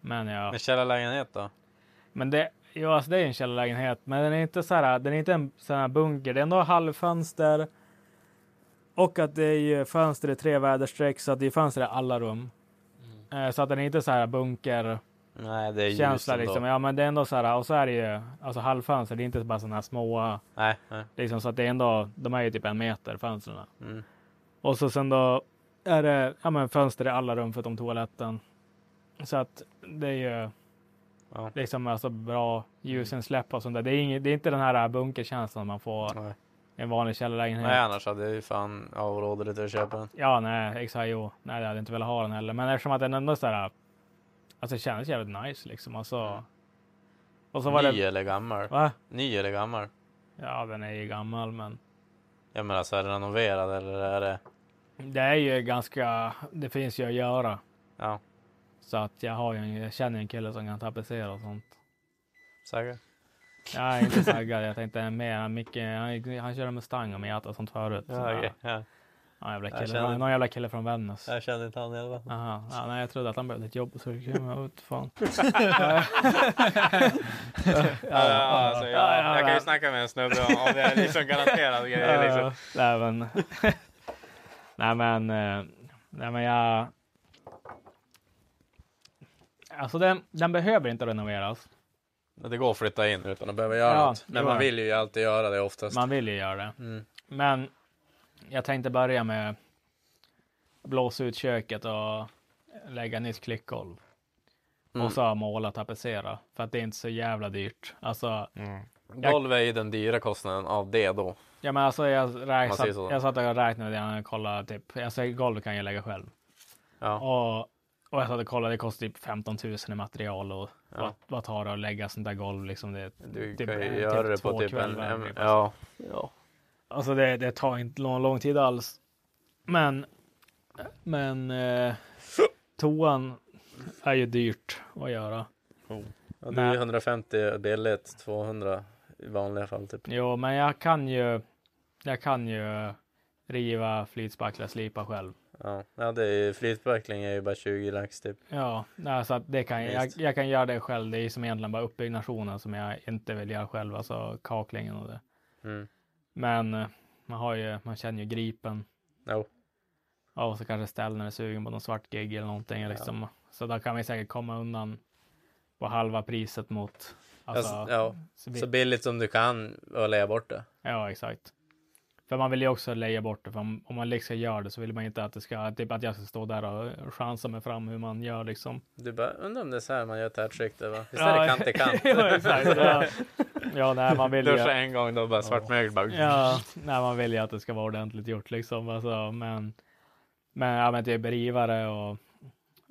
Men ja.
En källarlägenhet då?
Men det, jo, alltså det är en källarlägenhet, men den är inte så här. Den är inte en sån här bunker. Det är ändå halvfönster. Och att det är ju fönster i tre väderstreck så att det är fönster i alla rum. Eh, Så att den är inte så här bunker.
Nej, det är ljus
känsla
ändå.
liksom. Ja, men det är ändå så här. Och så är det ju alltså halvfönster. Det är inte bara sådana här små.
Nej, nej.
Liksom så att det är ändå. De är ju typ en meter fönstren.
Mm.
Och så sen då är det ja, men fönster i alla rum förutom toaletten. Så att det är ju liksom alltså bra
Mm.
ljusinsläpp och sånt där. Det är, inget, det är inte den här bunkerkänslan man får i en vanlig källarlägenhet.
Nej, annars hade jag ju fan avråder lite att köpa den.
Ja, nej, exakt. Jo, nej, jag hade inte velat ha den heller. Men eftersom att den ändå så här. eh, Alltså det kändes jävligt nice liksom. Alltså.
Mm.
Och så var
Ny
det.
eller gammal?
Va?
Ny eller gammal?
Ja, den är ju gammal, men
Jag menar, så är den renoverad eller är det...
det är ju ganska. Det finns ju att göra.
Ja.
Så att jag har ju, en- jag känner ju en kille som kan tapetsera och sånt.
Saga?
Nej, inte saggad. Jag tänkte mer Micke, han, han körde Mustang och Miata och sånt förut.
Ja,
Så,
okej, ja.
Ja, jävla
Jag
kille.
känner-
Någon jävla kille från Vännäs.
Jag kände inte han i alla fall.
Aha, ja, nej, jag trodde att han behövde ett jobb så det kan jag ut fan.
Ja, alltså, jag- jag kan ju snacka med en snubbe om- om det är liksom garanterad grej,
Ja, ja.
liksom.
Nej men. nej men. eh, Nej men jag. Alltså den, den behöver inte renoveras.
Men Det går att flytta in utan att behöva göra
Ja,
något.
det
Men
går
man
det.
vill ju alltid göra det oftast.
Man vill ju göra det.
Mm.
Men jag tänkte börja med blåsa ut köket och lägga nytt klickgolv.
Mm.
Och så måla och tapetsera. För att det är inte så jävla dyrt. Alltså,
Mm.
jag-
Golv är ju den dyra kostnaden av det då.
Ja men alltså jag, räk,
Man
satt,
säger så.
jag satt och räknade när jag kollade typ, alltså golv kan jag lägga själv. Och, och jag satt och kollade, det kostar typ 15 000 i material och
Ja.
vad, vad tar det att lägga sånt där golv liksom? Det,
Du
typ,
kan ju
eh,
göra det
två
på typ en...
kvällar,
en
typ, alltså.
ja. ja.
Alltså det, det tar inte lång, lång tid alls. Men, men eh, toan är ju dyrt att göra.
ja det är ju 150 billigt, 200 i vanliga fall typ.
Jo, men jag kan ju, jag kan ju riva, flytspackla, slipa själv.
Ja, ja det är ju, flytbackling är ju bara 20 lax typ.
Ja, nej, så att det kan jag, jag,
Visst.
jag kan göra det själv. Det är som egentligen bara uppbyggnationen som jag inte vill göra själv, alltså kaklingen och det.
Mm.
Men eh, man har ju, man känner ju gripen.
Jo.
Ja, och så kanske ställ när det är sugen på någon svart gig eller någonting liksom. Så då kan vi säkert komma undan på halva priset mot. Alltså,
Alltså, ja,
så vi-
så billigt som du kan och lägga bort det.
Ja, exakt. För man vill ju också leja bort det. För om, om man liksom gör det så vill man inte att det ska, typ att jag ska stå där och chansa mig fram hur man gör liksom.
Du bara, undrar om det är så här man gör ett hattrick va? Visst
Ja,
är det kant till kant?
ja, exakt. Ja. Ja, nej, man vill ju-
Duscha en gång då bara svart mögel bara.
Ja, nej, man vill ju att det ska vara ordentligt gjort liksom. Alltså, men, men, ja, men typ rivare och,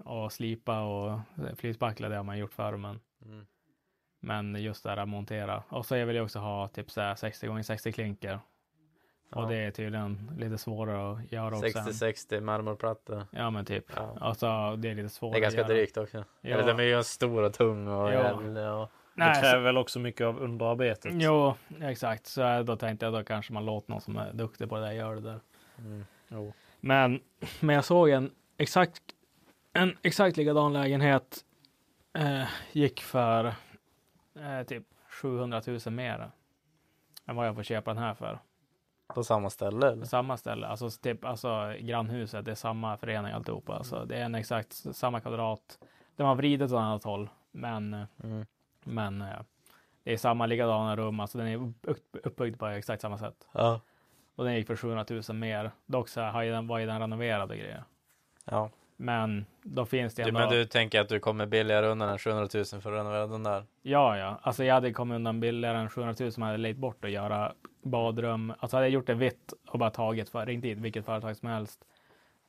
och slipa och flytspackla, det har man gjort förr. Men,
Mm.
men just det här att montera. Och så jag vill ju också ha typ så här 60 gånger 60 klinker. Och
Ja.
det är tydligen lite svårare att göra också. än-
60-60 marmorplatta.
Ja, men typ.
Ja.
Alltså, det är lite svårare
Det är ganska
att göra.
drygt också.
Ja.
Eller de är ju stor och tung och
Ja.
jävla och...
Nej, så-
det kräver väl också mycket av underarbetet.
Jo, exakt. Så eh, då tänkte jag då kanske man låter någon som är duktig på det där göra det där.
Mm.
Jo.
Men, men jag såg en exakt, en exakt likadan lägenhet eh, gick för eh, typ 700 000 mer än vad jag får köpa den här för.
På samma ställe eller?
Samma ställe, alltså, typ, alltså grannhuset, det är samma förening alltihopa. Alltså, det är en exakt s- samma kvadrat. Den har vridit åt annat håll, men, eh,
Mm.
men eh, det är samma likadana rum, alltså den är upp- uppbyggd på exakt samma sätt.
Ja.
Och den gick för 700 000 mer. Dock så har ju den, var ju den renoverade grejer.
Ja.
Men då finns det
Du,
ändå.
men du tänker att du kommer billigare undan än 700 000 för att renovera den där?
Ja, ja, alltså jag hade kommit undan billigare än 700 000 om jag hade lejt bort och göra badrum. Alltså hade jag gjort det vitt och bara tagit för, ringt dit vilket företag som helst,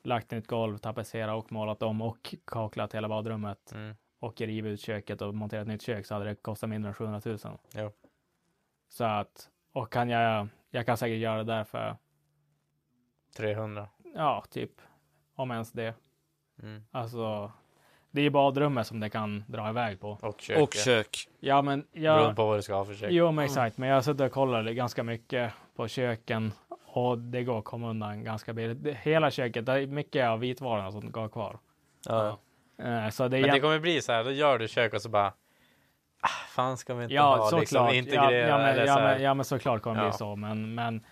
lagt nytt golv, tapetserat och målat om och kaklat hela badrummet
Mm.
och rivit ut köket och monterat nytt kök så hade det kostat mindre än 700 000.
Jo.
Så att, och kan jag, jag kan säkert göra det där för
300.
Ja, typ. Om ens det.
Mm.
Alltså, det är badrummet som det kan dra iväg på.
Och kök, Och ja. kök.
Ja, men jag...
Beroende på vad du ska ha för kök.
Jo, men exakt. Men jag har suttit och kollat ganska mycket på köken Och det går att komma undan ganska billigt. Det- Hela köket, det är mycket av vitvarorna som går kvar.
Ja.
Eh, Så det är
Men det
jäm-
kommer bli så här, då gör du kök och så bara, ah, fan ska vi inte
Ja,
ha liksom
såklart.
integrera
ja, ja, men,
eller
ja,
så här.
men, ja, men såklart kommer det
Ja.
bli så. Men, men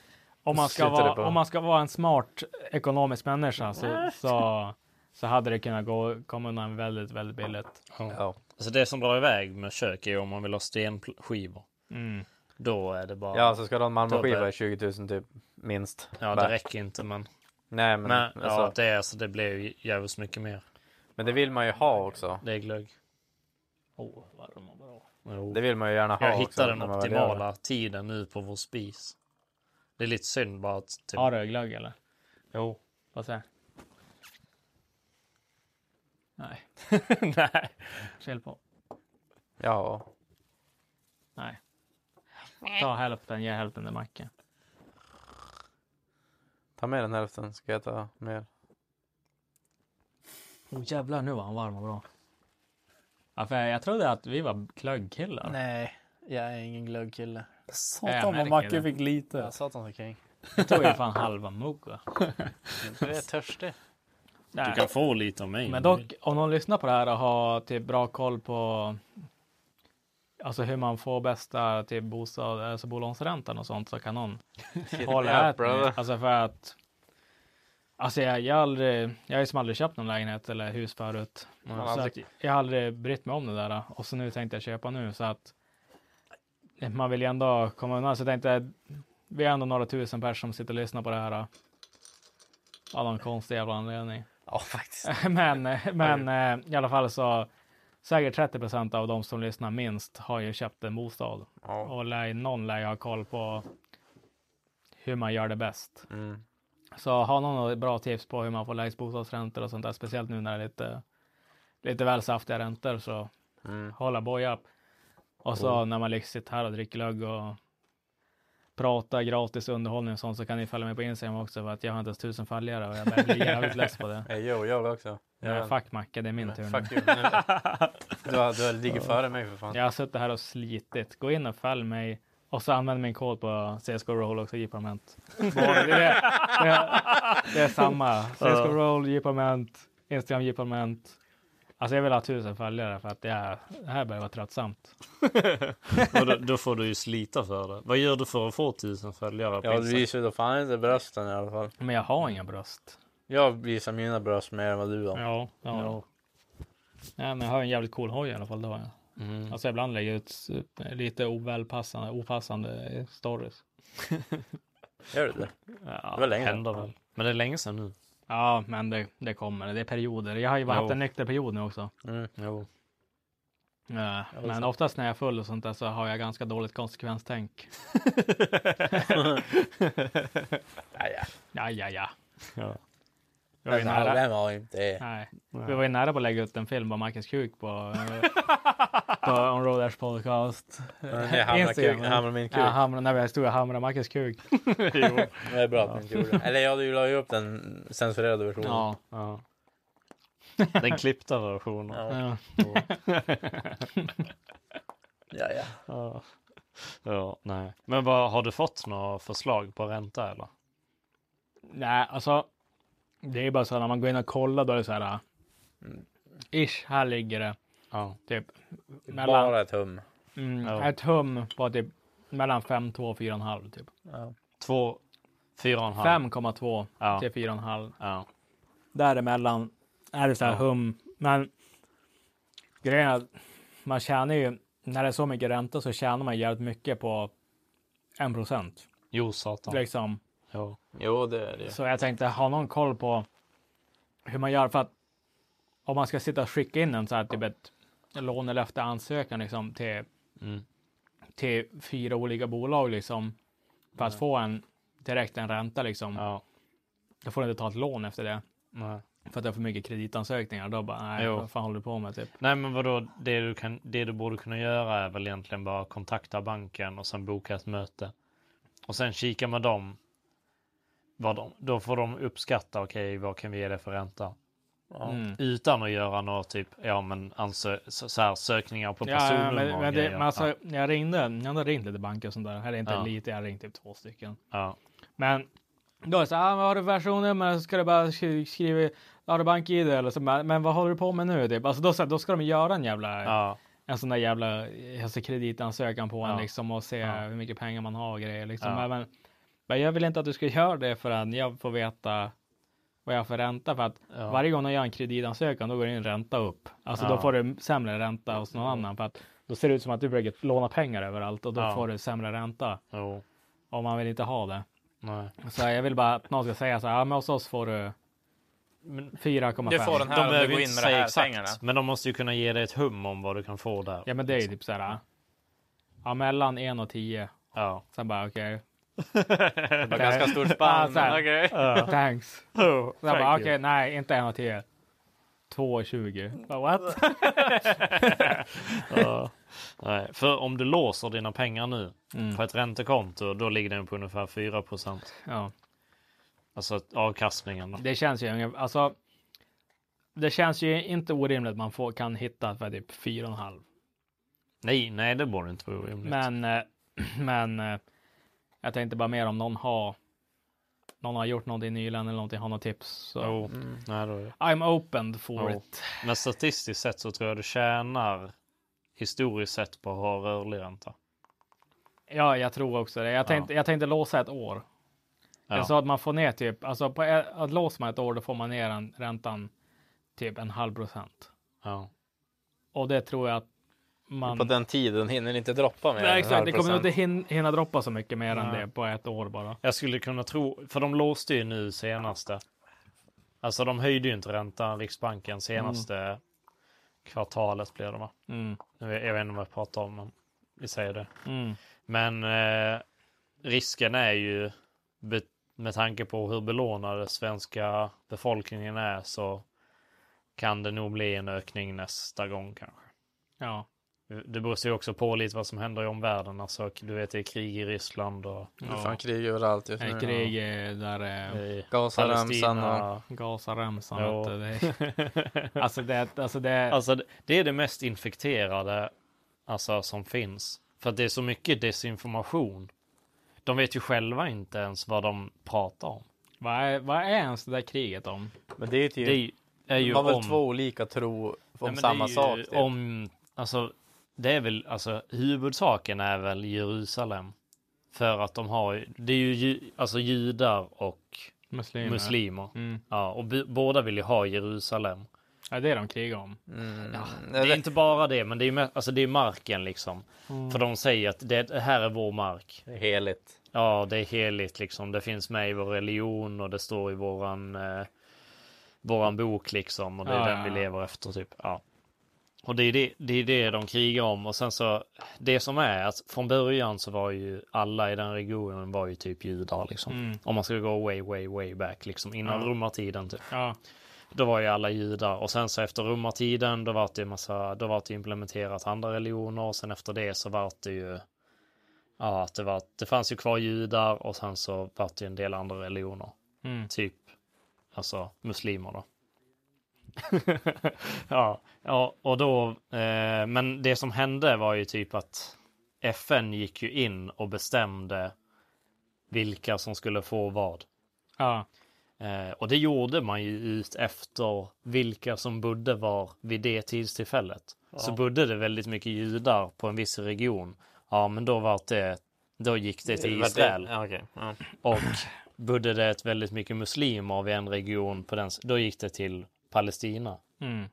om, man ska
Slutar det på-
vara, om man ska vara en smart ekonomisk människa så, så, så hade det kunnat gå, komma undan väldigt, väldigt billigt.
Alltså det som drar iväg med kök är ju om man vill ha stenskivor.
Mm.
Då är det bara...
Ja, så ska du ha en
då
Malmöskiva
är-
i 20 000 typ, minst.
Ja, det
Bara.
räcker inte men...
Nej, men
ja,
alltså-
det, är, alltså, det blir ju jävligt mycket mer.
Men det vill man ju ha också.
Det är glögg. oh,
Oh, vad de var bra.
Det vill man ju gärna ha
Jag
också,
hittar den
när man väl gör
optimala tiden nu på vår spis. Det är lite synd bara att... Typ...
Har du glögg eller?
Jo.
Vad säger Nej.
Nej.
Chill på.
Ja.
Nej. Ta hälften, ge hälften till Macke.
Ta med den hälften, ska jag ta mer.
Åh oh, jävlar, nu var han varm och bra. Ja, för jag, jag trodde att vi var glöggkillar.
Nej, jag är ingen glöggkille.
Jag
Satan vad
märker
Macke
det.
fick lite.
Ja,
satan så king.
Jag tog ju fan halva mugga.
Jag är törstig.
Du kan få lite av mig.
Men
om du
dock, om någon lyssnar på det här och har typ bra koll på alltså hur man får bästa typ bostad, alltså bolånsräntan och sånt så kan någon
Hit
hålla
me up,
här till mig.
brother.
Alltså för att Alltså jag, jag, har aldrig, jag har ju som aldrig köpt någon lägenhet eller hus förut.
Man har
så att
aldrig-
jag har aldrig brytt mig om det där. Och så nu tänkte jag köpa nu så att man vill ju ändå komma undan. Så jag tänkte, vi är ändå några tusen personer som sitter och lyssnar på det här. Av någon konstig jävla anledning.
Ja, faktiskt.
men men eh, i alla fall så säkert 30 procent av de som lyssnar minst har ju köpt en bostad. Och lär, någon lär ju ha koll på hur man gör det bäst.
Mm.
Så har någon några bra tips på hur man får lägst bostadsräntor och sånt där, speciellt nu när det är lite, lite väl saftiga räntor så
Mm.
hålla boja upp. Och så
Mm.
när man liksom sitter här och dricker glögg och pratar gratis underhållning och sånt så kan ni följa mig på Instagram också för att jag har inte ens tusen följare och jag börjar bli jävligt less på det.
Hey, yo, jag vill också.
Nej,
Jag-
fuck Macke, det är min
Men
tur
Fuck
nu.
you. Nu- Du, har- du ligger före mig för fan.
Jag har suttit här och slitit. Gå in och följ mig. Och så använd min kod på CSGO Roll också, J-Parment. Det, är- det, är- det är samma. CSGO Roll, J-Parment, Instagram J-Parment. Alltså jag vill ha tusen följare för att det här, det här börjar vara tröttsamt.
Och då, då får du ju slita för det. Vad gör du för att få tusen följare? på
Jag
Instagram?
visar ju då fan inte brösten i alla fall.
Men jag har inga bröst.
Jag visar mina bröst mer än vad du har.
Ja, ja. Nej, men jag har en jävligt cool hoj i alla fall. Det har jag.
Mm.
Alltså ibland lägger jag ut eh, lite ovälpassande, opassande stories.
Gör du det?
Ja,
det var länge
händer väl. Men det är länge sedan nu.
Ja, men det, det kommer. Det är perioder. Jag har ju bara
Jo.
haft en nykter period nu också.
Mm.
Jo.
Ja,
Ja,
men
exakt.
oftast när jag är full och sånt där så har jag ganska dåligt konsekvenstänk.
ja.
Ja, ja, ja.
Ja.
Jag var ju
Men alla
nära.
var ju inte-
Nej.
Nej.
Vi var ju nära på att lägga ut en film på Marcus Kuk på, eh, på On Road Ash Podcast.
det är Hamra
Instagram.
Kuk- Hamra min kuk.
Ja, hamra, när vi stod och hamrade Marcus Kuk.
Det är bra att du inte gjorde det. Eller jag la ju upp den censurerade versionen.
Ja.
ja. Den klippta versionen.
Ja.
Ja, ja.
ja. Ja, nej. Men vad, har du fått några förslag på ränta eller?
Nej, alltså. Det är bara så här, när man går in och kollar då är det så här. ah, mm, Ish, här ligger det. Typ.
Bara ett hum.
Mm,
Ja.
Ett hum på typ mellan 5,2 och 4,5 typ.
Ja.
Två, fyra och en halv.
5,2
Ja.
typ.
till 4,5.
Ja.
Däremellan är det så här
Ja.
hum. Men grejen är att man tjänar ju, när det är så mycket ränta så tjänar man jävligt mycket på 1 procent.
Jo, satan.
Liksom.
Ja.
Jo, det är det ju.
Så jag tänkte ha någon koll på hur man gör för att om man ska sitta och skicka in en så här typ ett lånelöfte ansökan liksom till,
Mm.
till fyra olika bolag liksom för att få en direkt en ränta liksom. Då får du inte ta ett lån efter det.
Nej.
För att det är för mycket kreditansökningar. Då bara, nej,
Jo.
vad fan håller du på med typ?
Nej men vadå, det du, kan, det du borde kunna göra är väl egentligen bara kontakta banken och sen boka ett möte. Och sen kika med dem. Vad de, då får de uppskatta, okej vad kan vi ge dig för ränta?
Ja. Mm.
Utan att göra några typ, ja men ansö- så så här, sökningar på
Ja,
personnummer
ja, men,
och
men, det,
grejer.
men alltså, jag ringde, jag hade ringt lite banker och sånt där. Eller inte
Ja.
lite, jag har ringt typ två stycken.
Ja.
Men Då är det så här, ah, men har du personnummer så ska du bara sk- skriva, har du bank-id eller så bara, men vad håller du på med nu? Typ. Alltså då, så här, då ska de göra en jävla, en sån där jävla alltså, kreditansökan på en
Ja.
liksom och se
Ja.
hur mycket pengar man har och grejer liksom.
Ja.
Men- Men, men jag vill inte att du ska göra det förrän jag får veta vad jag får ränta för att
Ja.
varje gång de gör en kreditansökan då går det en ränta upp. Alltså
Ja.
då får du sämre ränta hos någon annan för att då ser det ut som att du försöker låna pengar överallt och då
Ja.
får du sämre ränta.
Jo.
Och man vill inte ha det.
Nej.
Så jag vill bara att någon ska säga så här, "Ja, men hos oss får du 4,5.
de behöver ju inte säga exakt, men de måste ju kunna ge dig ett hum om vad du kan få där.
Ja men det är ju typ så här. Ja mellan 1 och 10.
Ja.
Sen bara okej.
Det
var ganska stort spann.
Ja, så här,
Okej.
ja, Thanks.
Oh,
Sen
thank
bara
you.
okej nej inte 1 och 10. 2 och 20. Bara, What?
Ja. Nej, för om du låser dina pengar nu
Mm.
på ett räntekonto, då ligger den på ungefär 4
Ja.
Alltså att avkastningen. Då.
Det känns ju, ungefär- alltså. Det känns ju inte orimligt att man får, kan hitta för typ 4,5.
Nej, nej, det borde inte vara orimligt.
Men, eh, men eh, jag tänkte bara mer om någon har någon har gjort någonting nyligen eller någonting, har något tips. Så.
Jo, nej, då är det.
I'm opened for
Jo.
it.
Mm. Men statistiskt sett så tror jag du tjänar historiskt sett på att ha rörlig ränta.
Ja, jag tror också det. Jag tänkte, jag tänkte låsa ett år.
Ja.
Jag sa att man får ner typ, alltså på, ett- att låser man ett år då får man ner en, räntan typ en halv procent.
Ja.
Och det tror jag att man...
På den tiden hinner ni inte droppa med en
Nej, exakt,
halv
det kommer nog
procent.
inte hin- hinna droppa så mycket mer än
Nej.
det på ett år bara.
Jag skulle kunna tro, för de låste ju nu senaste. Alltså de höjde ju inte räntan, Riksbanken, senaste kvartalet blev det va?
Mm.
Jag vet jag vet inte vad jag pratar om, men vi säger det.
Mm.
Men eh, risken är ju, be- med tanke på hur belånade svenska befolkningen är, så kan det nog bli en ökning nästa gång kanske.
Ja.
Det beror sig också på lite vad som händer i omvärlden. Alltså, du vet, det är krig i Ryssland och...
Det är fan krig överallt just nu. Krig eh, där... eh,
I
Gazaremsan
Palestina.
och- Gazaremsan,
Ja.
vet du, det är- Alltså, det- alltså, det-
Alltså, det- det är det mest infekterade alltså, som finns. För att det är så mycket desinformation. De vet ju själva inte ens vad de pratar om.
Vad är, vad är ens det där kriget om?
Men det är ju- Det är ju
Man har
om-
väl två olika tro om
Nej, men det
samma
är ju
sak. typ.
Om, alltså, det är väl, alltså, huvudsaken är väl Jerusalem. För att de har, ju- det är ju ju alltså, judar och
Muslimer.
muslimer.
Mm.
Ja, och b- båda vill ju ha Jerusalem.
Ja, det är de krigar om.
Ja, det är inte bara det, men det är ju me- alltså, det är marken liksom.
Mm.
För de säger att det, det här är vår mark.
Det är heligt.
Ja, det är heligt liksom. Det finns med i vår religion och det står i våran, eh, våran bok liksom. Och det är
Ja,
den
ja,
vi
ja.
lever efter typ. Ja. Och det är det, det är det de krigar om. Och sen så, det som är att från början så var ju alla i den regionen var ju typ judar liksom.
Mm.
Om man skulle gå way, way, way back liksom. Innan
Ja.
romartiden typ.
Ja.
Då var ju alla judar och sen så efter romartiden då var det ju massa, då var det implementerat andra religioner och sen efter det så var det ju Ja, att det, var, det fanns ju kvar judar och sen så var det ju en del andra religioner.
Mm.
Typ, alltså muslimer då. ja, ja, och då, eh, men det som hände var ju typ att FN gick ju in och bestämde vilka som skulle få vad.
Ja.
Eh, och det gjorde man ju ut efter vilka som bodde var vid det tidstillfället.
Ja.
Så bodde det väldigt mycket judar på en viss region. Ja, men då var det, då gick det
Det
till
var det-
Israel.
ja, okej. Ja.
Och bodde det ett väldigt mycket muslimer vid en region, på den, s- då gick det till Palestina.
Mm.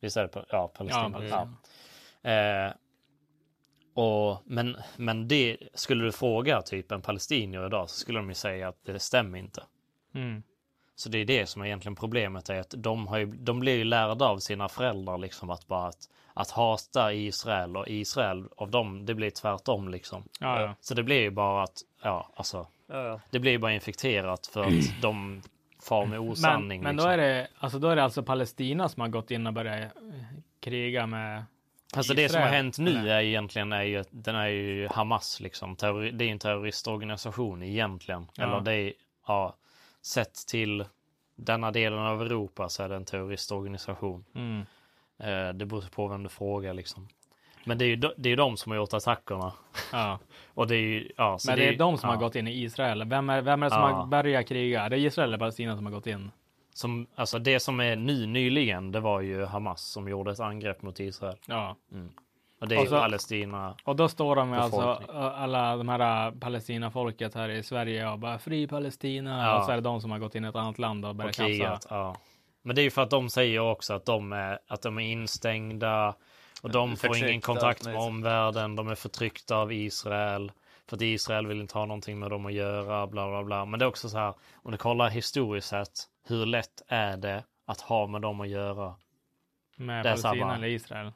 Visst är det pa- ja, Palestina?
Ja,
Ja, Eh, och, men, men det, skulle du fråga typ en palestinier idag så skulle de ju säga att det stämmer inte.
Mm.
Så det är det som är egentligen problemet är att de, har ju, de blir ju lärda av sina föräldrar liksom att bara att, att hata Israel och Israel av dem, det blir tvärtom liksom.
Ja, ja.
Så det blir ju bara att, ja alltså,
Ja, ja.
det blir ju bara infekterat för att de far med
Men,
osanning.
men då,
liksom.
är det, alltså, då är det alltså Palestina som har gått in och börjat eh, kriga med
Alltså det som har
Israel.
hänt nu är egentligen är ju, att den är ju Hamas liksom. Terror, det är ju en terroristorganisation egentligen.
Ja.
Eller det är, ja, sett till denna delen av Europa så är det en terroristorganisation.
Mm.
Eh, det beror på vem du frågar liksom. Men det är ju de, det är ju de som har gjort attackerna.
Ja.
Och det är ju, ja, så
Men det är
ju-
de som
ja.
har gått in i Israel. Vem är, vem är det som
Ja.
har börjat kriga? Det är Israel eller Palestina som har gått in?
Som, alltså det som är ny nyligen, det var ju Hamas som gjorde ett angrepp mot Israel.
Ja.
Mm. Och det är ju
Och så-
Palestina.
Och då står de med alltså
befolkning.
ö, alla de här ä, Palestina-folket här i Sverige och bara fri Palestina.
Ja.
Och så är det de som har gått in i ett annat land och börjat
Och krigat,
tjafsa.
ja. Men det är ju för att de säger också att de är, att de är instängda och de får
Förtryckta,
ingen kontakt
nej.
med omvärlden. De är förtryckta av Israel för att Israel vill inte ha någonting med dem att göra, bla bla bla. Men det är också så här, om du kollar historiskt sett, hur lätt är det att ha med dem att göra?
Med
Det är
Palestina
samma.
eller Israel?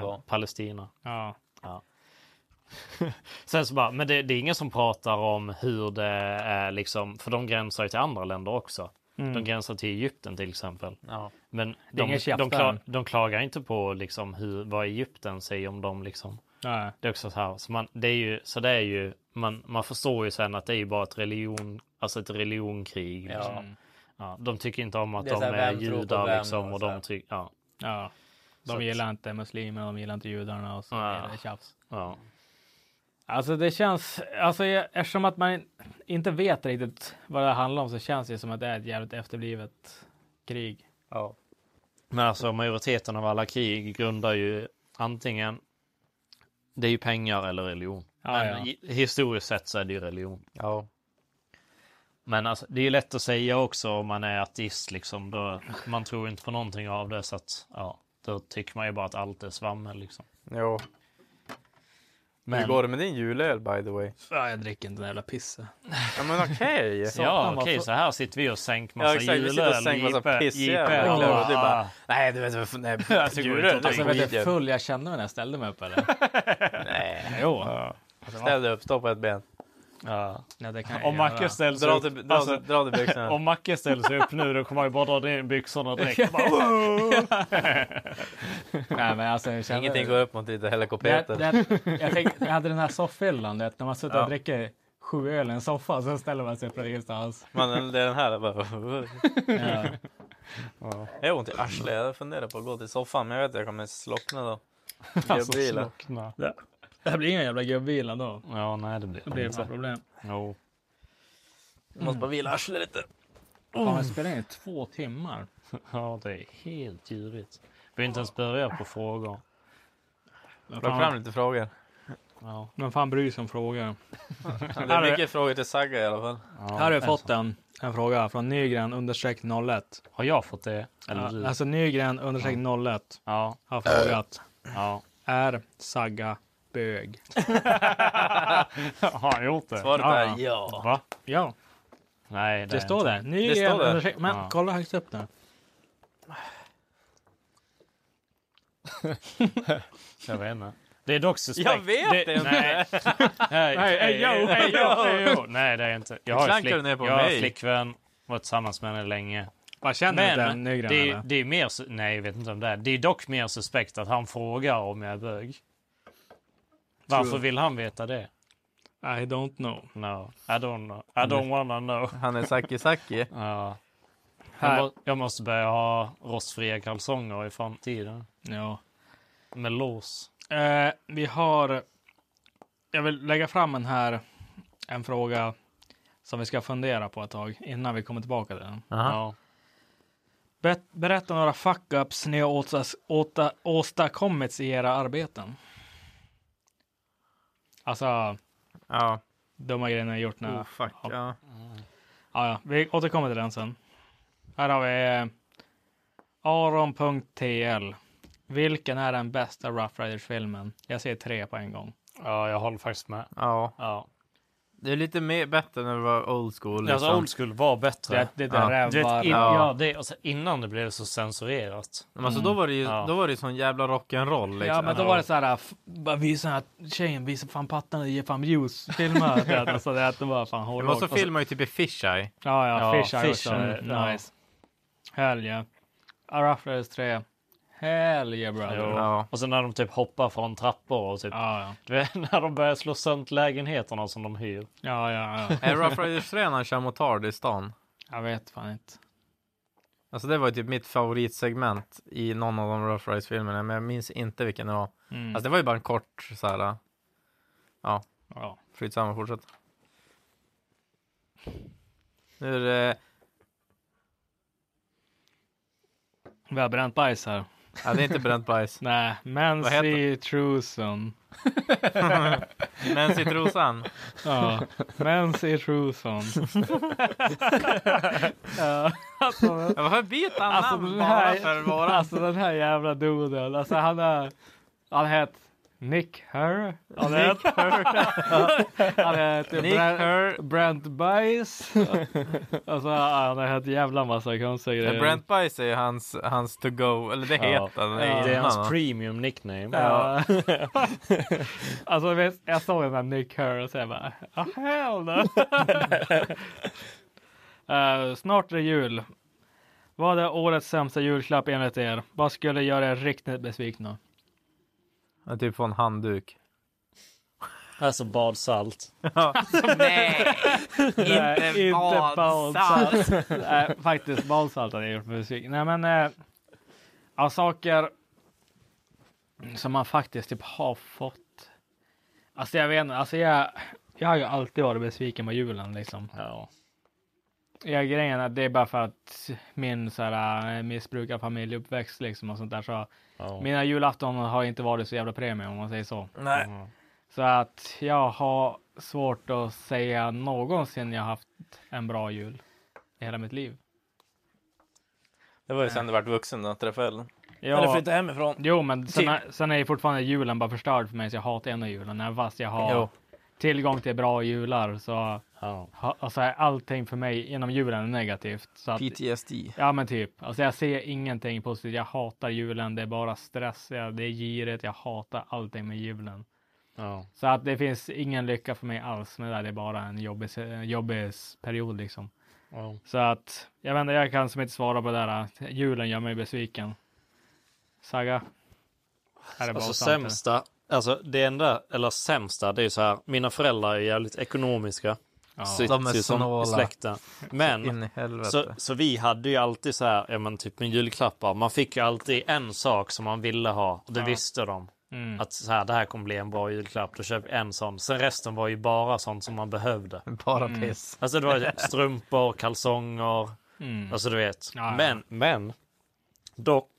Eh, Palestina.
Ja.
Ja. Sen så bara, men det, det är ingen som pratar om hur det är liksom, för de gränsar ju till andra länder också.
Mm.
De gränsar till Egypten till exempel.
Ja.
Men
Det är
de,
ingen tjafs
de,
där.
kla, de klagar inte på liksom hur, vad Egypten säger om dem liksom.
Nej.
Det är också så här, så, man, det är ju, så det är ju, man, man förstår ju sen att det är ju bara ett religion, alltså ett religionkrig.
Ja.
Liksom.
Mm.
Ja, de tycker inte om att
Det är
de
så här,
är
vem tror på
judar
vem
liksom
och
och
så
de
här.
tycker, ja.
Ja. De
Så att-
gillar inte muslimer, de gillar inte judarna och så är det tjafs.
Ja.
Alltså det känns, alltså jag, eftersom att man inte vet riktigt vad det handlar om så känns det som att det är ett jävligt efterblivet krig.
Ja.
Men alltså majoriteten av alla krig grundar ju antingen, det är ju pengar eller religion.
Ja, ja.
Men i- historiskt sett så är det ju religion. Men alltså, det är ju lätt att säga också om man är ateist liksom. Då, man tror inte på någonting av det så att ja, då tycker man ju bara att allt är svammel liksom.
Jo.
Men-
Hur går det med din julöl by the way?
Fan, jag dricker inte den jävla pissen.
Ja men okej.
ja okej, så här sitter vi och sänker massa
Ja exakt, vi sitter och
julöl,
sänker massa
JP,
pissjävlar.
JP,
och glömmer.
och
Det är bara,
bara,
nej du vet vad nej,
Alltså, går ut och tar
Alltså vet du hur
skit.
full jag kände mig när jag ställde mig upp eller?
Nej.
Jo.
Ställ dig upp, stå på ett ben.
Ja.
Ja, det kan jag
Om Macke
göra.
ställs
Dra
upp,
till- dra till- dra till byxorna.
Alltså, Om Macke ställs upp nu då kommer han ju bara dra ner byxorna direkt. Bara,
Nej, men alltså, jag känner-
Ingenting går upp mot lite
Det,
helikopeter.
det, jag, tänkte, jag hade den här soffhyllan, du vet, när man sitter
Ja.
och dricker sju öl i en soffa så ställer man sig precis där. Alltså.
Man, det är den här. Bara...
Ja.
Ja. Jag har ont i arslet. Jag funderar på att gå till soffan men jag vet att jag kommer slockna då.
Alltså,
Gubbila.
slockna.
Det här blir ingen jävla gubbvila då.
Ja, nej det blir
Det blir ett problem.
Jo.
Jag måste bara vila arslet lite.
Fan, vi spelar in i två timmar.
Ja, det är helt djurigt. Vi har inte ens börjat på frågor.
Plocka fram lite frågor.
Ja.
Men fan bryr sig om frågor.
Det
Här har
är
vi-
mycket frågor till Sagga i alla fall.
Här har jag fått en, en fråga från Nygren understreck 01.
Har jag fått det? Eller du?
Ja, alltså Nygren understreck 01
ja.
har frågat.
Ja.
Är Sagga bög?
Har han gjort det?
Svaret är ja.
Va?
Ja,
Nej, det,
det
är
står
inte.
där. Nygren
står där.
understreck... Men
Ja.
kolla högst upp där.
Jag vet inte. Det är dock suspekt.
Jag vet
det
inte.
Nej, nej,
Hey, hey, yo, hey, yo, hey, yo.
nej det är inte. Jag har, ju
Klankar
flick,
du ner på
jag har
mig?
flickvän, varit tillsammans med henne länge.
Vad känner du inte
Men
Nygren
det, är-
eller?
det är mer, su- nej jag vet inte om det är. Det är dock mer suspekt att han frågar om jag är bög. Varför
True.
vill han veta det?
I don't know.
No, I don't know. I don't wanna know.
Han är Saki Saki.
Ja.
Här.
Jag, må, jag måste börja ha rostfria kalsonger i framtiden.
Ja.
Med lås.
Eh, vi har... Jag vill lägga fram en här, en fråga som vi ska fundera på ett tag innan vi kommer tillbaka till den.
Ja.
Bet- berätta några fuck-ups ni har åstas- åta- åstadkommits i era arbeten. Alltså,
Ja.
dumma grejer ni har gjort.
Mm.
När,
Oh, fuck. Ja.
Ja, ja, vi återkommer till den sen. Här har vi eh, Aron.tl. Vilken är den bästa Rough Riders-filmen? Jag säger tre på en gång.
ja, jag håller faktiskt med.
ja.
Ja.
Det är lite mer, bättre när det var old school. Liksom.
Alltså old school var bättre.
Det, det där
Ja.
är
Du vet, in,
Ja.
ja, det, alltså, innan det blev så censurerat.
Men alltså, då var det ju
Ja.
då var det ju sån jävla rock'n'roll. Liksom.
Ja, men då var det så här, f- bara visa den här tjejen, visa fan pattarna, och ge fan views, filma. det här. alltså, det, här, det var fan
Men
hårdrock.
så filmar ju typ i Fisheye.
Ja, ja,
Ja,
Fish Eye också.
Fish Eye, ja.
Nice. Hell yeah. A Rough Riders 3. Hell yeah brother.
Jo.
Ja,
Och sen när de typ hoppar från trappor och typ.
ja.
Du vet, när de börjar slå sönder lägenheterna som de hyr.
Ja, ja, ja.
Är Rough Riders 3 när han Eh, kör motard i stan?
Jag vet fan inte.
Alltså det var ju typ mitt favoritsegment i någon av de Rough Riders filmerna men jag minns inte vilken det var.
Mm.
Alltså det var ju bara en kort så här. äh, Ja,
ja.
skitsamma, fortsätt. Nu är det...
Vi har bränt bajs här.
Ja, det är inte bränt bajs.
Nej,
Vad
mens
heter
i trusen.
Mens i trosan?
Ja, mens i trusan. ja, alltså,
Ja, varför byter han namn bara för våran?
Alltså den här jävla doden. Alltså han är... Han heter Nick Herr. Han
Nick Herr.
Han heter
Nick
Brent, Brent Bice. Alltså han har hett jävla massa konstiga
Ja,
grejer.
Brent Bice är ju hans, hans to go, eller det
Eh. Ja.
heter han.
Ja. Det är hans
premium nickname.
Ja.
alltså vet- jag såg den där Nick Herr och så jag bara, ah hell no. Eh, snart är det jul. Vad är årets sämsta julklapp enligt er? Vad skulle göra er riktigt besvikna?
Ja, typ få en handduk.
Alltså badsalt.
Nej, inte badsalt.
Nej, faktiskt badsalt hade jag gjort mig besviken. Nej men, eh, ja, saker som man faktiskt typ har fått. Alltså jag vet inte, alltså jag, jag har ju alltid varit besviken på julen liksom.
Ja.
Ja, grejen är att det är bara för att min så här, missbrukarfamiljuppväxt liksom och sånt där. Så Mina julafton har inte varit så jävla premium om man säger så.
Nej.
Mm. Så att jag har svårt att säga någonsin jag haft en bra jul i hela mitt liv.
Det var ju sen du vart vuxen då, träffade elden.
hemifrån. Jo, men sen,
Typ.
är, sen är ju fortfarande julen bara förstörd för mig så jag hatar ändå julen. Även fast jag har
Jo.
tillgång till bra jular så ha, alltså, är allting för mig inom julen är negativt. Så att,
PTSD.
Ja men typ. Alltså jag ser ingenting positivt. Jag hatar julen. Det är bara stress. Ja, det är girigt. Jag hatar allting med julen.
Ja.
Så att det finns ingen lycka för mig alls med det där. Det är bara en jobbig, se- en jobbig s- period liksom.
Ja.
Så att jag vet inte, jag kan som inte svara på det där. Julen gör mig besviken. Saga? Är det bara
Alltså
sant, eller?
sämsta, alltså det enda, eller sämsta, det är ju så här, mina föräldrar är jävligt ekonomiska.
Ja.
Sitter
De är
ju som
snåla.
i släkten.
In i
Men,
helvete.
så, så vi hade ju alltid så här, ja men typ med julklappar, man fick ju alltid en sak som man ville ha, och det
Ja.
visste de.
Mm.
Att så här, det här kommer bli en bra julklapp, då köp en sån. Sen resten var ju bara sånt som man behövde.
Bara piss.
Alltså det var ju strumpor, kalsonger,
Mm.
alltså du vet.
Ja, ja.
Men, men, dock,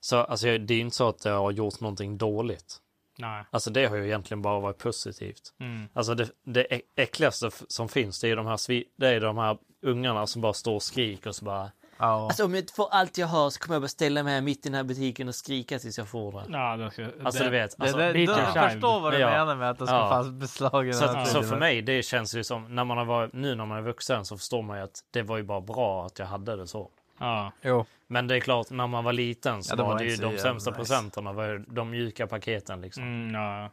så, alltså, jag- det är ju inte så att jag har gjort någonting dåligt.
Nej.
Alltså det har ju egentligen bara varit positivt.
Mm.
Alltså det, det äck- äckligaste f- som finns det är ju de här, svi- det är de här ungarna som bara står och skriker och så bara Alltså om jag inte får allt jag har så kommer jag bara ställa mig här mitt i den här butiken och skrika tills jag får det.
Ja, det ska,
alltså du vet.
det-
Alltså,
det- då jag förstår vad du menar med att de ska fast beslagen
Så,
hela
att, så
tiden.
för mig det känns ju som, när man har varit, nu när man är vuxen så förstår man ju att det var ju bara bra att jag hade det så.
Ja.
Jo.
Men det är klart, när man var liten så
Ja, det
var
var
det ju
inte så
de
jävla
sämsta
nice.
presenterna, var ju de mjuka paketen liksom.
Mm, ja.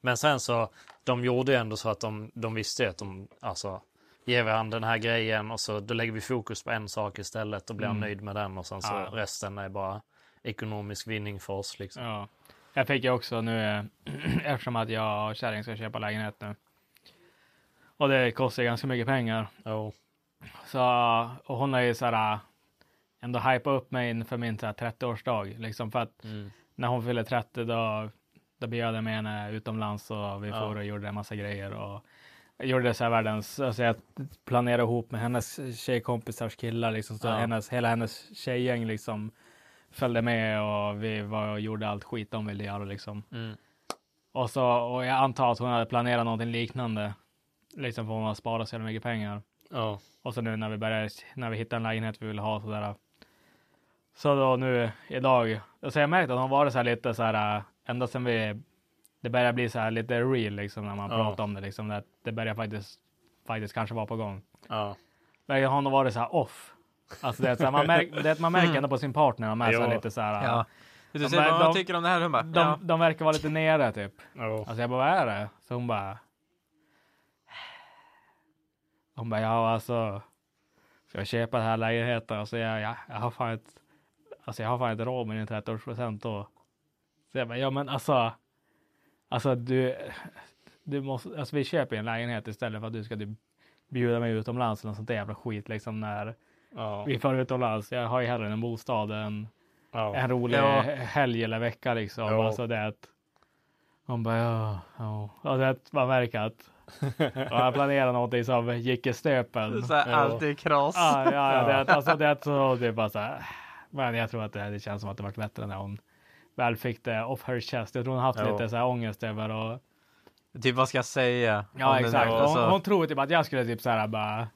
Men sen så, de gjorde ju ändå så att de, de visste ju att de, alltså, ger vi han den här grejen och så då lägger vi fokus på en sak istället och blir han
Mm.
nöjd med den och sen så
Ja.
resten är bara ekonomisk vinning för oss liksom.
Ja. Jag fick ju också nu, eh, eftersom att jag och kärring ska köpa lägenhet nu. Och det kostar ju ganska mycket pengar. Så, och hon har ju så här, eh, ändå hypat upp mig inför min så här 30-årsdag. Liksom för att
Mm.
när hon fyller 30 då, då bjöd jag med henne utomlands och vi
Ja.
for och gjorde en massa grejer. Och jag gjorde så här världens, alltså jag planerade ihop med hennes tjejkompisars killar liksom. Så
Ja.
hennes, hela hennes tjejgäng liksom följde med och vi var och gjorde allt skit de ville göra liksom.
Mm.
Och, så, och jag antar att hon hade planerat någonting liknande. Liksom för hon har sparat så jävla mycket pengar.
Ja.
Och så nu när vi börjar, när vi hittar en lägenhet vi vill ha sådär. Så då nu idag, så jag märkte att hon varit så här lite så här, äh, ända sedan vi, det börjar bli så här lite real liksom när man
Ja.
pratar om det liksom. Att det börjar faktiskt, faktiskt kanske vara på gång.
Ja.
Men hon har varit så här off. Alltså det är så här, man, märk, det är, att man märker ändå på sin partner, de är så här
Jo.
lite så här. äh,
Ja. Du
de
säger
är-
vad man tycker om det här, hon bara,
de,
ja.
de verkar vara lite nere typ.
Ja.
Alltså jag bara, vad är det? Så hon bara. Hon bara, ja alltså. Ska jag köpa den här lägenheten? Alltså jag, jag, jag har fan ett, alltså jag har fan ett råd med din 30-årspresent då. Så jag bara, ja men alltså. Alltså du, du måste, alltså vi köper ju en lägenhet istället för att du ska typ bjuda mig utomlands eller något sånt där jävla skit liksom när
Ja.
vi far utomlands. Jag har ju hellre en bostad än
Ja.
en rolig
Ja.
helg eller vecka liksom.
Ja.
Alltså det är att Hon bara ja, ja. Och det, man märker att och han planerar någonting som gick i stöpen.
Så här,
Ja.
allt är kross.
Ja, ja, ja det, alltså, det, så, det är bara så här. Men jag tror att det, det känns som att det var bättre när hon väl fick det off her chest. Jag tror hon haft
Jo.
lite så här ångest över och
Typ vad ska jag säga?
Ja,
Om det
exakt.
nu-
Hon,
alltså-
hon tror typ att jag skulle typ så här bara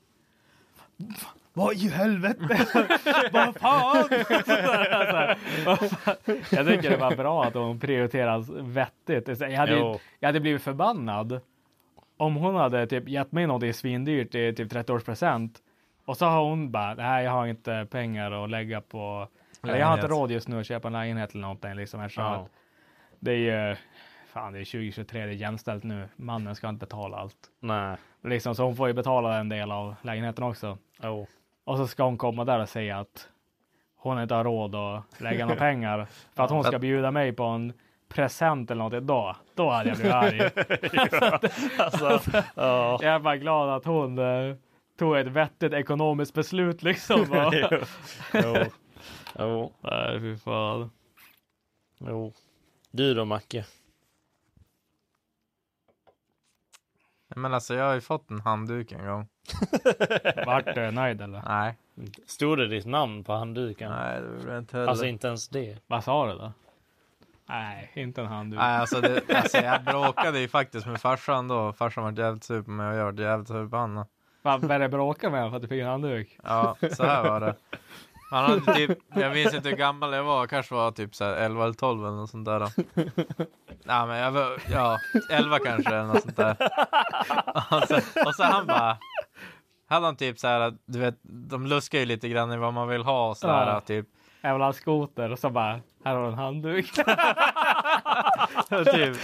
Vad i helvete?
Vad fan? Jag tycker det var bra att hon prioriteras vettigt. Det är så här, Jag hade, ju-
Jo.
jag hade blivit förbannad om hon hade typ gett mig någonting svindyrt i typ 30-årspresent och så har hon bara, nej jag har inte pengar att lägga på, eller jag har inte
Lägenhet.
råd just nu att köpa en lägenhet eller någonting liksom eftersom
Ja.
att det är ju, fan det är 2023, det är jämställt nu, mannen ska inte betala allt.
Nej.
Liksom, så hon får ju betala en del av lägenheten också. Och så ska hon komma där och säga att hon inte har råd att lägga några pengar för att
Ja.
hon ska
Att-
bjuda mig på en present eller något idag. Då hade jag blivit arg.
Ja, alltså, ja.
Jag är bara glad att hon eh, tog ett vettigt ekonomiskt beslut liksom. va?
Jo. Jo. Jo. Nej, fy fan. Jo. Du då Macke?
Men alltså jag har ju fått en handduk en gång.
Vart du nöjd eller?
Nej.
Stod det ditt namn på handduken?
Nej, det gjorde jag inte heller.
Alltså inte ens det.
Vad sa du då? Nej, inte en handduk.
Nej, alltså, det, alltså jag bråkade ju faktiskt med farsan då. Farsan var jävligt sur på mig och jag var jävligt sur på honom.
Fan, började bråka med honom för att du fick en handduk?
Ja, så här var det. Han hade typ, jag minns inte hur gammal jag var, kanske var typ så här 11 eller 12 eller något sånt där. Då. Nej men jag var, ja, 11 kanske eller något sånt där. Och så, och så han bara, hade han typ så här, att, du vet, de luskar ju lite grann i vad man vill ha och så där.
Ja.
Typ.
Jag vill ha en skoter och så bara, här har du en handduk.
typ.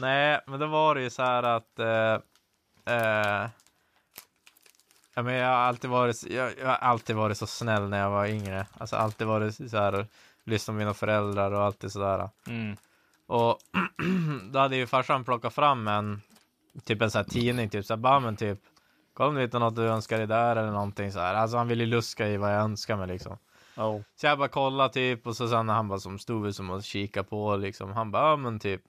Nej, men då var det ju så här att... Eh, eh, ja, men jag, har alltid varit, så- jag, jag har alltid varit så snäll när jag var yngre. Alltså alltid varit så här, lyssnat på mina föräldrar och alltid sådär.
Mm.
Och då hade ju farsan plockat fram en, typ en sån här tidning, typ så här, bara men typ, kolla om du hittar något du önskar dig där eller någonting så här. Alltså han ville ju luska i vad jag önskar mig liksom. Så jag bara kollade typ och så sen han bara som stod väl som och kika på liksom. Han bara, ja men typ.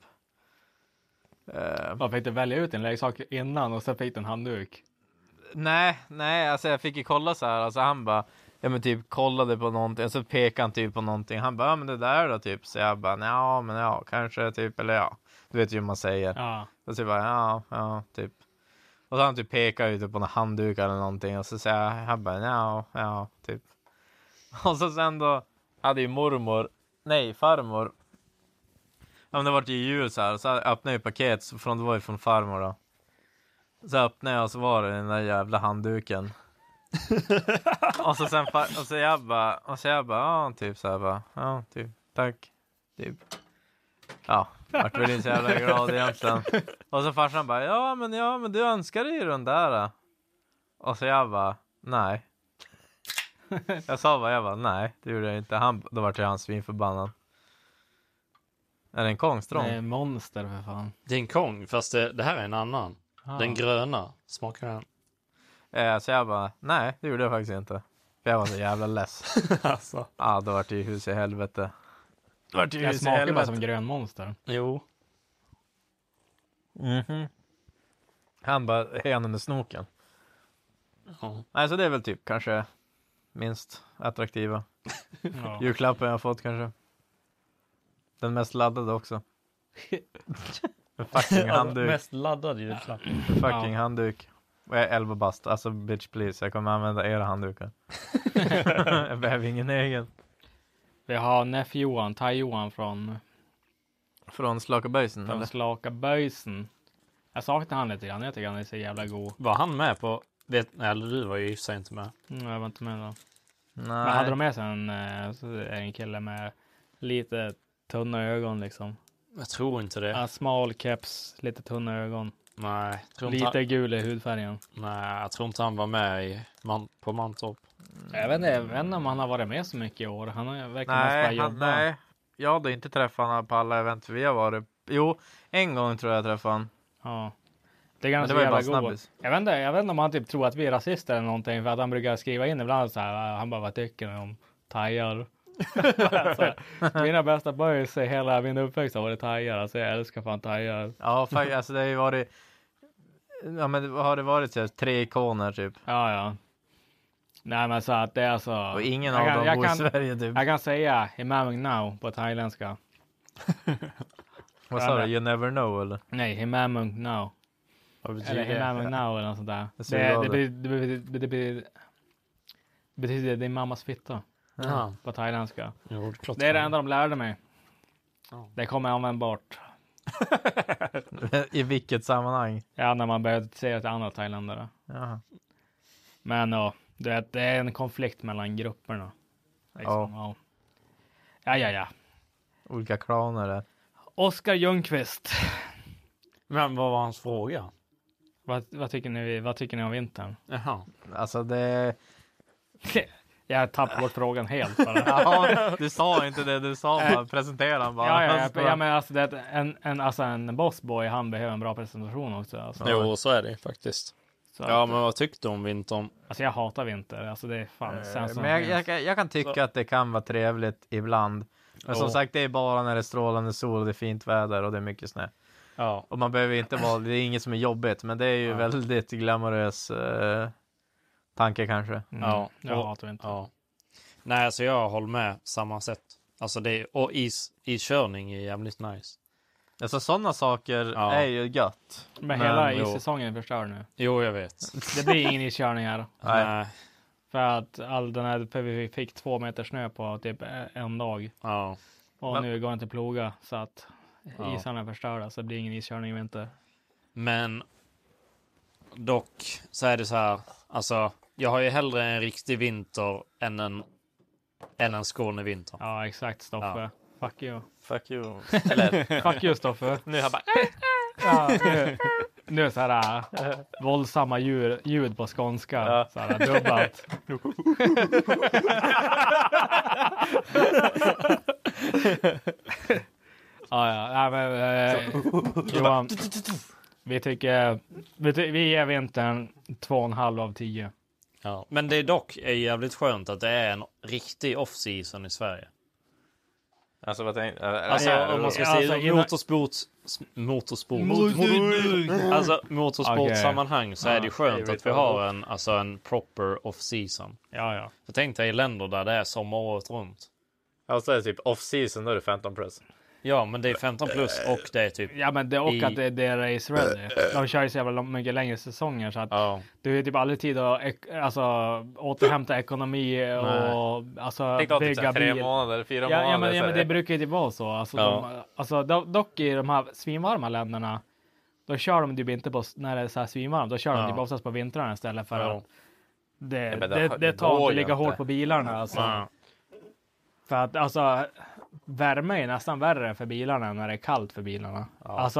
Eh,
Man fick du välja ut en leksak innan och sen fick du en handduk?
nej, nej, alltså jag fick ju kolla så här. Alltså han bara, ja men typ kollade på någonting. Så pekade han typ på någonting. Han bara, ja men det där då typ. Så jag bara, ja men ja, kanske typ, eller ja. Du vet ju hur man säger.
Ja.
Och så bara, ja, ja, typ. Och så han typ pekar ju typ på några handdukar eller någonting. Och så säger jag, han bara, ja, ja, typ. Och så sen då hade ju mormor, nej farmor. Ja men det vart ju jul så här. Så jag öppnade ju paket, så från, det var ju från farmor då. Så öppnade jag och så var det den där jävla handduken. och så sen, far- och så jag bara, och så jag bara, ja typ så här bara, ja typ, tack. Typ. Ja, vart väl inte så jävla glad egentligen. Och så farsan bara, ja men ja men du önskar dig ju den där. då." Och så jag bara, nej. Jag sa bara, jag bara, nej det gjorde jag inte. Han, då vart ju han svinförbannad. Är det en kongstrång?
Nej, monster för fan.
Det är en kong, fast det, det här är en annan.
Ah.
Den gröna. Smakar den?
Eh, så jag bara, nej det gjorde jag faktiskt inte. För jag var så jävla less.
alltså.
Ja, då vart det ju hus i helvete. Då vart det ju
Jag
hus i
smakar bara
helvete.
som grön monster.
Jo.
Mhm. Han bara, henen i snoken.
Ja.
Nej, så det är väl typ kanske minst attraktiva
Ja.
julklappen jag har fått kanske. Den mest laddade också. En fucking
Ja,
handduk.
mest laddade julklapp.
En fucking handduk. Och jag är 11 bast, alltså bitch please, jag kommer använda era handdukar. jag behöver ingen egen.
Vi har Neff Johan, Tai Johan från,
Från Slakaböjsen
från
Mm, eller?
Slaka Böjsen. Jag saknar han lite grann. Jag tycker han är så jävla god.
Var han med på... Vet, nej, eller du var ju i och för sig inte med.
Mm, jag var inte med då.
Nej.
Men hade de med sig en, eh, så är det en kille med lite tunna ögon liksom?
Jag tror inte det.
Ja, smal keps, lite tunna ögon.
Nej, jag tror inte
Lite
han,
gul i hudfärgen.
nej, jag tror inte han var med i, man, på Mantorp.
Mm.
Jag vet inte- jag vet inte om han har varit med så mycket i år. Han har- verkar mest bara
Nej,
jobba.
han, nej, jag hade inte träffat honom på alla event vi har varit Jo, en gång tror jag jag träffade honom.
Ja. Det är
Men det
ganska
var ju
jävla
bara
god.
snabbis.
Jag vet, inte, jag vet inte om han typ "Ah, tror att vi är rasister eller någonting för att han brukar skriva in ibland så här. Han bara vad tycker ni om thajar? alltså, mina bästa boys i hela min uppväxt har varit thajar. Alltså jag älskar fan thajar.
Ja, faktiskt. Alltså det har ju varit... Ja, men vad har det varit? Så här, tre ikoner typ?
Ja, ja. Nej men så att det är så.
Och ingen av dem bor i Sverige, typ.
Jag kan säga Himamung now på thailändska.
Vad sa du? You never know eller?
Nej, Himamung now. Eller Himamung now eller något sånt där. Det, det, blir- det, blir- det, blir- det betyder din mammas fitta.
Ja.
På thailändska.
Jo, det är klart.
det är det enda de lärde mig. Det kommer användbart.
I vilket sammanhang?
Ja, när man började säga till andra thailändare.
Jaha.
Men ja, du vet, det är en konflikt mellan grupperna. Liksom, ja. ja, ja, ja.
Olika klaner där.
Oskar Ljungqvist.
Men vad var hans fråga?
Vad, vad, tycker ni, vad tycker ni om vintern?
Jaha.
Alltså det...
Jag tappade bort frågan helt bara.
Ja, du sa inte det. Du sa bara presentera han bara.
Ja, ja,
Alltså,
ja, ja, men alltså, det, är en, en, alltså en bossboy, han behöver en bra presentation också. Alltså.
Jo, så är det ju faktiskt.
Så
Ja,
att-
men vad tyckte du om vintern?
Alltså jag hatar vinter. Alltså det är fan
Eh,
sämst som
Men jag,
finns.
jag, kan- jag kan tycka att det kan vara trevligt ibland. Men som
Ja.
sagt, det är bara när det är strålande sol och det är fint väder och det är mycket snö.
Ja.
Och man behöver inte vara, det är inget som är jobbigt, men det är ju väldigt glamorös eh, tanke kanske.
Ja,
Mm, jag
och-
hatar inte.
Ja. Nej, alltså jag håller med samma sätt. Alltså det är, och is, iskörning är jävligt nice.
Alltså sådana saker är ju gött.
Men hela
jo.
issäsongen är förstörd nu.
Jo, jag vet.
Det blir ingen iskörning här.
Nej.
För att all den här, för vi fick två meter snö på typ en dag.
Ja.
Och
Men-
nu går det inte att ploga så att
Ja.
isarna är förstörda så det blir ingen iskörning i vinter.
Men dock så är det så här, alltså jag har ju hellre en riktig vinter än en, än en Skånevinter.
Ja, exakt Stoffe. Fuck you.
Fuck you.
Eller- Fuck you, Stoffe.
Nu har jag bara...
Ja, nu, nu är det så här äh, våldsamma ljud, ljud på skånska. Så här, dubbat. ja, ja, nej, men, eh, Johan, vi tycker vi, ty- vi ger vintern två och en halv av tio.
Ja. Men det är dock är jävligt skönt att det är en riktig off-season i Sverige.
Alltså vad tänkte
Alltså om man ska
Alltså,
säga
innan-
motorsport, s- motorsport,
Motorsport.
alltså motorsportsammanhang så
Okej.
är Ah, det ju skönt
Ja.
att vi har en, alltså en proper off-season.
Ja, ja.
För tänk dig i länder där det är sommar året runt.
Alltså det är typ off-season, då är det 15 plus.
Ja, men det är 15 plus och det är typ...
Ja, men det, och
i-
att det, det är race ready. De kör ju så jävla lång- mycket längre säsonger så att du har typ aldrig tid att ek, alltså, återhämta ekonomi och alltså,
Tänk då typ
bygga
så här tre
bil.
månader,
ja,
fyra
ja, men,
månader,
ja,
så
men
här.
det brukar ju typ vara så. Alltså,
Ja.
de, alltså, do- dock i de här svinvarma länderna, då kör de typ inte på, när det är så här svinvarmt, då kör
Ja.
de typ oftast på vintrarna istället för
Ja.
att det,
Ja,
det,
men det-
det,
det
tar
går
inte
ju
lika
inte.
hårt på bilarna. Alltså.
Ja.
För att alltså, värme är nästan värre för bilarna än när det är kallt för bilarna.
Alltså,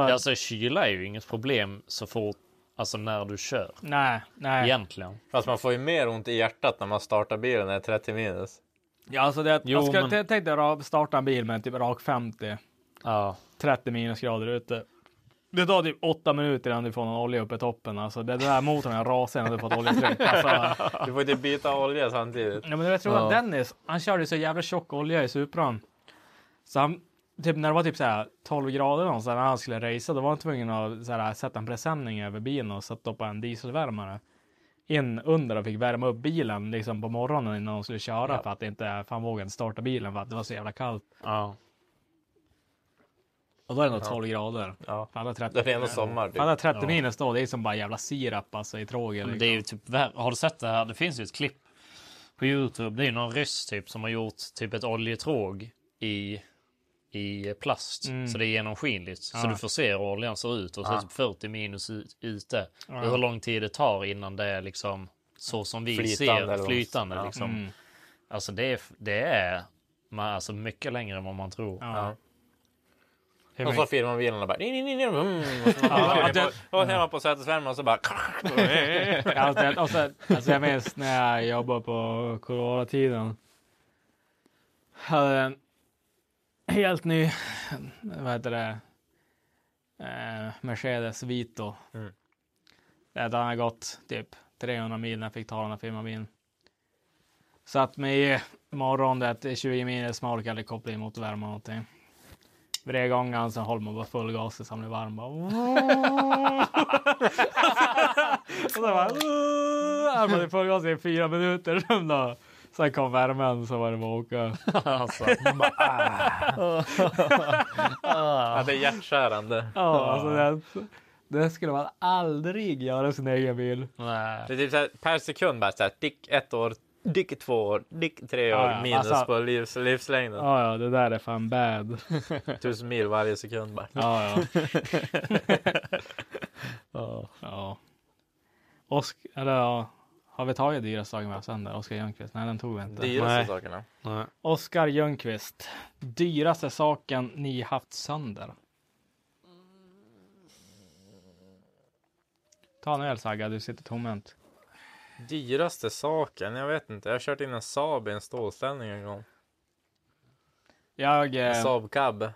Alltså,
alltså kyla är ju inget problem så fort, alltså när du kör.
nej, nej.
Egentligen.
Fast man får ju mer ont i hjärtat när man startar bilen när det är 30 minus.
Ja, alltså det,
Jo,
jag ska,
men-
men... Tänk dig att starta en bil med typ rak 50.
Ja.
30 minusgrader ute. Det tar typ 8 minuter innan du får någon olja uppe i toppen. Alltså, det den där motorn är rasig innan du fått oljetryck. Alltså,
Du får ju inte byta olja samtidigt.
ja, men jag tror att Dennis, han körde så jävla tjock olja i Supran. Så han, typ när det var typ så här 12 grader och så här, när han skulle racea, då var han tvungen att så här, sätta en presenning över bilen och sätta upp en dieselvärmare. In under och fick värma upp bilen liksom på morgonen innan de skulle köra för att det inte, för han vågade inte starta bilen för att det var så jävla kallt.
Ja.
Och då är det ändå
Ja.
12 grader.
Ja.
Fan, det är 30,
Det är ändå sommar, typ.
Fan, det är 30
Ja.
minus då, det är som bara jävla sirap alltså i tråget.
Men det är ju typ värre. Har du sett det här? Det finns ju ett klipp på Youtube. Det är ju någon ryss typ som har gjort typ ett oljetråg i, i plast.
Mm.
Så det är genomskinligt. Så
Ja.
du får se hur oljan ser ut. Och så är
Ja.
det typ 40 minus i- ute.
Ja.
Hur lång tid det tar innan det är liksom så som vi
Flytande eller
ser
vad-
flytande.
Ja.
Liksom.
Mm.
Alltså det är, det är man, alltså mycket längre än vad man tror.
Ja.
Och så filmar bilen och bara...
Ja,
mm." Och så- Och så hemma på sätesvärmen och så bara...
alltså, jag- och så, alltså jag minns när jag jobbade på Corona-tiden. Hade en helt ny, vad heter det, eh, Mercedes Vito.
Mm.
Det Den har gått typ 300 mil när jag fick ta den här firmabilen. Satt mig i morgon det är 20 minus smolk eller koppling mot värme och någonting. Vred igång han så höll man bara full gas tills han blev varm. Bara, och så bara... "Åh!" Han hade full gas i fyra minuter. Sen, då, sen kom värmen så var det bara att åka. alltså,
ja, det är hjärtskärande.
ja, alltså, det, det skulle man aldrig göra i sin egen bil. Nej.
Det är typ så här, per sekund bara så här, dick ett år, dick två år, dick tre år,
Ja, ja,
minus
alltså-
på livs, livslängden.
Ja, ja, det där är fan bad.
Tusen mil varje sekund bara.
Ja, ja. ja. Osk, eller ja. Har vi tagit dyraste saken vi har haft sen där? Oskar Ljungqvist? Nej, den tog vi inte.
Dyraste
Nej.
sakerna?
Nej.
Oskar Ljungqvist. Dyraste saken ni haft sönder? Ta en öl Sagga, du sitter tomhänt.
Dyraste saken? Jag vet inte. Jag har kört in en Saab i en stålställning en gång.
Jag,
En
eh,
Saab Cab.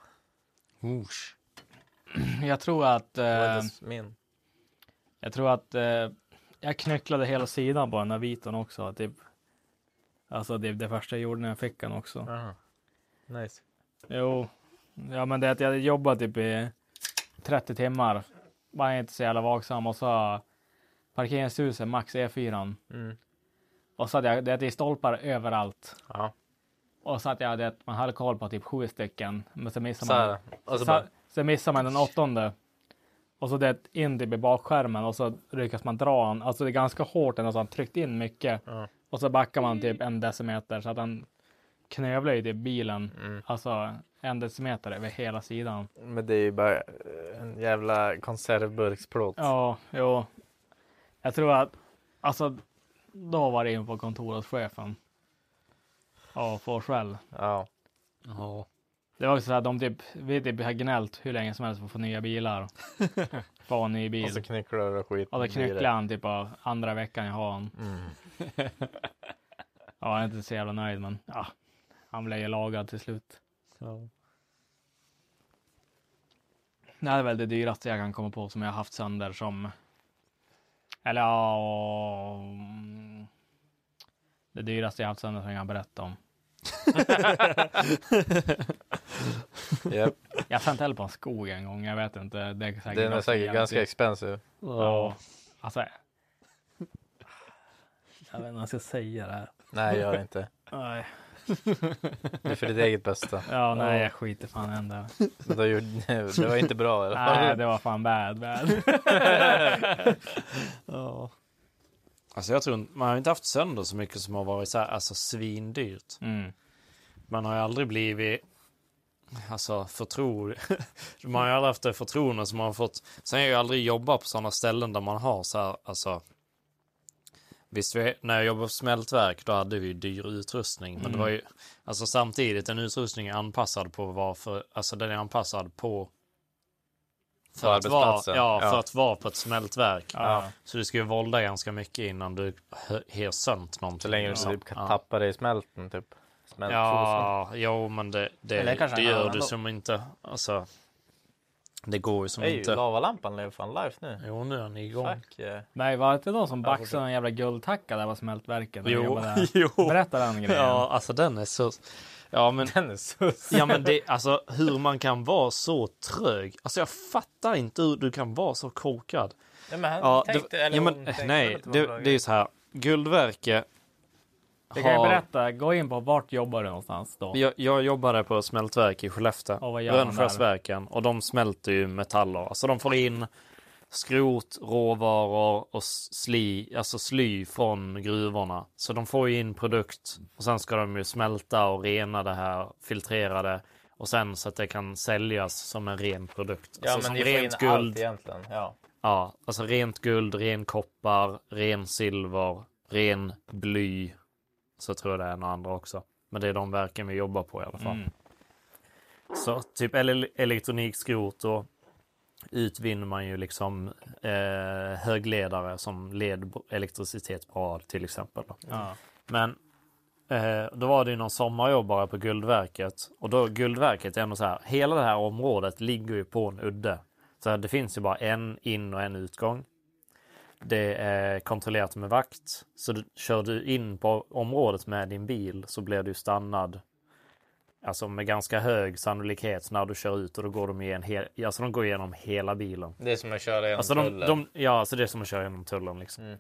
jag tror att...
var
Eh,
inte min.
Jag tror att eh, jag knycklade hela sidan på den där viten också. Typ. Alltså det, det första jag gjorde när jag fick den också.
Nice.
Jo, ja men det är att jag hade jobbat typ i 30 timmar. Man är inte så jävla vaksam och så parkeringshuset max E4.
Mm.
Och så hade jag, det är stolpar överallt.
Ja.
Och så att jag hade, man hade koll på typ sju stycken. Men så missar
Så
man.
här, och så
så,
Alltså bara-
så missar man den åttonde. Och så det in typ i bakskärmen och så lyckas man dra den. Alltså det är ganska hårt den. Alltså han tryckt in mycket. Och så backar man typ en decimeter så att han knövlar ju typ bilen.
Mm.
Alltså en decimeter över hela sidan.
Men det är ju bara eh, en jävla konservburksplåt.
Ja, jo. Jag tror att, alltså, då var det in på kontoret hos chefen. Ja, får skäll.
Ja.
Ja. Det var också så här, de typ, vi typ har gnällt hur länge som helst för att få nya bilar. få en ny bil.
Och så knycklar och skit.
Och då
i bilen.
knycklade han typ av andra veckan jag har honom.
Mm.
ja, jag är inte så jävla nöjd, men ja, han blev ju lagad till slut.
Ja.
Det här är väl det dyraste jag kan komma på som jag har haft sönder som... Eller ja... mm, Det dyraste jag har haft sönder som jag kan berätta om.
Japp.
Jag tänt eld på en skog en gång, jag vet inte. Det är säkert,
Den är
något
säkert
jävligt
ganska
dyrt.
expensive.
Ja. Alltså... Jag vet inte om jag ska säga det här.
Nej, gör inte.
Nej.
Det är för ditt eget bästa.
Ja, nej, jag skiter fan i den där.
Men då gjorde- det var inte bra i alla fall.
Nej, det var fan bad, bad.
Ja. Alltså jag tror man har inte haft sönder så mycket som har varit så här, alltså svindyrt.
Mm.
Man har ju aldrig blivit alltså förtro... man har ju aldrig haft det förtroende som man har fått. Sen har jag ju aldrig jobbat på sådana ställen där man har så här, alltså Visst, vi, när jag jobbade på smältverk då hade vi ju dyr utrustning. Men det
Mm.
var ju, alltså samtidigt en utrustning är anpassad på varför, alltså den är anpassad på
På
för att, vara,
arbetsplatsen.
ja,
Ja.
för att vara på ett smältverk.
Ja.
Så du ska ju vålda ganska mycket innan du hö- har sönt någonting.
Så länge du
liksom.
typ kan tappa det i smälten typ.
Ja, jo men det, det,
Eller kanske
det
en
gör
annan
du
då.
som inte, alltså. Det går ju som
Ej,
inte.
lavalampan lever fan live nu.
Jo, nu är han igång.
Fuck eh. yeah.
Nej, var det inte de som
Jag
baxade en jävla guldtacka där på smältverket? när vi
Jo,
jobbade där?
jo.
Berätta den grejen.
Ja, alltså den är så... Ja, men...
Den är så...
Ja, men det, alltså hur man kan vara så trög. Alltså jag fattar inte hur du kan vara så korkad.
Ja, men han tänkte- eller
ja,
hon
men,
tänkte väl
nej,
att det var
det,
bra
det är ju så här. Guldverke
Vi kan ju
har-
berätta, gå in på vart jobbar du någonstans då?
Jag, jag jobbade på ett smältverk i
Och
Skellefteå,
vad gör man där?
Rönnskärsverken, och de smälter ju metaller. Alltså de får in skrot, råvaror och sli, alltså sly från gruvorna. Så de får ju in produkt och sen ska de ju smälta och rena det här, filtrera det och sen så att det kan säljas som en ren produkt.
Ja,
alltså
men
som
ni får in allt egentligen. Ja.
Ja, alltså rent guld, ren koppar, ren silver, ren bly. Så tror jag det är några andra också. Men det är de verken vi jobbar på i alla fall.
Mm.
Så typ ele- elektronikskrot och utvinner man ju liksom eh, högledare som led elektricitet bra till exempel. Då.
Ja.
Men eh, då var det ju någon sommarjobbare på Guldverket och då Guldverket är ändå så här. Hela det här området ligger ju på en udde. Så det finns ju bara en in och en utgång. Det är kontrollerat med vakt. Så du, kör du in på området med din bil så blir du stannad. Alltså med ganska hög sannolikhet när du kör ut och då går de, igen he- alltså de går igenom hela bilen.
Det är som att köra genom
Alltså de,
tullen.
de, ja, alltså det är som att köra genom tullen. Liksom.
Mm.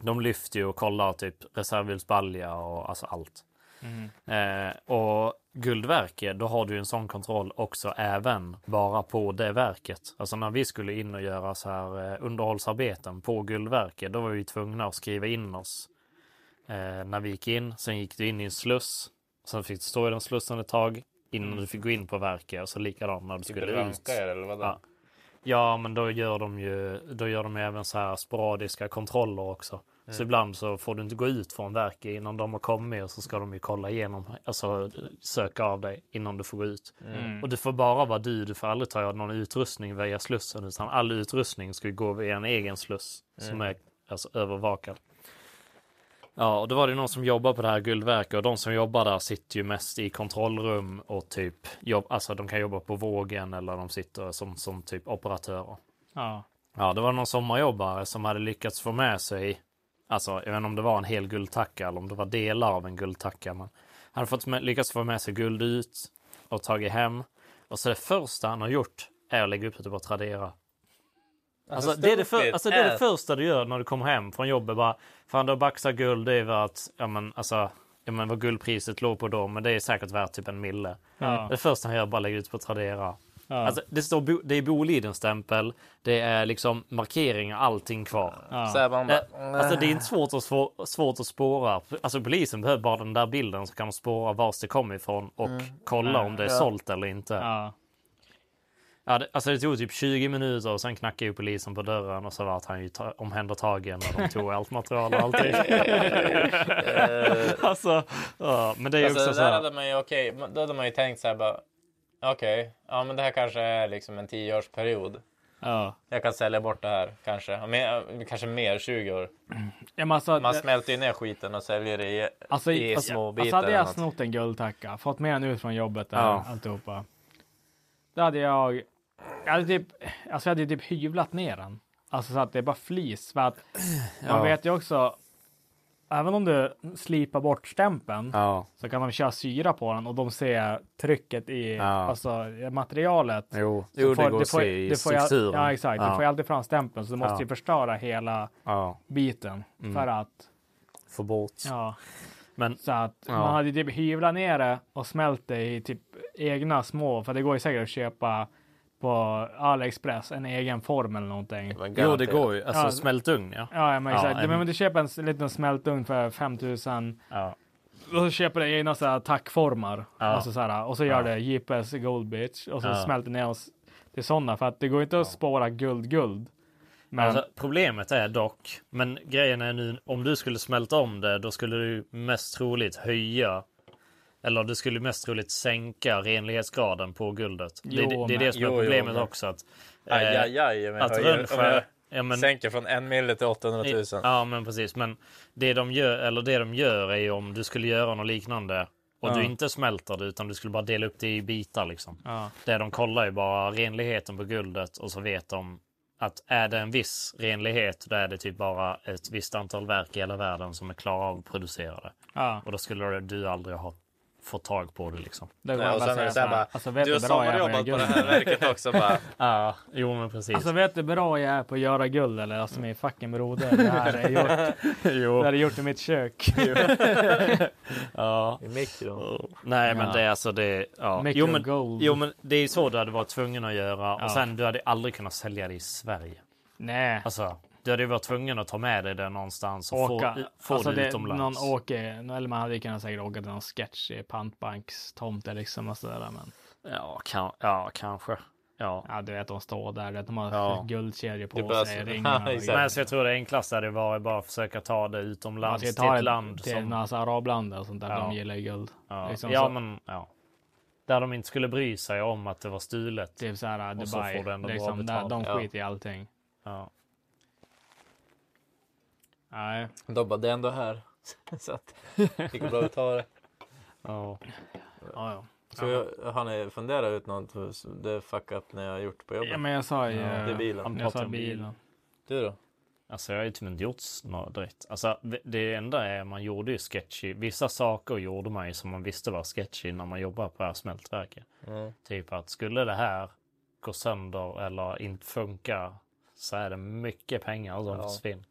De lyfter ju och kollar typ reservhjulsbalja och alltså allt.
Mm.
Eh, och guldverket, då har du ju en sån kontroll också även bara på det verket. Alltså när vi skulle in och göra så här eh, underhållsarbeten på guldverket, då var vi tvungna att skriva in oss eh, när vi gick in. Sen gick du in i en sluss, sen fick du stå i den slussen ett tag innan
Mm.
du fick gå in på verket och så likadant när du
Typ
skulle
ranka
ut.
er, eller vadå?
Ja. Ja, men då gör de ju då gör de ju även så här sporadiska kontroller också. Så
Mm.
ibland så får du inte gå ut från verket innan de har kommit och så ska de ju kolla igenom, alltså söka av dig innan du får gå ut.
Mm.
Och du får bara vara du, du får aldrig ta någon utrustning via slussen utan all utrustning ska ju gå via en egen sluss som
Mm.
är alltså, övervakad. Ja, och då var det någon som jobbar på det här guldverket och de som jobbar där sitter ju mest i kontrollrum och typ jobb, alltså de kan jobba på vågen eller de sitter som, som typ operatörer.
Ja.
Ja, det var någon sommarjobbare som hade lyckats få med sig, alltså jag vet inte om det var en hel guldtacka eller om det var delar av en guldtacka, men han hade fått med, lyckats få med sig guld ut och tagit hem. Och så det första han har gjort är att lägga upp det på Tradera. Alltså,
Alltså,
det, är det,
stupid
för, alltså, det är det
ass.
första du gör när du kommer hem från jobbet. Bara, fan, du har baxat guld. Det är värt, ja men alltså, ja men vad guldpriset låg på då, men det är säkert värt typ en mille.
Ja.
Det första han gör är bara lägga ut på Tradera.
Ja.
Alltså, det, står, Bo- det är Bolidens stämpel, det är liksom markeringar, allting kvar.
Ja. Så här, man bara,
Eh, alltså, det är inte svårt att, svå, svårt att spåra. Alltså, polisen behöver bara den där bilden så kan de spåra vars det kommer ifrån och
Mm.
kolla
Ja.
om det är
Ja.
sålt eller inte. Ja, det, alltså det tog typ 20 minuter och sen knackade ju polisen på dörren och så var han ju ta- omhändertagen och de tog allt material och allting.
Eh.
alltså, ja, men det är ju
Alltså,
också
det
så
där
här.
hade man ju, okej, men då hade man ju tänkt så här bara, okej, ja men det här kanske är liksom en tioårsperiod.
Ja.
Jag kan sälja bort det här kanske, Ja, men, eh, kanske mer, 20 år.
Ja, men alltså,
man
det-
smälter ju ner skiten och säljer det i,
Alltså,
i
alltså,
små bitar.
alltså hade
eller
jag
något.
snott en guldtacka, fått med den ut från jobbet där,
Ja.
alltihopa. Då hade jag, jag hade typ, alltså jag hade ju typ hyvlat ner den. Alltså så att det är bara flis. För att
Ja.
man vet ju också, även om du slipar bort stämpeln
Ja.
så kan de köra syra på den och de ser trycket i alltså, i materialet.
Jo,
Så
jo, det går att se i
du får ju-
strukturen.
Ja, exakt.
Ja.
Du får ju aldrig fram stämpeln så du måste
Ja.
ju förstöra hela
Ja.
biten
Mm.
för att
Få bort.
Ja.
Men,
så att
ja.
man hade typ hyvlat ner det och smält det i typ egna små, för det går ju säkert att köpa på AliExpress en egen form eller någonting.
Jo, det går ju. Alltså smältugn, ja.
Ja, ja men exakt.
en-
Men om du köper en s- liten smältugn för 5000
ja.
och så köper du egna så här, tackformar
Ja.
alltså, så här, och så gör
Ja.
det JPS Gold Bitch och så
Ja.
smälter ner oss till sådana för att det går inte att spåra guld-guld. Men
Alltså, problemet är dock, men grejen är nu om du skulle smälta om det då skulle du mest troligt höja eller du skulle mest troligt sänka renlighetsgraden på guldet. det,
Jo,
är- det är
men-
det som är
jo, jo,
problemet
men-
också. Att, eh,
Aj, aj, aj, men
att
höjer- om
Rönnsjö...
jag
Ja, men,
Sänker från en mille till 800 000.
Ja, men precis. Men det de gör, eller det de gör är ju om du skulle göra något liknande och
Ja.
du inte smälter det utan du skulle bara dela upp det i bitar liksom.
Ja.
Det de kollar är bara renligheten på guldet och så vet de att är det en viss renlighet då är det typ bara ett visst antal verk i hela världen som är klara av att producera det.
Ja.
Och då skulle du aldrig ha fått tag på det liksom.
Det går Nej, och bara sen säga är det så här så här, bara, alltså, vet du har du bra jag är på sommarjobbat på det här guld? verket också, bara.
ja, jo men precis.
Alltså vet du hur bra jag är på att göra guld eller? Alltså min fucking broder. Det här är gjort.
Jo.
Det hade gjort i mitt kök.
ja.
I mikron.
Nej, men
Ja.
det är alltså det. Ja.
Mikron
Jo, men,
gold.
jo, men det är så du hade varit tvungen att göra
Mm. Ja.
och sen du hade aldrig kunnat sälja det i Sverige.
Nej.
Alltså, du hade ju varit tvungen att ta med dig det någonstans och
Åka.
få, få
alltså,
det,
det,
utomlands.
någon åker, eller man hade ju kunnat säkert åka till någon sketch i pantbankstomte liksom och sådär. Men...
Ja, kan, ja, kanske. Ja.
ja, du vet de står där, du vet, de har
Ja.
guldkedjor på sig, ringar. och grejer.
Men så alltså, jag tror det enklaste hade varit bara att försöka ta det
Man
utomlands
ska ju
till
ta
ett
det
land
till
som...
några arabländer och sånt där,
Ja.
de gillar ju guld.
Ja,
Liksom,
ja
så-
men ja. Där de inte skulle bry sig om att det var stulet.
Typ så här
Och så
Dubai,
får du ändå
liksom,
bra
där, de
betalt.
skiter i allting.
Ja.
Nej.
Då bara, det är ändå här. så att det går bra att ta det.
Ja.
Ja, ja.
Så jag, har ni funderat ut något? för s- Det fuck up när jag har gjort på jobbet?
Ja, men eh, jag sa ju-
Det är bilen.
jag sa bilen.
Du då?
Alltså jag har ju typ inte gjort något direkt. Alltså det- det enda är man gjorde ju sketchy. Vissa saker gjorde man ju som man visste var sketchy när man jobbade på det här smältverket.
Mm.
Typ att skulle det här gå sönder eller inte funka så är det mycket pengar som
Ja.
försvinner.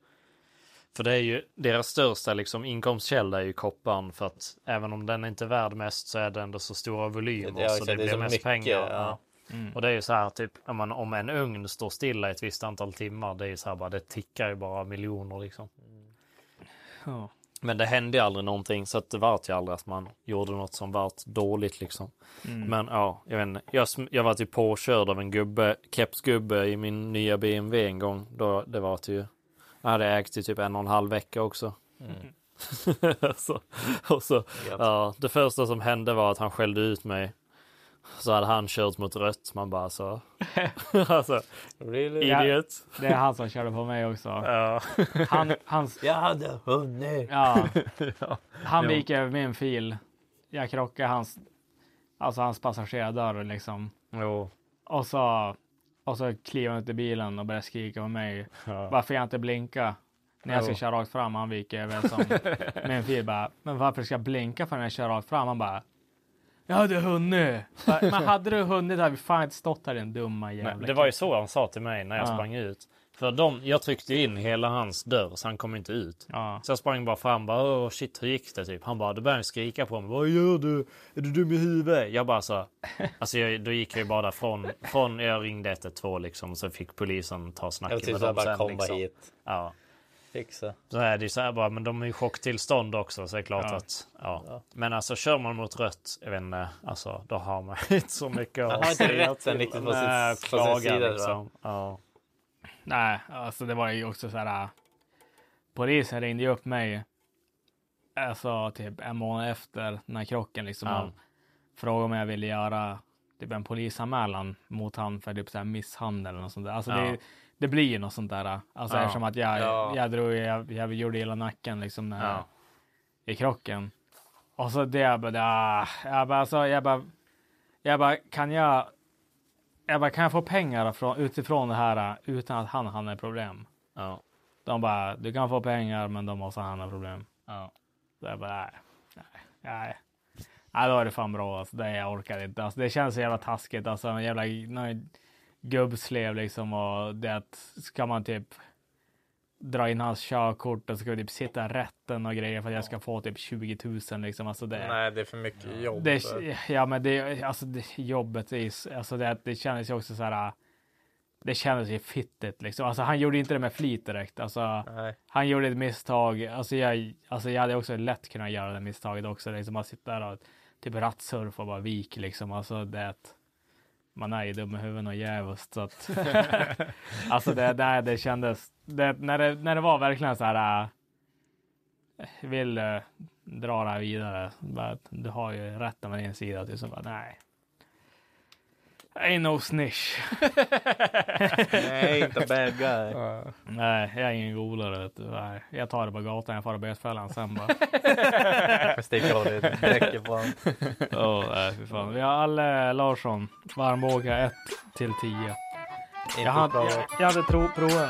För det är ju deras största liksom, inkomstkälla är ju kopparn för att även om den inte är värd mest så är det ändå så stora volymer
Ja,
så
exakt,
det,
det är
blir
så
mest
mycket,
pengar.
ja.
Ja.
Mm.
Och det är ju så här typ ja, men om en ugn står stilla ett visst antal timmar det är ju så här bara det tickar ju bara miljoner liksom.
Ja.
Men det hände ju aldrig någonting så att det vart ju aldrig att man gjorde något som vart dåligt liksom.
Mm.
Men ja, jag vet inte. Jag, sm- jag var typ påkörd av en gubbe, kepsgubbe i min nya BMW en gång. Då, det var ju, jag hade ägt i typ en och en halv vecka också.
Mm.
så, och så, ja, det första som hände var att han skällde ut mig. Så hade han kört mot rött. Man bara så. alltså, idiot.
Ja, det är han som körde på mig också.
Ja.
Han, hans...
Jag hade hunnit.
Ja. Han
Jo.
viker över min fil. Jag krockar hans, alltså hans passagerardörr liksom. Och så, och så kliver han ut i bilen och börjar skrika på mig. Varför jag inte blinka? När jag ska
Jo.
köra rakt fram, han viker över som min fil bara. Men varför ska jag blinka för när jag kör rakt fram? Han bara. Jag hade hunnit. Bara, Men hade du hunnit hade vi fan inte stått här den dumma
Nej,
jävla
det var ju så han sa till mig när jag
Ja.
sprang ut. För de, jag tryckte in hela hans dörr så han kom inte ut. Så jag sprang bara fram bara Åh, shit hur gick det typ. Han bara då började han skrika på mig. Vad gör du? Är du dum i huvudet? Jag bara så. Alltså jag, då gick jag ju bara därifrån. Från jag ringde 112 liksom så fick polisen ta
Jag
snacket
tyckte
med
jag
dem
bara
sen.
komma
liksom.
hit.
Ja.
Fixa.
Så är det ju så här bara men de är ju i chocktillstånd också så det är klart
Ja.
att ja.
Ja.
Men alltså kör man mot rött, jag vet inte, alltså då har man inte så mycket
Man har inte
säga
rätten
till.
riktigt på sin-
Nej,
på sin
klaga,
sida, tror jag.
liksom. Ja.
Nej, alltså det var ju också så här. äh, Polisen ringde ju upp mig. Alltså typ en månad efter den här krocken liksom.
Ja.
och Frågade om jag ville göra typ en polisanmälan mot han för typ så här misshandel eller något sånt där. Alltså
Ja.
det, det blir ju något sånt där. Alltså
Ja.
eftersom att jag,
Ja.
jag drog, jag, jag gjorde hela nacken liksom när,
Ja.
i krocken. Och så det jag bara, ah, jag bara, alltså, jag bara, jag bara, kan jag jag bara, kan jag få pengar från, utifrån det här eh, utan att han hamnar i problem?
Ja.
De bara, du kan få pengar men de måste hamna i problem.
Ja.
Så jag bara, nej, nej, nej. Nej, då är det fan bra alltså. Det, jag orkar inte. Alltså, det känns så jävla taskigt. Alltså, en jävla någon gubbslev liksom och det att ska man typ dra in hans körkort och ska vi typ sitta i rätten och grejer för att jag ska få typ 20 000 liksom. Alltså det.
Nej, det är för mycket jobb.
Det, ja, men det, alltså, det, jobbet är ju- alltså det, det kändes ju också så här. äh, Det kändes ju fittigt liksom. Alltså han gjorde inte det med flit direkt. Alltså, han gjorde ett misstag. Alltså jag, alltså jag hade också lätt kunnat göra det misstaget också. Liksom man sitter där och typ rattsurfa och bara vik liksom. Alltså det. Man är ju dum i huvudet och djävulskt så att. alltså det, det, det kändes. Det, när, det, när det var verkligen så här. äh, vill eh, dra det här vidare. Bara, att du har ju rätten med din sida. Typ, så bara, nej. Ain't no snish.
Nej, inte bad guy.
Ja. Nej, jag är ingen golare. Vet du. Nej, jag tar det på gatan, jag far till bötfällan sen bara.
Jag sticker av det, dräcker på honom.
Ja, nej, fy fan. Vi har Alle Larsson, varmbåga 1 till 10.
Inte
Jag hade,
bra.
jag, jag hade tro, proven.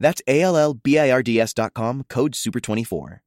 That's A L L B I R D S dot com, code SUPER24.